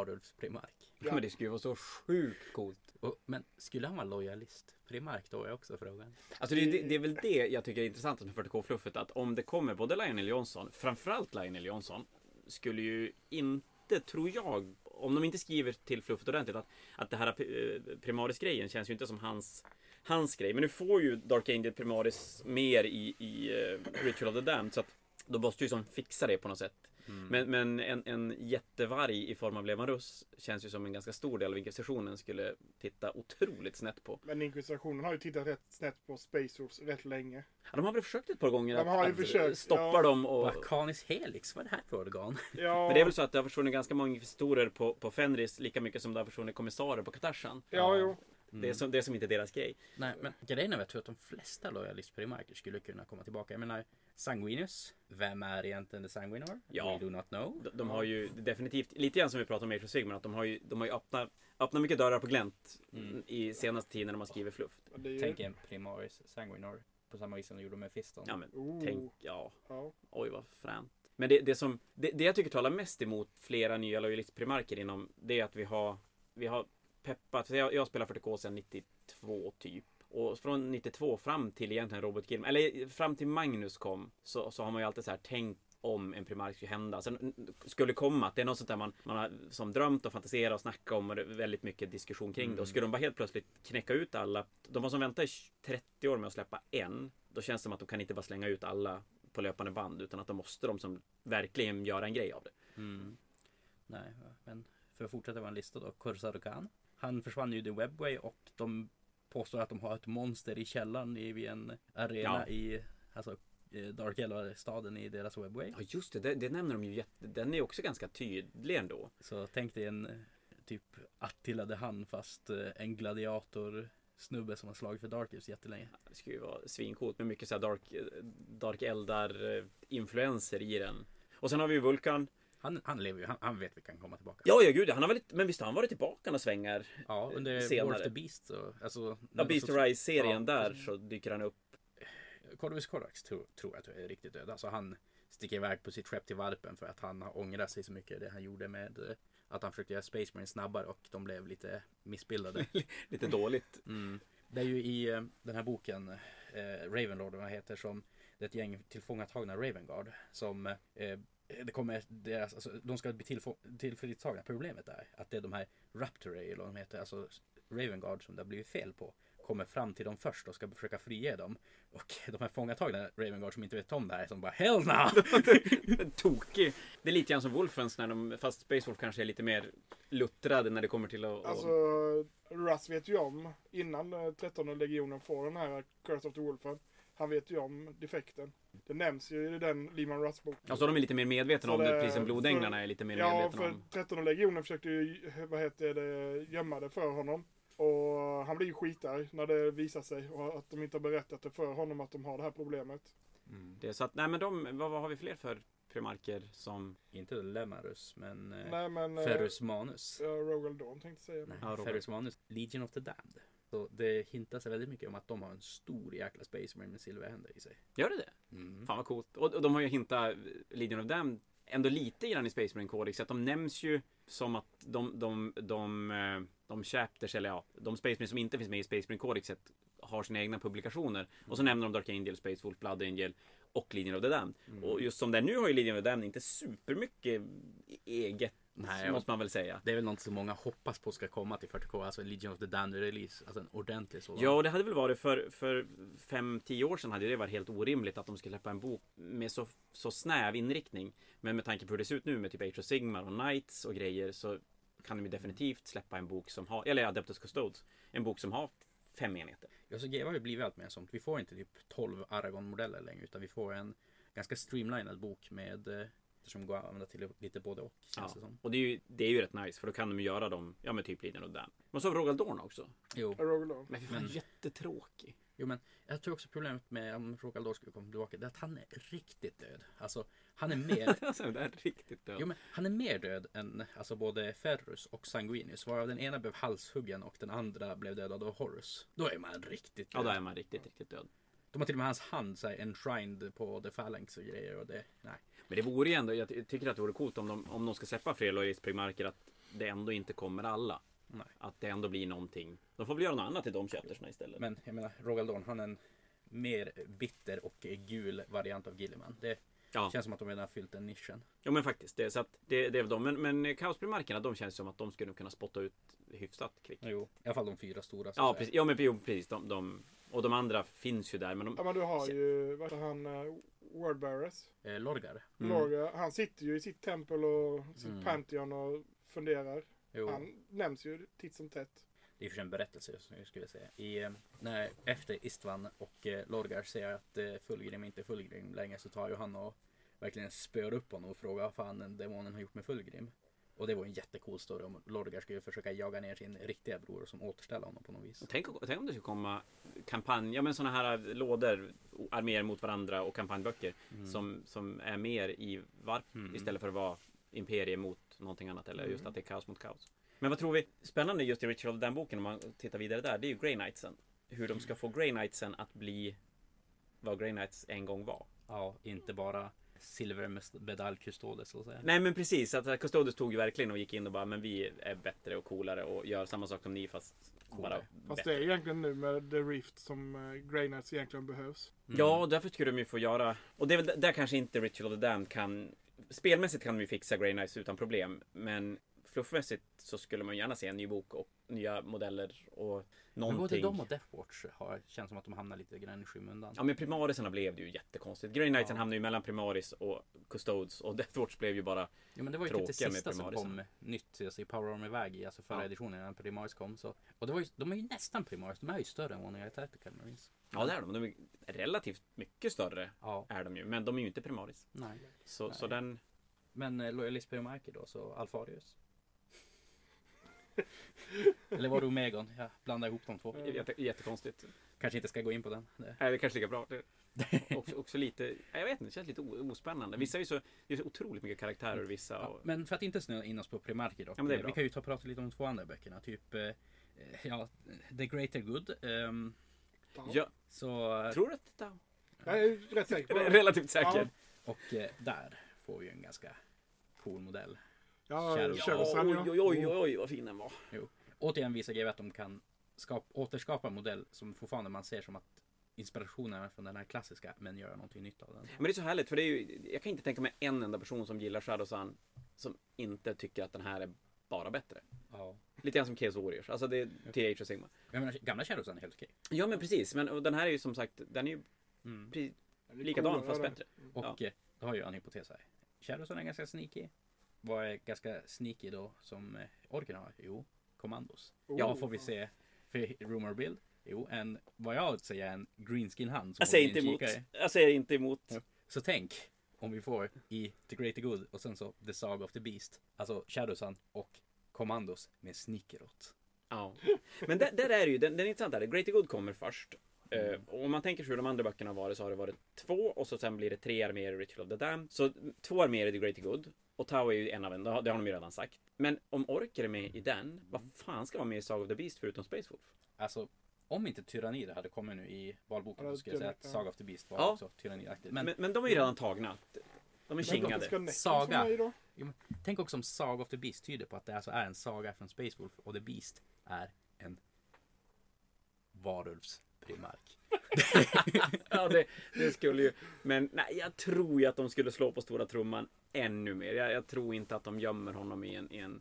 Speaker 1: varulvsprimark.
Speaker 2: Ja. Men det skulle ju vara så sjukt coolt.
Speaker 1: Och, men skulle han vara lojalist? Primark då är också frågan.
Speaker 2: Alltså det, det, det är väl det jag tycker är intressant med 40K-fluffet. Att om det kommer både Lionel Johnson, framförallt Lionel Johnson, skulle ju inte, tror jag, om de inte skriver till fluffet ordentligt, att, att det här eh, Primaris-grejen känns ju inte som hans, hans grej. Men nu får ju Dark Angel Primaris mer i, i eh, Ritual of the Damned. Så att då måste ju som fixa det på något sätt.
Speaker 1: Mm.
Speaker 2: Men, men en, en jättevarg i form av Levarus känns ju som en ganska stor del av inkvisitionen skulle titta otroligt snett på.
Speaker 4: Men inkvisitionen har ju tittat rätt snett på Space Wolves rätt länge.
Speaker 2: Ja, De har väl försökt ett par gånger
Speaker 4: De har ju
Speaker 2: att
Speaker 4: försökt,
Speaker 2: stoppa
Speaker 4: ja.
Speaker 2: dem och...
Speaker 1: Bakanis Helix, vad är det här för organ?
Speaker 4: Ja,
Speaker 2: Men det är väl så att det har försvunnit ganska många inkvisitorer på, på Fenris lika mycket som det har försvunnit kommissarier på Katashan.
Speaker 4: ja, jo.
Speaker 2: Det, är som, det är som inte är deras grej.
Speaker 1: Nej, men grejen är väl att de flesta Loyalist Primarker skulle kunna komma tillbaka. Jag menar, Sanguinus. Vem är egentligen The Sanguinar?
Speaker 2: Ja.
Speaker 1: We do not know.
Speaker 2: De, de har ju definitivt, lite grann som vi pratade om i Age of Sigmar, att de har ju, de har ju öppnat, öppnat mycket dörrar på glänt i senaste tiden när de har skrivit fluff.
Speaker 4: Men det är ju...
Speaker 1: Tänk en Primaris Sanguinar. På samma vis som de gjorde med Fiston.
Speaker 2: Ja men,
Speaker 4: Oh,
Speaker 2: tänk, ja.
Speaker 4: ja.
Speaker 2: Oj vad fränt. Men det, det som, det, det jag tycker talar mest emot flera nya lojalistprimarker inom, det är att vi har, vi har peppat, för jag, jag spelar 40K sedan 92 typ. Och från 92 fram till egentligen Robert Gilman, eller fram till Magnus kom, så, så har man ju alltid så här tänkt om en primark skulle hända. Sen n- skulle komma, att det är något sånt där man, man har som drömt och fantiserat och snackat om och det är väldigt mycket diskussion kring det. Och skulle de bara helt plötsligt knäcka ut alla, de har som väntat i 30 år med att släppa en, då känns det som att de kan inte bara slänga ut alla på löpande band utan att de måste de som verkligen göra en grej av det.
Speaker 1: Mm. Nej, men för att fortsätta vår lista då. Corsaro Khan. Han försvann ju i The Webway och de påstår att de har ett monster i källaren i vid en arena
Speaker 2: Ja.
Speaker 1: i alltså, eh, Dark Elva-staden i deras Webway.
Speaker 2: Ja just det, det, det nämner de ju jätte, den är också ganska tydlig ändå.
Speaker 1: Så tänk dig en eh, typ Attila de Han fast eh, en gladiator snubbe som har slagit för Darkus jättelänge.
Speaker 2: Det skulle ju vara svincoolt med mycket så här dark, dark eldar eh, influenser i den. Och sen har vi ju Vulkan.
Speaker 1: Han, han lever ju, han, han vet vi kan komma tillbaka. Eh,
Speaker 2: Ja, ja gud, han har väl lite, men visst har han varit tillbaka några svängar?
Speaker 1: Ja, under
Speaker 2: senare.
Speaker 1: War of the Beast så, alltså,
Speaker 2: Ja, Beast Rise-serien
Speaker 1: Ja.
Speaker 2: där så dyker han upp.
Speaker 1: Corvus Corax tror, tror jag är riktigt död. Alltså han sticker iväg på sitt skepp till Varpen för att han har ångrat sig så mycket det han gjorde med eh, att han försökte göra Space Marine snabbare och de blev lite missbildade.
Speaker 2: Lite dåligt.
Speaker 1: Mm. Det är ju i eh, den här boken eh, Ravenlord vad han heter som det är ett gäng tillfångatagna Ravengard som eh, det kommer deras, alltså, de ska bli tillfå- tillfångatagna. Problemet är att det är de här Raptor eller vad de heter, alltså Ravengard som det har blivit fel på kommer fram till dem först och ska försöka frige dem. Och de här fångatagna Ravengard som inte vet om det här som bara Hell no!
Speaker 2: Tokig. Det är lite grann som Wolfens när de, fast Space Wolf kanske är lite mer luttrade när det kommer till att...
Speaker 4: Alltså, Russ vet ju om, innan eh, 13 legionen får den här Curse of the Wolfen, han vet ju om defekten. Det nämns ju i den Lehman Russ-boken.
Speaker 2: Alltså de är lite mer medvetna
Speaker 4: Så
Speaker 2: om det,
Speaker 4: det-
Speaker 2: precis som blodänglarna
Speaker 4: för-
Speaker 2: är lite mer
Speaker 4: Ja,
Speaker 2: medvetna
Speaker 4: för
Speaker 2: om.
Speaker 4: 13 legionen försökte ju, vad heter det, gömma det för honom. Och han blir ju skitarg när det visar sig och att de inte har berättat det för honom att de har det här problemet.
Speaker 2: Det, är så att, nej men de, vad, vad har vi fler för primarker som...
Speaker 1: Inte Lemarus men eh,
Speaker 4: Nej men... eh,
Speaker 1: Ferrus Manus.
Speaker 4: Ja, Rogal Dawn tänkte jag säga.
Speaker 1: Nej,
Speaker 2: Ja, Robert.
Speaker 1: Ferrus Manus, Legion of the Damned. Så det hintar sig väldigt mycket om att de har en stor jäkla Space Marine med silverhänder i sig.
Speaker 2: Gör det det?
Speaker 1: Mm.
Speaker 2: Fan vad coolt. Och, och de har ju hintat Legion of Damned ändå lite grann i Space Marine Codex. Så att de nämns ju som att de, de, de, eh, de chapters, eller ja, de Space Marine som inte finns med i Space Marine Codexet har sina egna publikationer. Och så nämner de Dark Angel, Space Wolf, Blood Angel och Legion of the Damned.
Speaker 1: Mm.
Speaker 2: Och just som det är nu har ju Legion of the Damned inte supermycket e-, eget,
Speaker 1: Nej,
Speaker 2: måste man väl säga.
Speaker 1: Det är väl något som många hoppas på ska komma till 40K, alltså Legion of the Damned release. Alltså en ordentlig sådan.
Speaker 2: Ja, och det hade väl varit för, för 5-10 år sedan hade det varit helt orimligt att de skulle släppa en bok med så, så snäv inriktning. Men med tanke på hur det ser ut nu med typ Age of Sigmar och Knights och grejer så kan de ju definitivt släppa en bok som har, eller Adeptus Custodes, en bok som har fem enheter.
Speaker 1: Ja, så GW har ju blivit allt mer sånt. Vi får inte typ 12 Aragon-modeller längre, utan vi får en ganska streamlinad bok med eh, som går att använda till lite både och känns
Speaker 2: Ja.
Speaker 1: det som.
Speaker 2: Och det är, ju, det är ju rätt nice för då kan de ju göra dem, ja men typ Liden och Dan. Men så har vi Rogal Dorn också.
Speaker 1: Jo.
Speaker 4: Ja, Rogal Dawn.
Speaker 2: Men fy fan, jättetråkig.
Speaker 1: jo, men jag tror också problemet med om Rogaldor skulle komma tillbaka, det är att han är riktigt död. Alltså, han är mer
Speaker 2: alltså det är riktigt död.
Speaker 1: Jo men han är mer död än alltså både Ferrus och Sanguinius varav den ena blev halshuggen och den andra blev dödad av Horus. Då är man riktigt
Speaker 2: Ja,
Speaker 1: död.
Speaker 2: då är man riktigt, riktigt död.
Speaker 1: De har till och med hans hand så här, enshrined på The Phalanx och grejer och det, nej.
Speaker 2: Men det vore ju ändå, jag ty- tycker att det vore coolt om de, om de ska släppa fler lojalistprimarker att det ändå inte kommer alla.
Speaker 1: Nej.
Speaker 2: Att det ändå blir någonting. De får väl göra något annat i de chaptersna istället.
Speaker 1: Men jag menar, Rogaldorn han är en mer bitter och gul variant av Gilliman. Det
Speaker 2: ja.
Speaker 1: känns som att de redan har fyllt den nischen.
Speaker 2: ja men faktiskt. Det, så att det, det är väl de. Men, men kaosprimarkerna de känns som att de skulle kunna spotta ut hyfsat kvickt.
Speaker 1: Mm. Jo. I alla fall de fyra stora. så
Speaker 2: Ja
Speaker 1: att säga.
Speaker 2: precis, ja, men, jo, precis. De, de, Och de andra finns ju där. Men de,
Speaker 4: Ja men du har ju, vad heter han, eh, Wordbearers.
Speaker 1: Eh, Lorgar.
Speaker 2: mm.
Speaker 4: Lorga, han sitter ju i sitt tempel och sitt
Speaker 1: Mm.
Speaker 4: Pantheon och funderar.
Speaker 1: Jo,
Speaker 4: Han nämns ju titt som tätt.
Speaker 1: det är ju för sig en berättelse som jag skulle säga. I, eh, när, efter Istvan och eh, Lorgar ser att eh, Fulgrim inte är Fulgrim längre så tar ju han och verkligen spör upp honom och frågar vad fan den demonen har gjort med Fulgrim. Och det var ju en jättecool story om Lorgar skulle försöka jaga ner sin riktiga bror och som återställa honom på något vis.
Speaker 2: Tänk, tänk om det skulle komma kampanj, ja men sådana här lådor, arméer mot varandra och kampanjböcker som, som är mer i varp
Speaker 1: Mm.
Speaker 2: istället för att vara imperie mot någonting annat eller just att det är kaos mot kaos. Men vad tror vi? Spännande just i Ritual den boken om man tittar vidare där, det är ju Grey Knightsen. Hur de ska få Grey Knightsen att bli vad Grey Knights en gång var.
Speaker 1: Ja, inte bara silvermedaljkustoder så att säga.
Speaker 2: Nej men precis, att Custodes tog ju verkligen och gick in och bara men vi är bättre och coolare och gör samma sak som ni fast bara
Speaker 1: Coolare.
Speaker 4: Fast
Speaker 2: bättre.
Speaker 4: det är egentligen nu med The Rift som eh, Grey Knights egentligen behövs.
Speaker 1: Mm.
Speaker 2: Ja, och därför skulle de ju få göra... Och det är väl där kanske inte Ritual of the Damned kan... Spelmässigt kan de ju fixa Grey Knights utan problem, men fluffmässigt så skulle man ju gärna se en ny bok och nya modeller och
Speaker 1: Men både
Speaker 2: någonting.
Speaker 1: de och Deathwatch har, känns som att de hamnar lite grann i skymundan.
Speaker 2: Ja, men Primariserna blev det ju jättekonstigt. Grey Knightsen
Speaker 1: Ja.
Speaker 2: hamnade ju mellan Primaris och Custodes och Deathwatch blev ju bara...
Speaker 1: Ja men det var ju
Speaker 2: tråkiga
Speaker 1: typ det
Speaker 2: med
Speaker 1: sista som
Speaker 2: primarisarna.
Speaker 1: kom nytt alltså, i Power Armor väg i alltså förra
Speaker 2: Ja.
Speaker 1: editionen innan Primaris kom. Så. Och det var ju, de är ju nästan Primaris, de är ju större än One Eye Tactical Marines.
Speaker 2: Ja, det är de. De är relativt mycket större,
Speaker 1: Ja,
Speaker 2: är de ju. Men de är ju inte Primaris.
Speaker 1: nej.
Speaker 2: Så, så
Speaker 1: Nej.
Speaker 2: den...
Speaker 1: Men eh, Loyalist Primarker då, så Alfarius. Eller var det Omegon? Jag blandar ihop de två.
Speaker 2: Jätte, jättekonstigt.
Speaker 1: Kanske inte ska gå in på den. Det.
Speaker 2: Nej, det är kanske lika bra. Det- Också, också lite, nej, jag vet inte, det känns lite o- ospännande. Vissa är ju så, det är så otroligt mycket karaktärer och vissa
Speaker 1: Ja,
Speaker 2: och,
Speaker 1: men för att inte snöa in oss på Primarker då. Eh,
Speaker 2: Ja, men det är bra.
Speaker 1: vi kan ju ta och prata lite om de två andra böckerna. Typ eh, ja, The Greater Good. ehm,
Speaker 2: jag
Speaker 1: så
Speaker 2: tror att det är
Speaker 4: Jag är rätt säker på
Speaker 2: re-
Speaker 4: det.
Speaker 2: relativt säkert.
Speaker 1: Och eh, där får vi ju en ganska cool modell.
Speaker 4: Ja,
Speaker 1: Shadow.
Speaker 4: Shadowsun
Speaker 2: oj,
Speaker 4: ja.
Speaker 2: oj, oj, oj, oj, vad fin den var.
Speaker 1: Återigen visar GW att de kan skapa, återskapa en modell som fortfarande man ser som att inspirationen är från den här klassiska men göra någonting nytt av den.
Speaker 2: Men det är så härligt, för det är ju, jag kan inte tänka mig en enda person som gillar Shadowsun som inte tycker att den här är bara bättre.
Speaker 1: Ja.
Speaker 2: Lite grann som Chaos Warriors, alltså det är TH och Sigma.
Speaker 1: Jag menar, gamla Shadowsun är helt okej.
Speaker 2: Ja men precis, men och den här är ju som sagt, den är ju
Speaker 1: Mm.
Speaker 2: pre-
Speaker 4: Det är
Speaker 2: likadan
Speaker 4: coolare,
Speaker 2: fast
Speaker 4: det.
Speaker 2: bättre.
Speaker 1: Och eh, då har jag en hypotes här. Shadowsun är ganska sneaky. Vad är ganska sneaky då som eh, orken har? Jo, kommandos.
Speaker 4: Oh.
Speaker 1: Ja, får vi se. För rumor bild? Jo, en, vad jag vill säga är en greenskin hand. som
Speaker 2: Jag säger
Speaker 1: håller
Speaker 2: inte
Speaker 1: i en
Speaker 2: emot.
Speaker 1: kikare.
Speaker 2: Jag säger inte emot.
Speaker 1: Ja. Så tänk om vi får i The Greater Good och sen så The Saga of the Beast. Alltså Shadowsun och Commandos med Snickerot.
Speaker 2: Ja. Men där, där är det ju, den, den intressanta är att Greater Good kommer först. Eh, och om man tänker sig hur de andra böckerna har varit så har det varit två och så sen blir det tre arméer i Ritual of the Dam. Så två arméer i The Greater Good. Och Tau är ju en av en, det har det har de ju redan sagt. Men om Orker är med i den, vad fan ska vara med i Saga of the Beast förutom Space Wolf?
Speaker 1: Alltså om inte Tyrannider hade kommit nu i valboken
Speaker 4: Ja,
Speaker 1: så skulle jag säga att
Speaker 4: ja.
Speaker 1: Saga of the Beast var
Speaker 2: Ja.
Speaker 1: också tyranniaktigt. Men,
Speaker 2: Men, men de är ju redan tagna. De är
Speaker 4: Men varför ska
Speaker 2: kingade.
Speaker 4: Necrons
Speaker 1: Saga.
Speaker 4: vara med då?
Speaker 1: tänk också om Saga of the Beast tyder på att det alltså är en saga från Space Wolf och The Beast är en varulvsprimark.
Speaker 2: Ja, det, det skulle ju... Men nej, jag tror ju att de skulle slå på stora trumman ännu mer. Jag, jag tror inte att de gömmer honom i en, i en,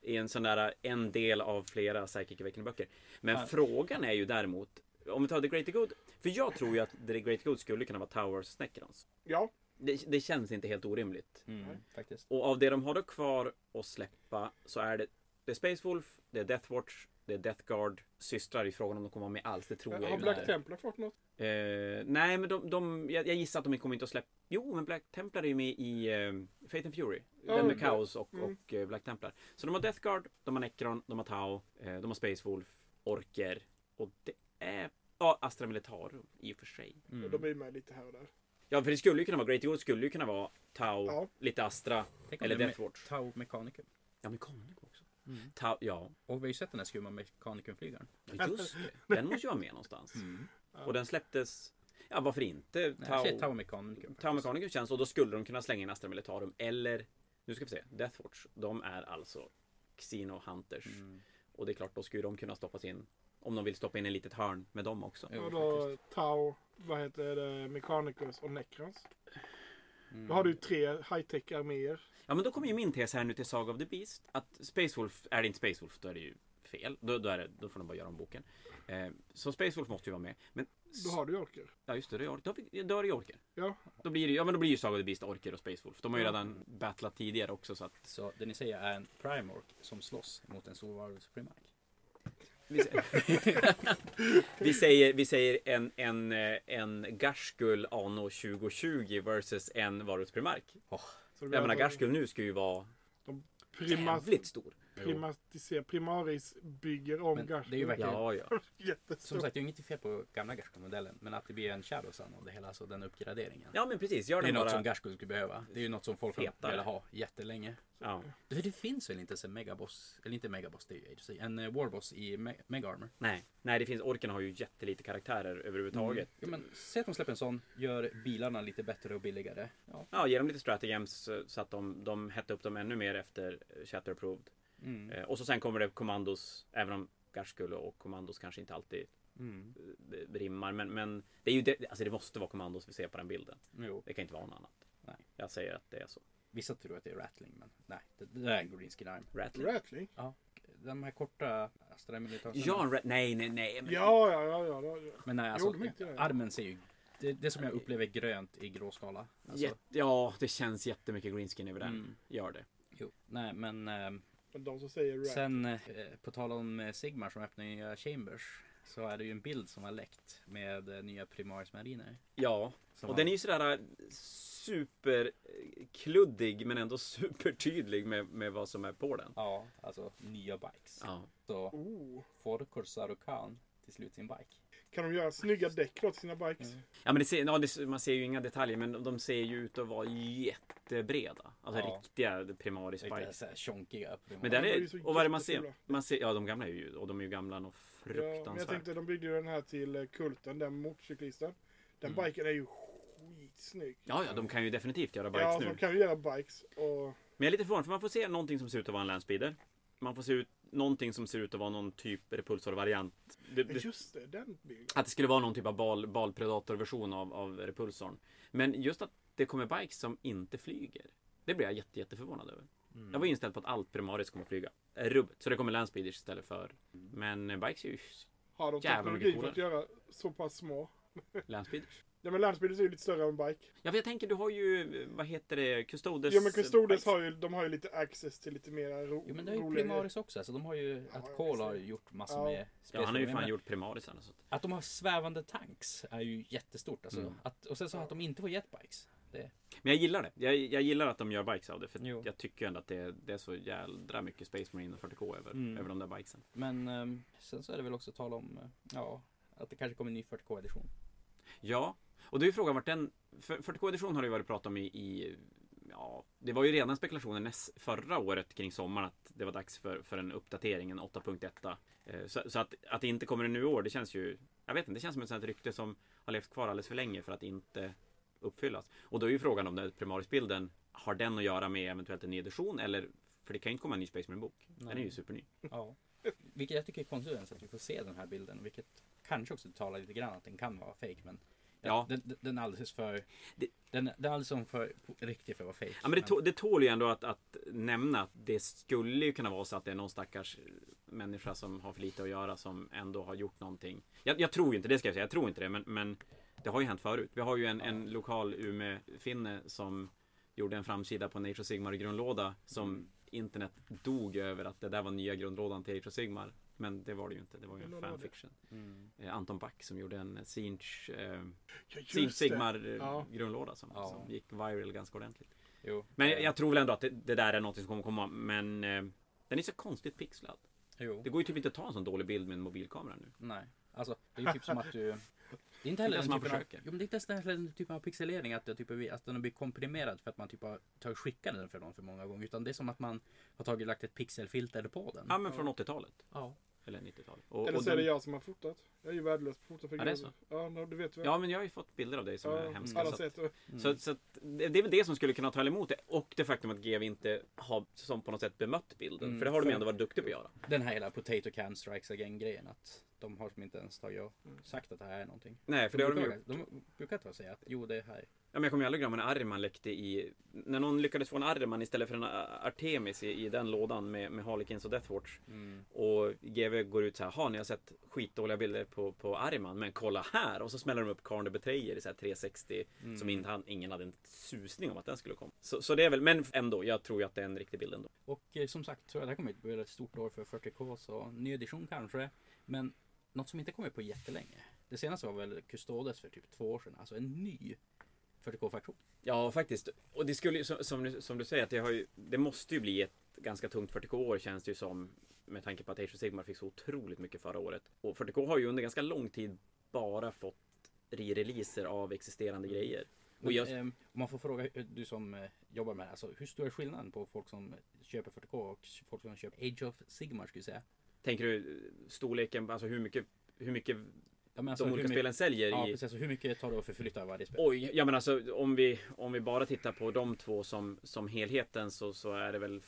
Speaker 2: i en sån där en del av flera psychic awakening böcker. Men
Speaker 1: Ja.
Speaker 2: frågan är ju däremot, om vi tar The Greater Good. För jag tror ju att The Greater Good skulle kunna vara Towers Necrons.
Speaker 4: Ja,
Speaker 2: Det, det känns inte helt orimligt.
Speaker 1: Mm, faktiskt.
Speaker 2: Och av det de har då kvar att släppa så är det, det är Space Wolf, det är Death Watch, det är Death Guard. Systrar i frågan om de kommer vara med alls, det tror jag
Speaker 4: har
Speaker 2: ju
Speaker 4: Black
Speaker 2: inte.
Speaker 4: Templar fått något?
Speaker 2: Eh, nej, men de, de, jag, jag gissar att de kommer inte att släppa... Jo, men Black Templar är ju med i uh, Fate and Fury.
Speaker 4: Ja,
Speaker 2: den med
Speaker 4: det-
Speaker 2: Kaos och,
Speaker 4: mm.
Speaker 2: och eh, Black Templar. Så de har Death Guard, de har Necron, de har Tau, eh, de har Space Wolf, Orker och det är... Ja, Astra Militarum i och för sig.
Speaker 1: Mm.
Speaker 4: De är ju med lite här och där.
Speaker 2: Ja, för det skulle ju kunna vara Great Eagle, skulle ju kunna vara Tau,
Speaker 4: Ja.
Speaker 2: lite Astra
Speaker 1: Tänk om
Speaker 2: eller
Speaker 1: det är
Speaker 2: Death
Speaker 1: med Mm.
Speaker 2: Watch.
Speaker 1: Tau Mechanicum.
Speaker 2: Ja, men Kanin också. Tau, ja.
Speaker 1: Och vi har ju sett den här skumma Mechanicum-flygaren.
Speaker 2: ja, just det. Den måste ju vara med någonstans. Och den släpptes... Ja, varför inte?
Speaker 1: Nej, Jag säger Tau Mechanicum.
Speaker 2: Tower Mechanicum känns och då skulle de kunna slänga in Astra Militarum eller nu ska vi se, Deathwatch. De är alltså Xeno Hunters.
Speaker 4: Mm.
Speaker 2: Och det är klart, då skulle de kunna stoppas in. Om de vill stoppa in en litet hörn med dem också.
Speaker 1: Jo,
Speaker 4: och då
Speaker 1: faktiskt.
Speaker 4: Tau, vad heter det, Mechanicus och Necrons.
Speaker 1: Mm.
Speaker 4: Då har du ju tre high-tech arméer.
Speaker 2: Ja, men då kommer ju min tes här nu till Saga of the Beast. Att Space Wolf, är det inte Space Wolf, då är det ju fel. Då, då, är det, då får de bara göra om boken. Eh, så Space Wolf måste ju vara med. Men,
Speaker 4: Då har du orker.
Speaker 2: ja just det, då är det, ork- då är det ju orker.
Speaker 4: Ja.
Speaker 2: Då blir det, ju- ja, men då blir ju Saga of the Beast orker och Space Wolf. De har ju
Speaker 4: Ja.
Speaker 2: redan battlat tidigare också så att
Speaker 1: Så det ni säger är en Primork som slåss mot en storvarelse Primark.
Speaker 2: Vi säger, vi säger, vi säger en, en, eh, en Garskull anno 2020 versus en varusprimark.
Speaker 4: Så det blir
Speaker 2: Jag menar
Speaker 4: alltså
Speaker 2: Garskull nu ska ju vara
Speaker 4: Primas,
Speaker 2: jävligt stor.
Speaker 4: primatiser, primaris bygger om
Speaker 1: Men
Speaker 4: Gash.
Speaker 1: det är ju verkligen-
Speaker 2: Ja, ja.
Speaker 1: Som
Speaker 4: Jättestort.
Speaker 1: sagt, det är ju inget fel på gamla Gashko-modellen, men att det blir en Shadow Sun av det hela, alltså den uppgraderingen.
Speaker 2: ja men precis, gör
Speaker 1: det är
Speaker 2: den
Speaker 1: något som
Speaker 2: bara.
Speaker 1: Gashko skulle behöva. Det är ju något som folk har
Speaker 2: Fetare.
Speaker 1: velat ha jättelänge.
Speaker 2: Ja.
Speaker 1: Det, det finns väl inte ens en Megaboss, eller inte Megaboss, det är ju Agency, en eh, Warboss i Me- Mega Armor.
Speaker 2: Nej, nej det finns, orken har ju jättelite karaktärer överhuvudtaget.
Speaker 1: Ja, men säg att de släpper en sån, gör bilarna lite bättre och billigare. Ja.
Speaker 2: Ja, ge dem lite strategems eh, så att de, de hettar upp dem ännu mer efter eh, Shatter Approved.
Speaker 1: Mm.
Speaker 2: Eh, Och så sen kommer det kommandos, även om Garskull och kommandos kanske inte alltid
Speaker 1: Mm.
Speaker 2: eh, rimmar. Men, men det är ju det, alltså det måste vara kommandos vi ser på den bilden.
Speaker 1: Mm, Jo.
Speaker 2: Det kan inte vara något annat.
Speaker 1: Nej.
Speaker 2: Jag säger att det är så.
Speaker 1: Vissa tror att det är Rattling, men nej, det, det är en Green Skin Arm.
Speaker 2: Rattling.
Speaker 4: Rattling?
Speaker 1: De här korta Astra Militars.
Speaker 2: Ja, ra- nej, nej, nej. men-
Speaker 4: Ja, ja, ja. ja, ja, ja.
Speaker 1: Men nej,
Speaker 4: Jag
Speaker 1: alltså,
Speaker 4: håller med. Ja, ja.
Speaker 1: armen ser ju... Det, det som jag upplever är grönt i grå skala. Alltså,
Speaker 2: Jätte- ja, det känns jättemycket greenskin över den.
Speaker 1: Mm.
Speaker 2: Gör det.
Speaker 1: Jo. Nej, men eh,
Speaker 4: Men de som säger rat.
Speaker 1: sen eh, på tal om eh, Sigmar som öppnar nya Chambers så är det ju en bild som har läckt med eh, nya Primaris Mariner.
Speaker 2: Ja,
Speaker 1: Som
Speaker 2: och
Speaker 1: har-
Speaker 2: den är ju sådär eh, superkluddig men ändå supertydlig med, med vad som är på den.
Speaker 1: Ja, alltså nya bikes.
Speaker 2: Ja.
Speaker 1: Så
Speaker 4: Oh.
Speaker 1: får Corsaro Khan till slut sin bike.
Speaker 4: Kan de göra snygga däck då till sina
Speaker 1: Mm.
Speaker 4: bikes?
Speaker 2: Ja, men det ser, ja, det, man ser ju inga detaljer men de ser ju ut att vara jättebreda. Alltså
Speaker 1: Ja.
Speaker 2: riktiga primaris
Speaker 1: Lite
Speaker 2: bikes.
Speaker 1: såhär tjonkiga Primaris.
Speaker 2: Men där
Speaker 4: de är ju
Speaker 2: är,
Speaker 4: så
Speaker 2: och vad är det man
Speaker 4: jättefula.
Speaker 2: ser? man ser? Ja, de gamla är ju, och de är ju gamla och
Speaker 4: Ja, men jag
Speaker 2: fruktansvärt.
Speaker 4: tänkte de byggde ju den här till eh, Kulten, den motorcyklisten. Den
Speaker 2: Mm.
Speaker 4: biken är ju skitsnygg.
Speaker 2: Ja, ja, de kan ju definitivt göra bikes
Speaker 4: ja,
Speaker 2: nu.
Speaker 4: de kan ju göra bikes. Och
Speaker 2: Men jag är lite förvånad för man får se någonting som ser ut att vara en landspeeder. Man får se ut någonting som ser ut att vara någon typ repulsor-variant. Det, det,
Speaker 4: just det, den bilden.
Speaker 2: att det skulle vara någon typ av bal, balpredator-version av, av repulsorn. Men just att det kommer bikes som inte flyger. Det blir jag jätte, jätteförvånad över.
Speaker 4: Mm.
Speaker 2: Jag var inställd på att allt primaris kommer flyga. Eh, Rubbet. Så det kommer landspeeders istället för. Men eh, bikes är ju
Speaker 4: Har de
Speaker 2: Jävlar,
Speaker 4: teknologi
Speaker 2: vilket
Speaker 4: för att göra så pass små?
Speaker 2: landspeeders.
Speaker 4: Ja men landsbygden är ju lite större än en bike.
Speaker 2: Ja, för jag tänker du har ju, eh, vad heter det, Custodes?
Speaker 4: Ja men Custodes
Speaker 2: bikes.
Speaker 4: har ju, de har ju lite access till lite mera ro,
Speaker 1: Jo men det är ju
Speaker 4: roliga
Speaker 1: Primaris också, alltså de har ju,
Speaker 4: Ja,
Speaker 1: att
Speaker 4: jag
Speaker 1: Cole har
Speaker 4: ser.
Speaker 1: gjort massor
Speaker 4: Ja.
Speaker 1: med
Speaker 2: Ja, han har ju
Speaker 1: special-
Speaker 2: fan gjort primarisarna. Så. att-
Speaker 1: Att de har svävande tanks är ju jättestort alltså.
Speaker 2: Mm.
Speaker 1: Att, och sen så att de inte får jetbikes. Det,
Speaker 2: Men jag gillar det. Jag, jag gillar att de gör bikes av det. För
Speaker 1: Jo.
Speaker 2: jag tycker ändå att det, det är så jädra mycket Space Marine och 40K över,
Speaker 1: Mm.
Speaker 2: över de där bikesen.
Speaker 1: men ehm, sen så är det väl också tal om eh, ja, att det kanske kommer en ny 40k-edition.
Speaker 2: Ja, och då är ju frågan vart den... för 40K-edition har det ju varit prat om i... i ja, det var ju redan spekulationer näst, förra året kring sommaren att det var dags för, för en uppdatering, en 8.1. Eh, Så, så att, att det inte kommer en nu i år, det känns ju... Jag vet inte, det känns som ett sånt här rykte som har levt kvar alldeles för länge för att inte uppfyllas. Och då är ju frågan om den primarisbilden, har den att göra med eventuellt en ny edition eller... För det kan ju inte komma en ny Space Marine-bok. Den är ju superny.
Speaker 1: Ja. Vilket jag tycker är konstigt ens att vi får se den här bilden. Vilket kanske också talar lite grann att den kan vara fake men
Speaker 2: Ja.
Speaker 1: den, den- den är alldeles för...
Speaker 2: Det-
Speaker 1: Den, den är alldeles som för riktig för att vara fake.
Speaker 2: Ja, men det, tål, det tål ju ändå att, att nämna att det skulle ju kunna vara så att det är någon stackars människa som har för lite att göra som ändå har gjort någonting. Jag, jag tror ju inte det ska jag säga, jag tror inte det men, men det har ju hänt förut. Vi har ju en, en lokal Umeå-finne som gjorde en framsida på Nature Sigmar grundlåda som
Speaker 4: Mm.
Speaker 2: internet dog över att det där var nya grundlådan till Nature Sigmar. Men det var det ju inte, det var ju
Speaker 4: Men
Speaker 2: en
Speaker 4: vad var det?
Speaker 2: fanfiction.
Speaker 1: Mm.
Speaker 2: Eh, Anton Back som gjorde en Sinch, eh,
Speaker 4: Ja, just
Speaker 2: Sinch
Speaker 4: det.
Speaker 2: Sigmar eh,
Speaker 4: Ja.
Speaker 2: grundlåda som,
Speaker 1: Ja.
Speaker 2: som gick viral ganska ordentligt.
Speaker 1: Jo.
Speaker 2: Men jag, jag tror väl ändå att det, det där är något som kommer komma. Men eh, den är så konstigt pixlad.
Speaker 1: Jo.
Speaker 2: Det går ju typ inte att ta en sån dålig bild med en mobilkamera nu.
Speaker 1: Nej. Alltså det är ju typ som att du... Det är inte heller
Speaker 2: Det är
Speaker 1: den
Speaker 2: som man
Speaker 1: typen av,
Speaker 2: försöker.
Speaker 1: jo, men det är inte ens den här typen av pixelering att, jag typ, att den har blivit komprimerad för att man typ har tagit skickat den för någon för många gånger. Utan det är som att man har tagit lagt ett pixelfilter på den.
Speaker 2: Ja men från 80-talet.
Speaker 1: Ja.
Speaker 2: Eller 90-talet. Och,
Speaker 4: Eller
Speaker 2: och
Speaker 4: så är det
Speaker 2: den,
Speaker 4: jag som har fotat. Jag är ju värdelös på att fota
Speaker 2: Ja, det är så.
Speaker 4: figurer. Ja, no, du vet väl.
Speaker 2: ja men jag har ju fått bilder av dig som är
Speaker 4: Ja,
Speaker 2: hemska.
Speaker 4: alla
Speaker 2: Så, att,
Speaker 4: sätt. Och-
Speaker 2: så, så att, det det är väl det som skulle kunna ta emot det. Och det faktum att GV inte har som på något sätt bemött bilden.
Speaker 1: Mm.
Speaker 2: För det har de ju ändå varit duktiga på att göra.
Speaker 1: Den här hela potato can strikes again grejen. Att de har som inte ens tagit och sagt att det här är någonting.
Speaker 2: Nej för det har de
Speaker 1: brukar,
Speaker 2: ju.
Speaker 1: de brukar ta och säga att jo det här
Speaker 2: Ja, men jag kommer ju aldrig glömma när Ariman läckte i... När någon lyckades få en Ariman istället för en A- Artemis i, i den lådan med, med Harlequins och Deathwatch.
Speaker 1: Mm.
Speaker 2: Och GW går ut så här, ha ni har sett skitdåliga bilder på, på Ariman, men kolla här! Och så smäller de upp Carn the Betrayer i så här 360 som inte, han, ingen hade en susning om att den skulle komma. Så, så det är väl, men ändå, jag tror ju att det är en riktig bild ändå.
Speaker 1: Och eh, som sagt tror jag det här kommer att bli ett stort år för 40K så ny edition kanske. Men något som inte kommit på jättelänge. Det senaste var väl Custodes för typ två år sedan. Alltså en ny 40K-faktion.
Speaker 2: Ja, faktiskt. Och det skulle ju, som, som, du- som du säger, att det, har ju, det måste ju bli ett ganska tungt 40K-år känns det ju som. Med tanke på att Age of Sigmar fick så otroligt mycket förra året. Och 40K har ju under ganska lång tid bara fått re-releaser av existerande grejer.
Speaker 1: Mm. Men,
Speaker 2: Och jag,
Speaker 1: ehm, om man får fråga eh, du som eh, jobbar med det, alltså, hur stor är skillnaden på folk som köper 40K och folk som köper Age of Sigmar skulle jag säga?
Speaker 2: tänker du storleken, alltså hur mycket, hur mycket
Speaker 1: Ja, men
Speaker 2: de olika
Speaker 1: Alltså, mycket,
Speaker 2: spelen säljer
Speaker 1: Ja
Speaker 2: i
Speaker 1: precis, så hur mycket tar det att förflytta av varje spel?
Speaker 2: Oj, ja men alltså om vi, om vi bara tittar på de två som, som helheten så, så är det väl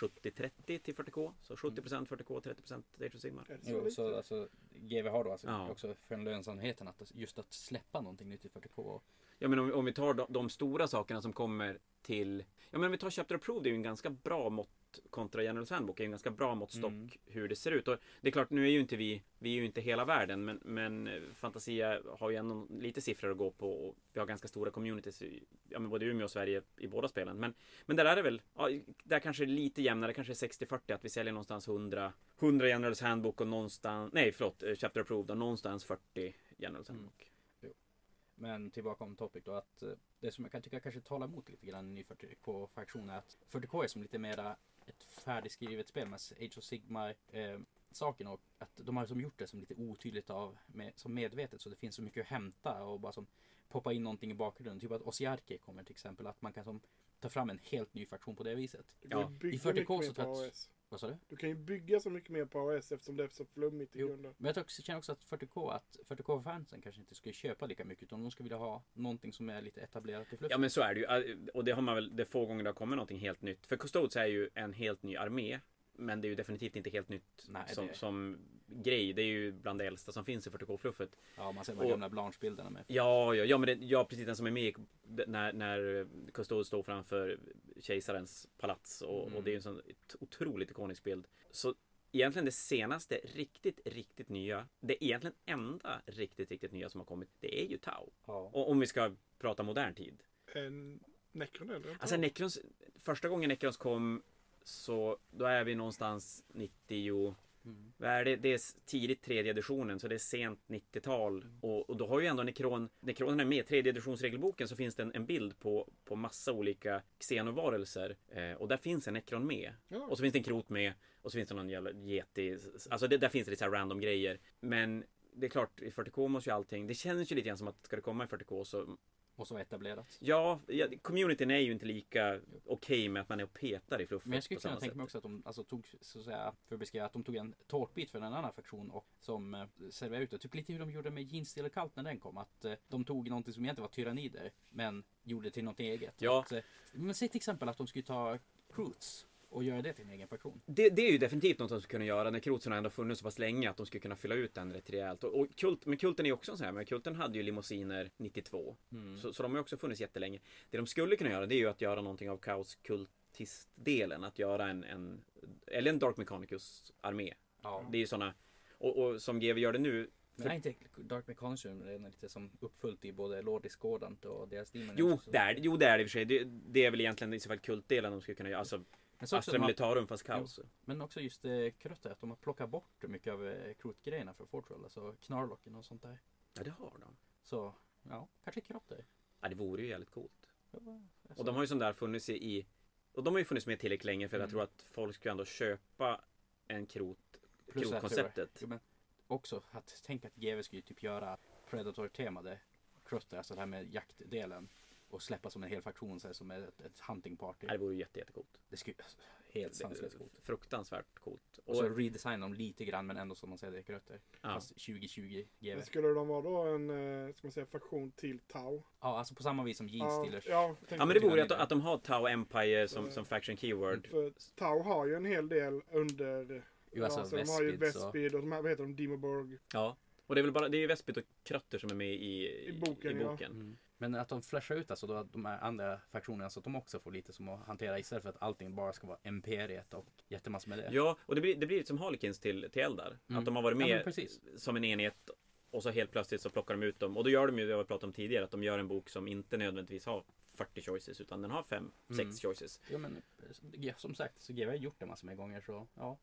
Speaker 2: 70-30 till 40K. Så 70% 40K, 30% Age of Sigmar.
Speaker 4: Är det
Speaker 1: Jo,
Speaker 4: lite?
Speaker 1: så alltså, GV har då alltså
Speaker 2: Ja.
Speaker 1: också för den lönsamheten att just att släppa någonting nytt i 40K.
Speaker 2: Ja men om, om vi tar de, de stora sakerna som kommer till... Ja men om vi tar Chapter Approved, det är ju en ganska bra mått kontra Generals Handbook, är ju en ganska bra måttstock
Speaker 1: Mm.
Speaker 2: hur det ser ut. Och det är klart, nu är ju inte vi, vi är ju inte hela världen, men, men eh, Fantasia har ju ändå lite siffror att gå på och vi har ganska stora communities, i, ja men både i Umeå och Sverige i båda spelen. Men, men där är det väl, ja, där kanske det är lite jämnare, kanske 60-40, att vi säljer någonstans 100, 100 Generals Handbook och någonstans, nej förlåt, eh, Chapter Approved och någonstans 40 Generals
Speaker 1: Mm.
Speaker 2: Handbook.
Speaker 1: Men tillbaka om topic då att eh, det som jag kan tycka kanske talar emot lite grann i ny 40K-faktion är att 40K är som lite mera ett färdigskrivet spel med Age of Sigma eh, saken och att de har som gjort det som lite otydligt av med, som medvetet så det finns så mycket att hämta och bara som poppa in någonting i bakgrunden. Typ att Osiarki kommer till exempel att man kan som ta fram en helt ny faktion på det viset.
Speaker 4: Du kan ju
Speaker 2: Ja,
Speaker 4: bygga
Speaker 1: i 40K
Speaker 4: mycket
Speaker 1: så
Speaker 4: mer på
Speaker 1: tror jag att-
Speaker 4: AS.
Speaker 1: Vad sa du?
Speaker 4: Du kan ju bygga så mycket mer på AS eftersom det är så flummigt i
Speaker 1: Jo.
Speaker 4: grunden.
Speaker 1: Men jag tror också- känner också att 40K, att 40K-fansen kanske inte skulle köpa lika mycket utan de skulle vilja ha någonting som är lite etablerat i
Speaker 2: Ja
Speaker 1: fluffen.
Speaker 2: men så är det ju. Och det har man väl, det är få gånger det har kommit någonting helt nytt. För Custodes är ju en helt ny armé. Men det är ju definitivt inte helt nytt
Speaker 1: Nej,
Speaker 2: som,
Speaker 1: det-
Speaker 2: som grej. Det är ju bland det äldsta som finns i 40K-fluffet.
Speaker 1: Ja, man ser de här
Speaker 2: Och-
Speaker 1: gamla Blanche-bilderna med.
Speaker 2: Ja, ja, ja, men det, ja, precis den som är med i- när, när Custodes står framför kejsarens palats och,
Speaker 1: Mm.
Speaker 2: och det är ju en sån otroligt ikonisk bild. Så egentligen det senaste riktigt, riktigt nya, det egentligen enda riktigt, riktigt nya som har kommit, det är ju Tau.
Speaker 1: Ja.
Speaker 2: Och om vi ska prata modern tid.
Speaker 4: En Necron eller? inte?
Speaker 2: Alltså Necrons, första gången Necrons kom så då är vi någonstans 90
Speaker 1: Mm.
Speaker 2: vad är det? det är tidigt tredje editionen så det är sent 90-tal och, och då har ju ändå Necron, Necronen är med. I Tredje editionsregelboken så finns det en, en bild på, på massa olika xenovarelser eh, och där finns en Necron med.
Speaker 4: Ja.
Speaker 2: Och så finns det en krot med och så finns det någon jävla yeti. Alltså det, där finns det lite så här random grejer. Men det är klart, i 40K måste ju allting, det känns ju lite grann som att ska det komma i 40K så
Speaker 1: Och som är etablerat.
Speaker 2: Ja, ja, communityn är ju inte lika okej med att man är och petar i fluffet
Speaker 1: Men jag skulle
Speaker 2: på samma
Speaker 1: kunna tänka
Speaker 2: sätt.
Speaker 1: mig också att de alltså, tog, så att säga, för att beskriva, att de tog en tårtbit från en annan faktion och som eh, serverade ut det. Typ lite hur de gjorde med Jeans Stealer Cult när den kom. Att eh, de tog någonting som egentligen var tyrannider, men gjorde det till något eget.
Speaker 2: Ja.
Speaker 1: Att, eh, men säg till exempel att de skulle ta Croots och göra det till en egen faktion.
Speaker 2: Det, det är ju definitivt något de skulle kunna göra när Krotzen har ändå funnits så pass länge att de skulle kunna fylla ut den rätt rejält. Och, och kult, men Kulten är ju också en sån här, men Kulten hade ju limousiner 92.
Speaker 1: Mm.
Speaker 2: Så, så de har ju också funnits jättelänge. Det de skulle kunna göra det är ju att göra någonting av kaoskultistdelen. Att göra en, en, eller en Dark Mechanicus armé.
Speaker 1: Ja.
Speaker 2: Det är ju såna, och, och som GW gör det nu.
Speaker 1: Men är inte Dark Mechanism redan lite som uppfullt i både Lordis Gordant och deras Demon?
Speaker 2: Jo,
Speaker 1: Angels?
Speaker 2: det är, jo, det är det i och för sig. Det, det är väl egentligen i så fall kultdelen de skulle kunna göra. Alltså
Speaker 1: Men, så också
Speaker 2: Astra
Speaker 1: de har,
Speaker 2: Militarum fast kaos.
Speaker 1: men också just eh, krötter, att de har plockat bort mycket av eh, krotgrejerna från Fortroll, alltså Knarlocken och sånt där.
Speaker 2: Ja, det har de.
Speaker 1: Så ja, kanske krötter.
Speaker 2: Ja, det vore ju jävligt coolt.
Speaker 1: Alltså,
Speaker 2: Och de har ju sån där funnits i- i... Och de har ju funnits med tillräckligt länge för
Speaker 1: Mm.
Speaker 2: jag tror att folk skulle ändå köpa en krot...
Speaker 1: Plus att jag tror-
Speaker 2: Krotkonceptet.
Speaker 1: Jo, men också att tänka att GW skulle typ göra Predator-temade krötter, alltså det här med jaktdelen. Och släppa som en hel faktion så här, som ett, ett hunting party.
Speaker 2: Ja, det vore ju jätte, jättecoolt.
Speaker 1: Det skulle alltså, helt sanslöst coolt.
Speaker 2: Fruktansvärt coolt.
Speaker 1: Och så
Speaker 2: Och,
Speaker 1: redesigna dem lite grann men ändå som man säger det är krötter.
Speaker 2: ja.
Speaker 1: Fast 2020 GW.
Speaker 4: Men skulle de vara då en, eh, ska man säga, faktion till Tau?
Speaker 1: Ja, alltså på samma vis som Gene
Speaker 4: Ja,
Speaker 1: Stealers.
Speaker 4: ja,
Speaker 2: ja, men det vore ju att, att de har Tau Empire som,
Speaker 4: Mm.
Speaker 2: som faction keyword.
Speaker 4: För Tau har ju en hel del under...
Speaker 1: Jo, alltså
Speaker 4: de har ju
Speaker 1: Vespid så.
Speaker 4: Vespid och de här, vad heter de, Dimoborg.
Speaker 2: Ja. Och det är väl bara det är Vespit och Kratter som är med i,
Speaker 4: I boken,
Speaker 2: i
Speaker 4: ja.
Speaker 2: boken.
Speaker 1: Men att de flashar ut alltså då att de här andra fraktionerna så att de också får lite som att hantera istället för att allting bara ska vara Imperiet och jättemassor med det.
Speaker 2: Ja, och det blir, det blir som Harlequins till, till Eldar.
Speaker 1: Mm.
Speaker 2: Att de har varit
Speaker 1: Ja,
Speaker 2: med
Speaker 1: men precis.
Speaker 2: som en enhet och så helt plötsligt så plockar de ut dem. Och då gör de ju det vi pratade om tidigare, att de gör en bok som inte nödvändigtvis har 40 choices utan den har 5, 6
Speaker 1: Mm.
Speaker 2: choices.
Speaker 1: Ja, men eh, ja, som sagt så GW har gjort det massor med gånger så ja.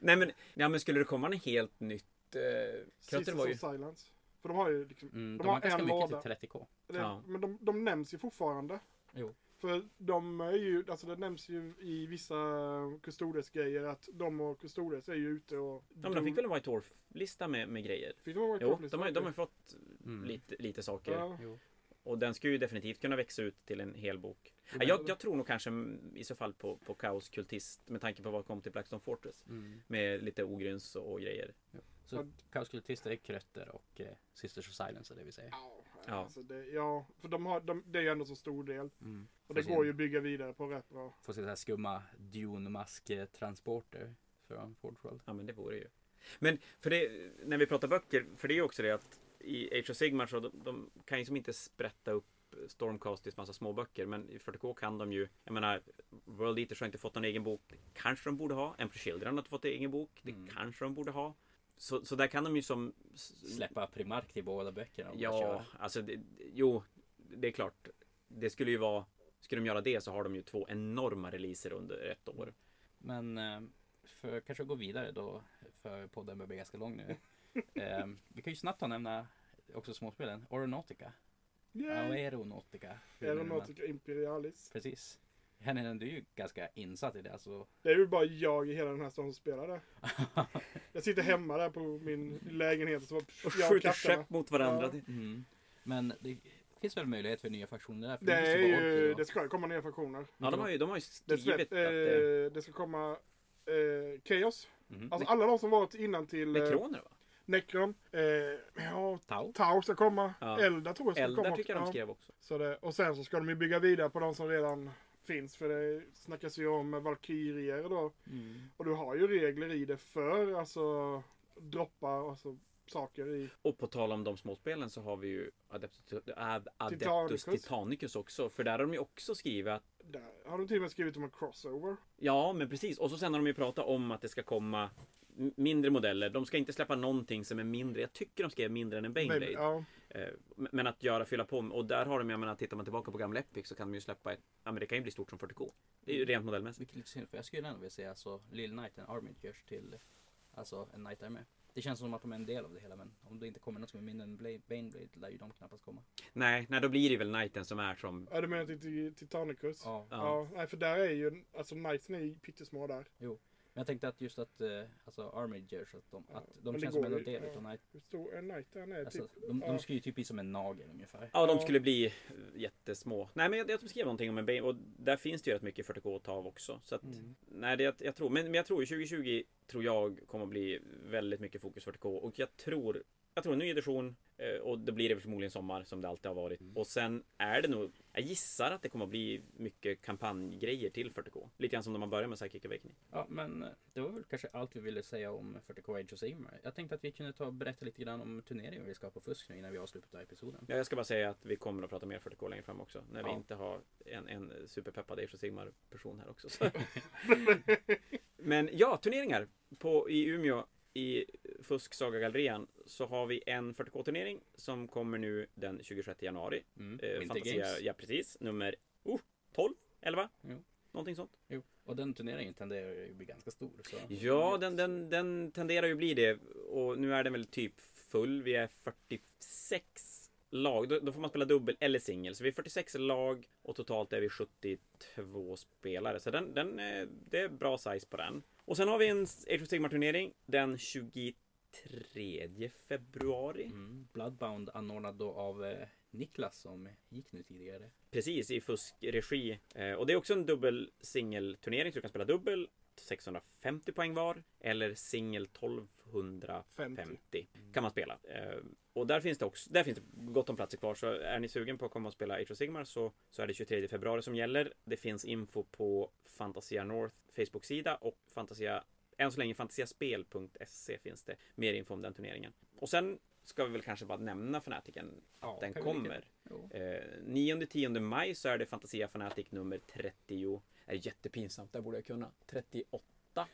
Speaker 2: Nej men, ja, men skulle det komma en helt nytt... Eh, Kratter
Speaker 4: Seasons
Speaker 2: var ju...
Speaker 4: of Silence. För de har ju liksom,
Speaker 1: Mm,
Speaker 4: De
Speaker 1: de,
Speaker 4: har
Speaker 1: har ganska
Speaker 4: en
Speaker 1: mycket
Speaker 4: låda.
Speaker 1: till 30K.
Speaker 4: det,
Speaker 2: Ja.
Speaker 4: men de, de nämns ju fortfarande.
Speaker 1: Jo.
Speaker 4: För de är ju, alltså det nämns ju i vissa Custodes-grejer att de och Custodes är ju ute och...
Speaker 2: Ja, men de fick väl en White Dwarf-lista med, med grejer?
Speaker 4: Fick de vara
Speaker 2: Jo, de har, ju- de har ju fått
Speaker 1: Mm.
Speaker 2: lite, lite saker.
Speaker 4: ja.
Speaker 1: Jo.
Speaker 2: Och den ska ju definitivt kunna växa ut till en hel bok.
Speaker 1: Jo,
Speaker 2: Ja,
Speaker 1: men-
Speaker 2: jag, jag tror nog kanske mm, i så fall på, på Kaos Kultist med tanke på vad kom till Blackstone Fortress.
Speaker 1: Mm.
Speaker 2: Med lite ogryns och, och grejer.
Speaker 1: Så Kaoskultister är krötter och eh, Sisters of Silence är det vi säger.
Speaker 4: Ja,
Speaker 2: Ja.
Speaker 4: Alltså det, ja, för de har, de, det är ju ändå så stor del.
Speaker 1: Mm.
Speaker 4: Och det
Speaker 1: Får sin-
Speaker 4: går ju att bygga vidare på rätt bra.
Speaker 1: Får sin så här skumma Dune-mask-transporter från Fordworld.
Speaker 2: Ja, men det vore ju. Men för det, när vi pratar böcker, för det är ju också det att i Age of Sigmar så de, de kan ju som inte sprätta upp Stormcast i massa småböcker, men i 40K kan de ju, jag menar, World Eaters har inte fått någon egen bok. Det Kanske de borde ha. Emperor Children har inte fått egen bok. Det
Speaker 1: Mm.
Speaker 2: kanske de borde ha. Så, så där kan de ju som...
Speaker 1: Släppa Primark till båda böckerna. och bara
Speaker 2: Mm. Ja,
Speaker 1: köra.
Speaker 2: alltså det, jo, det är klart. Det skulle ju vara, skulle de göra det så har de ju två enorma releaser under ett år.
Speaker 1: Men eh, för kanske att gå vidare då, för podden börjar bli ganska lång nu. Eh, Vi kan ju snabbt ta och nämna också småspelen. Aeronautica.
Speaker 4: Yay!
Speaker 1: Aeronautica. hur nu man-
Speaker 4: Aeronautica Imperialis.
Speaker 1: Precis. Henrik, du är ju ganska insatt i det alltså.
Speaker 4: Det är ju bara jag i hela den här stan som spelar det. Jag sitter hemma där på min lägenhet och så
Speaker 2: Och
Speaker 4: jag
Speaker 2: skjuter skepp mot varandra.
Speaker 4: Ja.
Speaker 2: Det-
Speaker 1: Mm. Men det finns väl möjlighet för nya fraktioner där? För
Speaker 4: Det
Speaker 1: finns
Speaker 4: är
Speaker 1: bara
Speaker 4: ju,
Speaker 1: orker
Speaker 4: det
Speaker 1: och-
Speaker 4: ska komma nya fraktioner.
Speaker 2: Ja, de har ju, de har ju
Speaker 4: Det,
Speaker 2: skrivit
Speaker 4: ska-
Speaker 2: att det...
Speaker 4: eh, det ska komma eh, Chaos.
Speaker 1: Mhm.
Speaker 4: Alltså alla de som varit innan till eh,
Speaker 2: Nekroner va?
Speaker 4: Necron. Eh, ja,
Speaker 1: Tau.
Speaker 4: Tau ska komma.
Speaker 2: Ja.
Speaker 4: Elda tror jag ska komma.
Speaker 2: Eldar
Speaker 4: också.
Speaker 2: tycker jag de
Speaker 4: Ja.
Speaker 2: skrev också.
Speaker 4: Så det, och sen så ska de ju bygga vidare på de som redan finns. För det snackas ju om Valkyrier då.
Speaker 1: Mm.
Speaker 4: Och du har ju regler i det för alltså droppar alltså saker i.
Speaker 2: Och på tal om de småspelen så har vi ju Adeptus, Ad- Adeptus
Speaker 4: Titanicus.
Speaker 2: Titanicus också. För där har de ju också skrivit att
Speaker 4: Där har de till och med skrivit om en crossover.
Speaker 2: Ja, men precis. Och så sen har de ju pratat om att det ska komma m- mindre modeller. De ska inte släppa någonting som är mindre. Jag tycker de skrev mindre än en Baneblade.
Speaker 4: ja.
Speaker 2: Eh, m- Men att göra, fylla på. Och där har de, jag menar, tittar man tillbaka på gamla Epic så kan de ju släppa ett, ja men det kan ju bli stort som 40K. Det är ju rent modellmässigt.
Speaker 1: Vilket är lite synd för jag skulle ändå vilja se alltså Lil Knight, en Army görs till alltså en Knight Army. Det känns som att de är en del av det hela men om det inte kommer något som är mindre än Bla- Baneblade lär ju de knappast komma.
Speaker 2: Nej, nej, då blir det väl Knighten som är som...
Speaker 4: ja, du menar till- till Titanicus? Ja.
Speaker 1: Ja.
Speaker 2: Ja.
Speaker 4: nej, för där är ju, alltså Knightsen är ju pyttesmå där.
Speaker 1: Men jag tänkte att just att eh, alltså Army görs, att de, att
Speaker 4: men
Speaker 1: de
Speaker 4: det
Speaker 1: känns som
Speaker 4: går
Speaker 1: en
Speaker 4: ju,
Speaker 1: del
Speaker 4: ja.
Speaker 1: utav Knight.
Speaker 4: Hur stor är Knight den är?
Speaker 1: Alltså,
Speaker 4: Typ,
Speaker 1: de,
Speaker 4: ja.
Speaker 1: de skulle ju typ bli som en nagel ungefär.
Speaker 2: Ja, de
Speaker 4: Ja.
Speaker 2: skulle bli eh, jättesmå. Nej, men jag, jag skrev någonting om en Bane och där finns det ju rätt mycket 40K att ta av också. Så att, nej, det, jag, jag tror, men, men jag tror ju 2020 tror jag kommer att bli väldigt mycket fokus 40K och jag tror, jag tror en ny edition eh, och det blir det förmodligen sommar som det alltid har varit. Och sen är det nog, jag gissar att det kommer att bli mycket kampanjgrejer till 40K. Lite grann som när man börjar med Psychic Awakening.
Speaker 1: Ja, men eh, det var väl kanske allt vi ville säga om 40K Age of Sigmar. Jag tänkte att vi kunde ta och berätta lite grann om turneringen vi ska ha på Fusk nu innan vi avslutar episoden.
Speaker 2: Ja, jag ska bara säga att vi kommer att prata mer 40K längre fram också. När vi
Speaker 1: Ja.
Speaker 2: inte har en, en superpeppad Age of Sigmar person här också. Så. Men ja, turneringar. På, I Umeå i Fusk Saga Gallerian så har vi en 40K-turnering som kommer nu den 26 januari.
Speaker 1: Mm.
Speaker 2: Eh,
Speaker 1: Winter
Speaker 2: Fantasia,
Speaker 1: Games.
Speaker 2: ja precis. Nummer oh, 12, 11?
Speaker 1: Jo.
Speaker 2: Någonting sånt.
Speaker 1: Jo. Och den turneringen tenderar ju att bli ganska stor. Så.
Speaker 2: Ja, den, den, den tenderar ju bli det. Och nu är den väl typ full. Vi är 46 lag. Då, då får man spela dubbel eller singel. Så vi är 46 lag och totalt är vi 72 spelare. Så den, den är, det är bra size på den. Och sen har vi en Age of Sigmar turnering den 23 februari.
Speaker 1: Mm. Bloodbound anordnad då av eh, Niklas som gick nu tidigare.
Speaker 2: Precis, i fuskregi. Eh, och det är också en dubbel singelturnering så du kan spela dubbel 650 poäng var eller singel 1250 kan man spela. Eh, och där finns det också, där finns det gott om platser kvar så är ni sugen på att komma och spela Age of Sigmar så, så är det 23 februari som gäller. Det finns info på Fantasia North Facebook-sida och Fantasia Än så länge fantasiaspel.se finns det mer info om den turneringen. Och sen ska vi väl kanske bara nämna Fanatiken
Speaker 1: Ja,
Speaker 2: att den
Speaker 1: kan vi lika-
Speaker 2: kommer.
Speaker 1: Jo.
Speaker 2: Eh, 9-10 maj så är det Fantasia Fanatic nummer 30. Det är jättepinsamt, där borde jag kunna. 38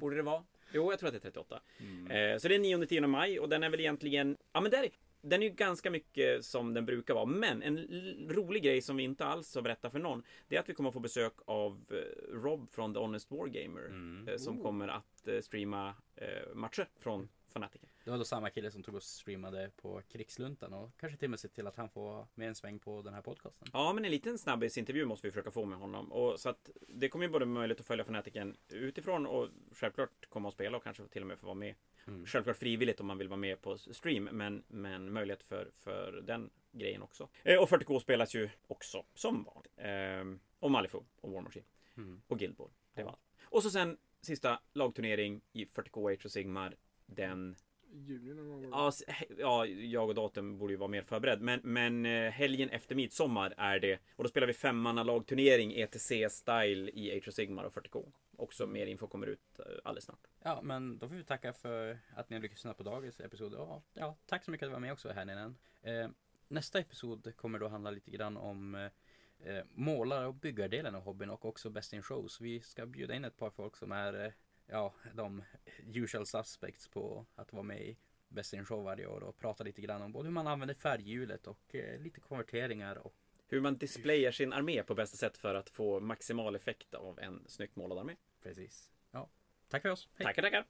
Speaker 2: borde det vara. Jo, jag tror att det är 38. Eh, så det är 9-10 maj och den är väl egentligen, ja men där, den är ju ganska mycket som den brukar vara. Men en l- rolig grej som vi inte alls har berättat för någon, det är att vi kommer att få besök av eh, Rob från The Honest Wargamer.
Speaker 1: Mm.
Speaker 2: Eh, som kommer att eh, streama eh, matcher från Fanatiken.
Speaker 1: Det var då samma kille som tog och streamade på Krigsluntan och kanske till och med sett till att han får med en sväng på den här podcasten.
Speaker 2: Ja, men en liten snabbisintervju måste vi försöka få med honom. Och så att det kommer ju både möjligt att följa Fanatiken utifrån och självklart komma och spela och kanske till och med få vara med.
Speaker 1: Mm.
Speaker 2: Självklart frivilligt om man vill vara med på stream, men, men möjlighet för, för den grejen också. Eh, och 40K spelas ju också som vanligt. Eh, och Malifaux och War Machine
Speaker 1: Mm.
Speaker 2: och Guild Ball. Det var allt. Och så sen sista lagturnering i 40K Age of Sigmar den
Speaker 4: Juni någon gång.
Speaker 2: Ja, s- he- ja, jag och datum borde ju vara mer förberedd. Men, men eh, helgen efter midsommar är det. Och då spelar vi E femmannalagturnering ETC-style i Age of Sigmar och 40K. Också mer info kommer ut eh, alldeles snart.
Speaker 1: Ja, men då får vi tacka för att ni har lyckats lyssna på dagens episod. Ja, ja, tack så mycket att du var med också här Nenen. Eh, nästa episod kommer då handla lite grann om eh, eh, målar och byggardelen av hobbyn och också Best in Show. Så vi ska bjuda in ett par folk som är eh, ja, de usual suspects på att vara med i Best in Show varje år och prata lite grann om både hur man använder färghjulet och eh, lite konverteringar och
Speaker 2: Hur man displayar sin armé på bästa sätt för att få maximal effekt av en snyggt målad armé.
Speaker 1: precis. Ja, tack för oss. Hej.
Speaker 2: Tackar, tackar!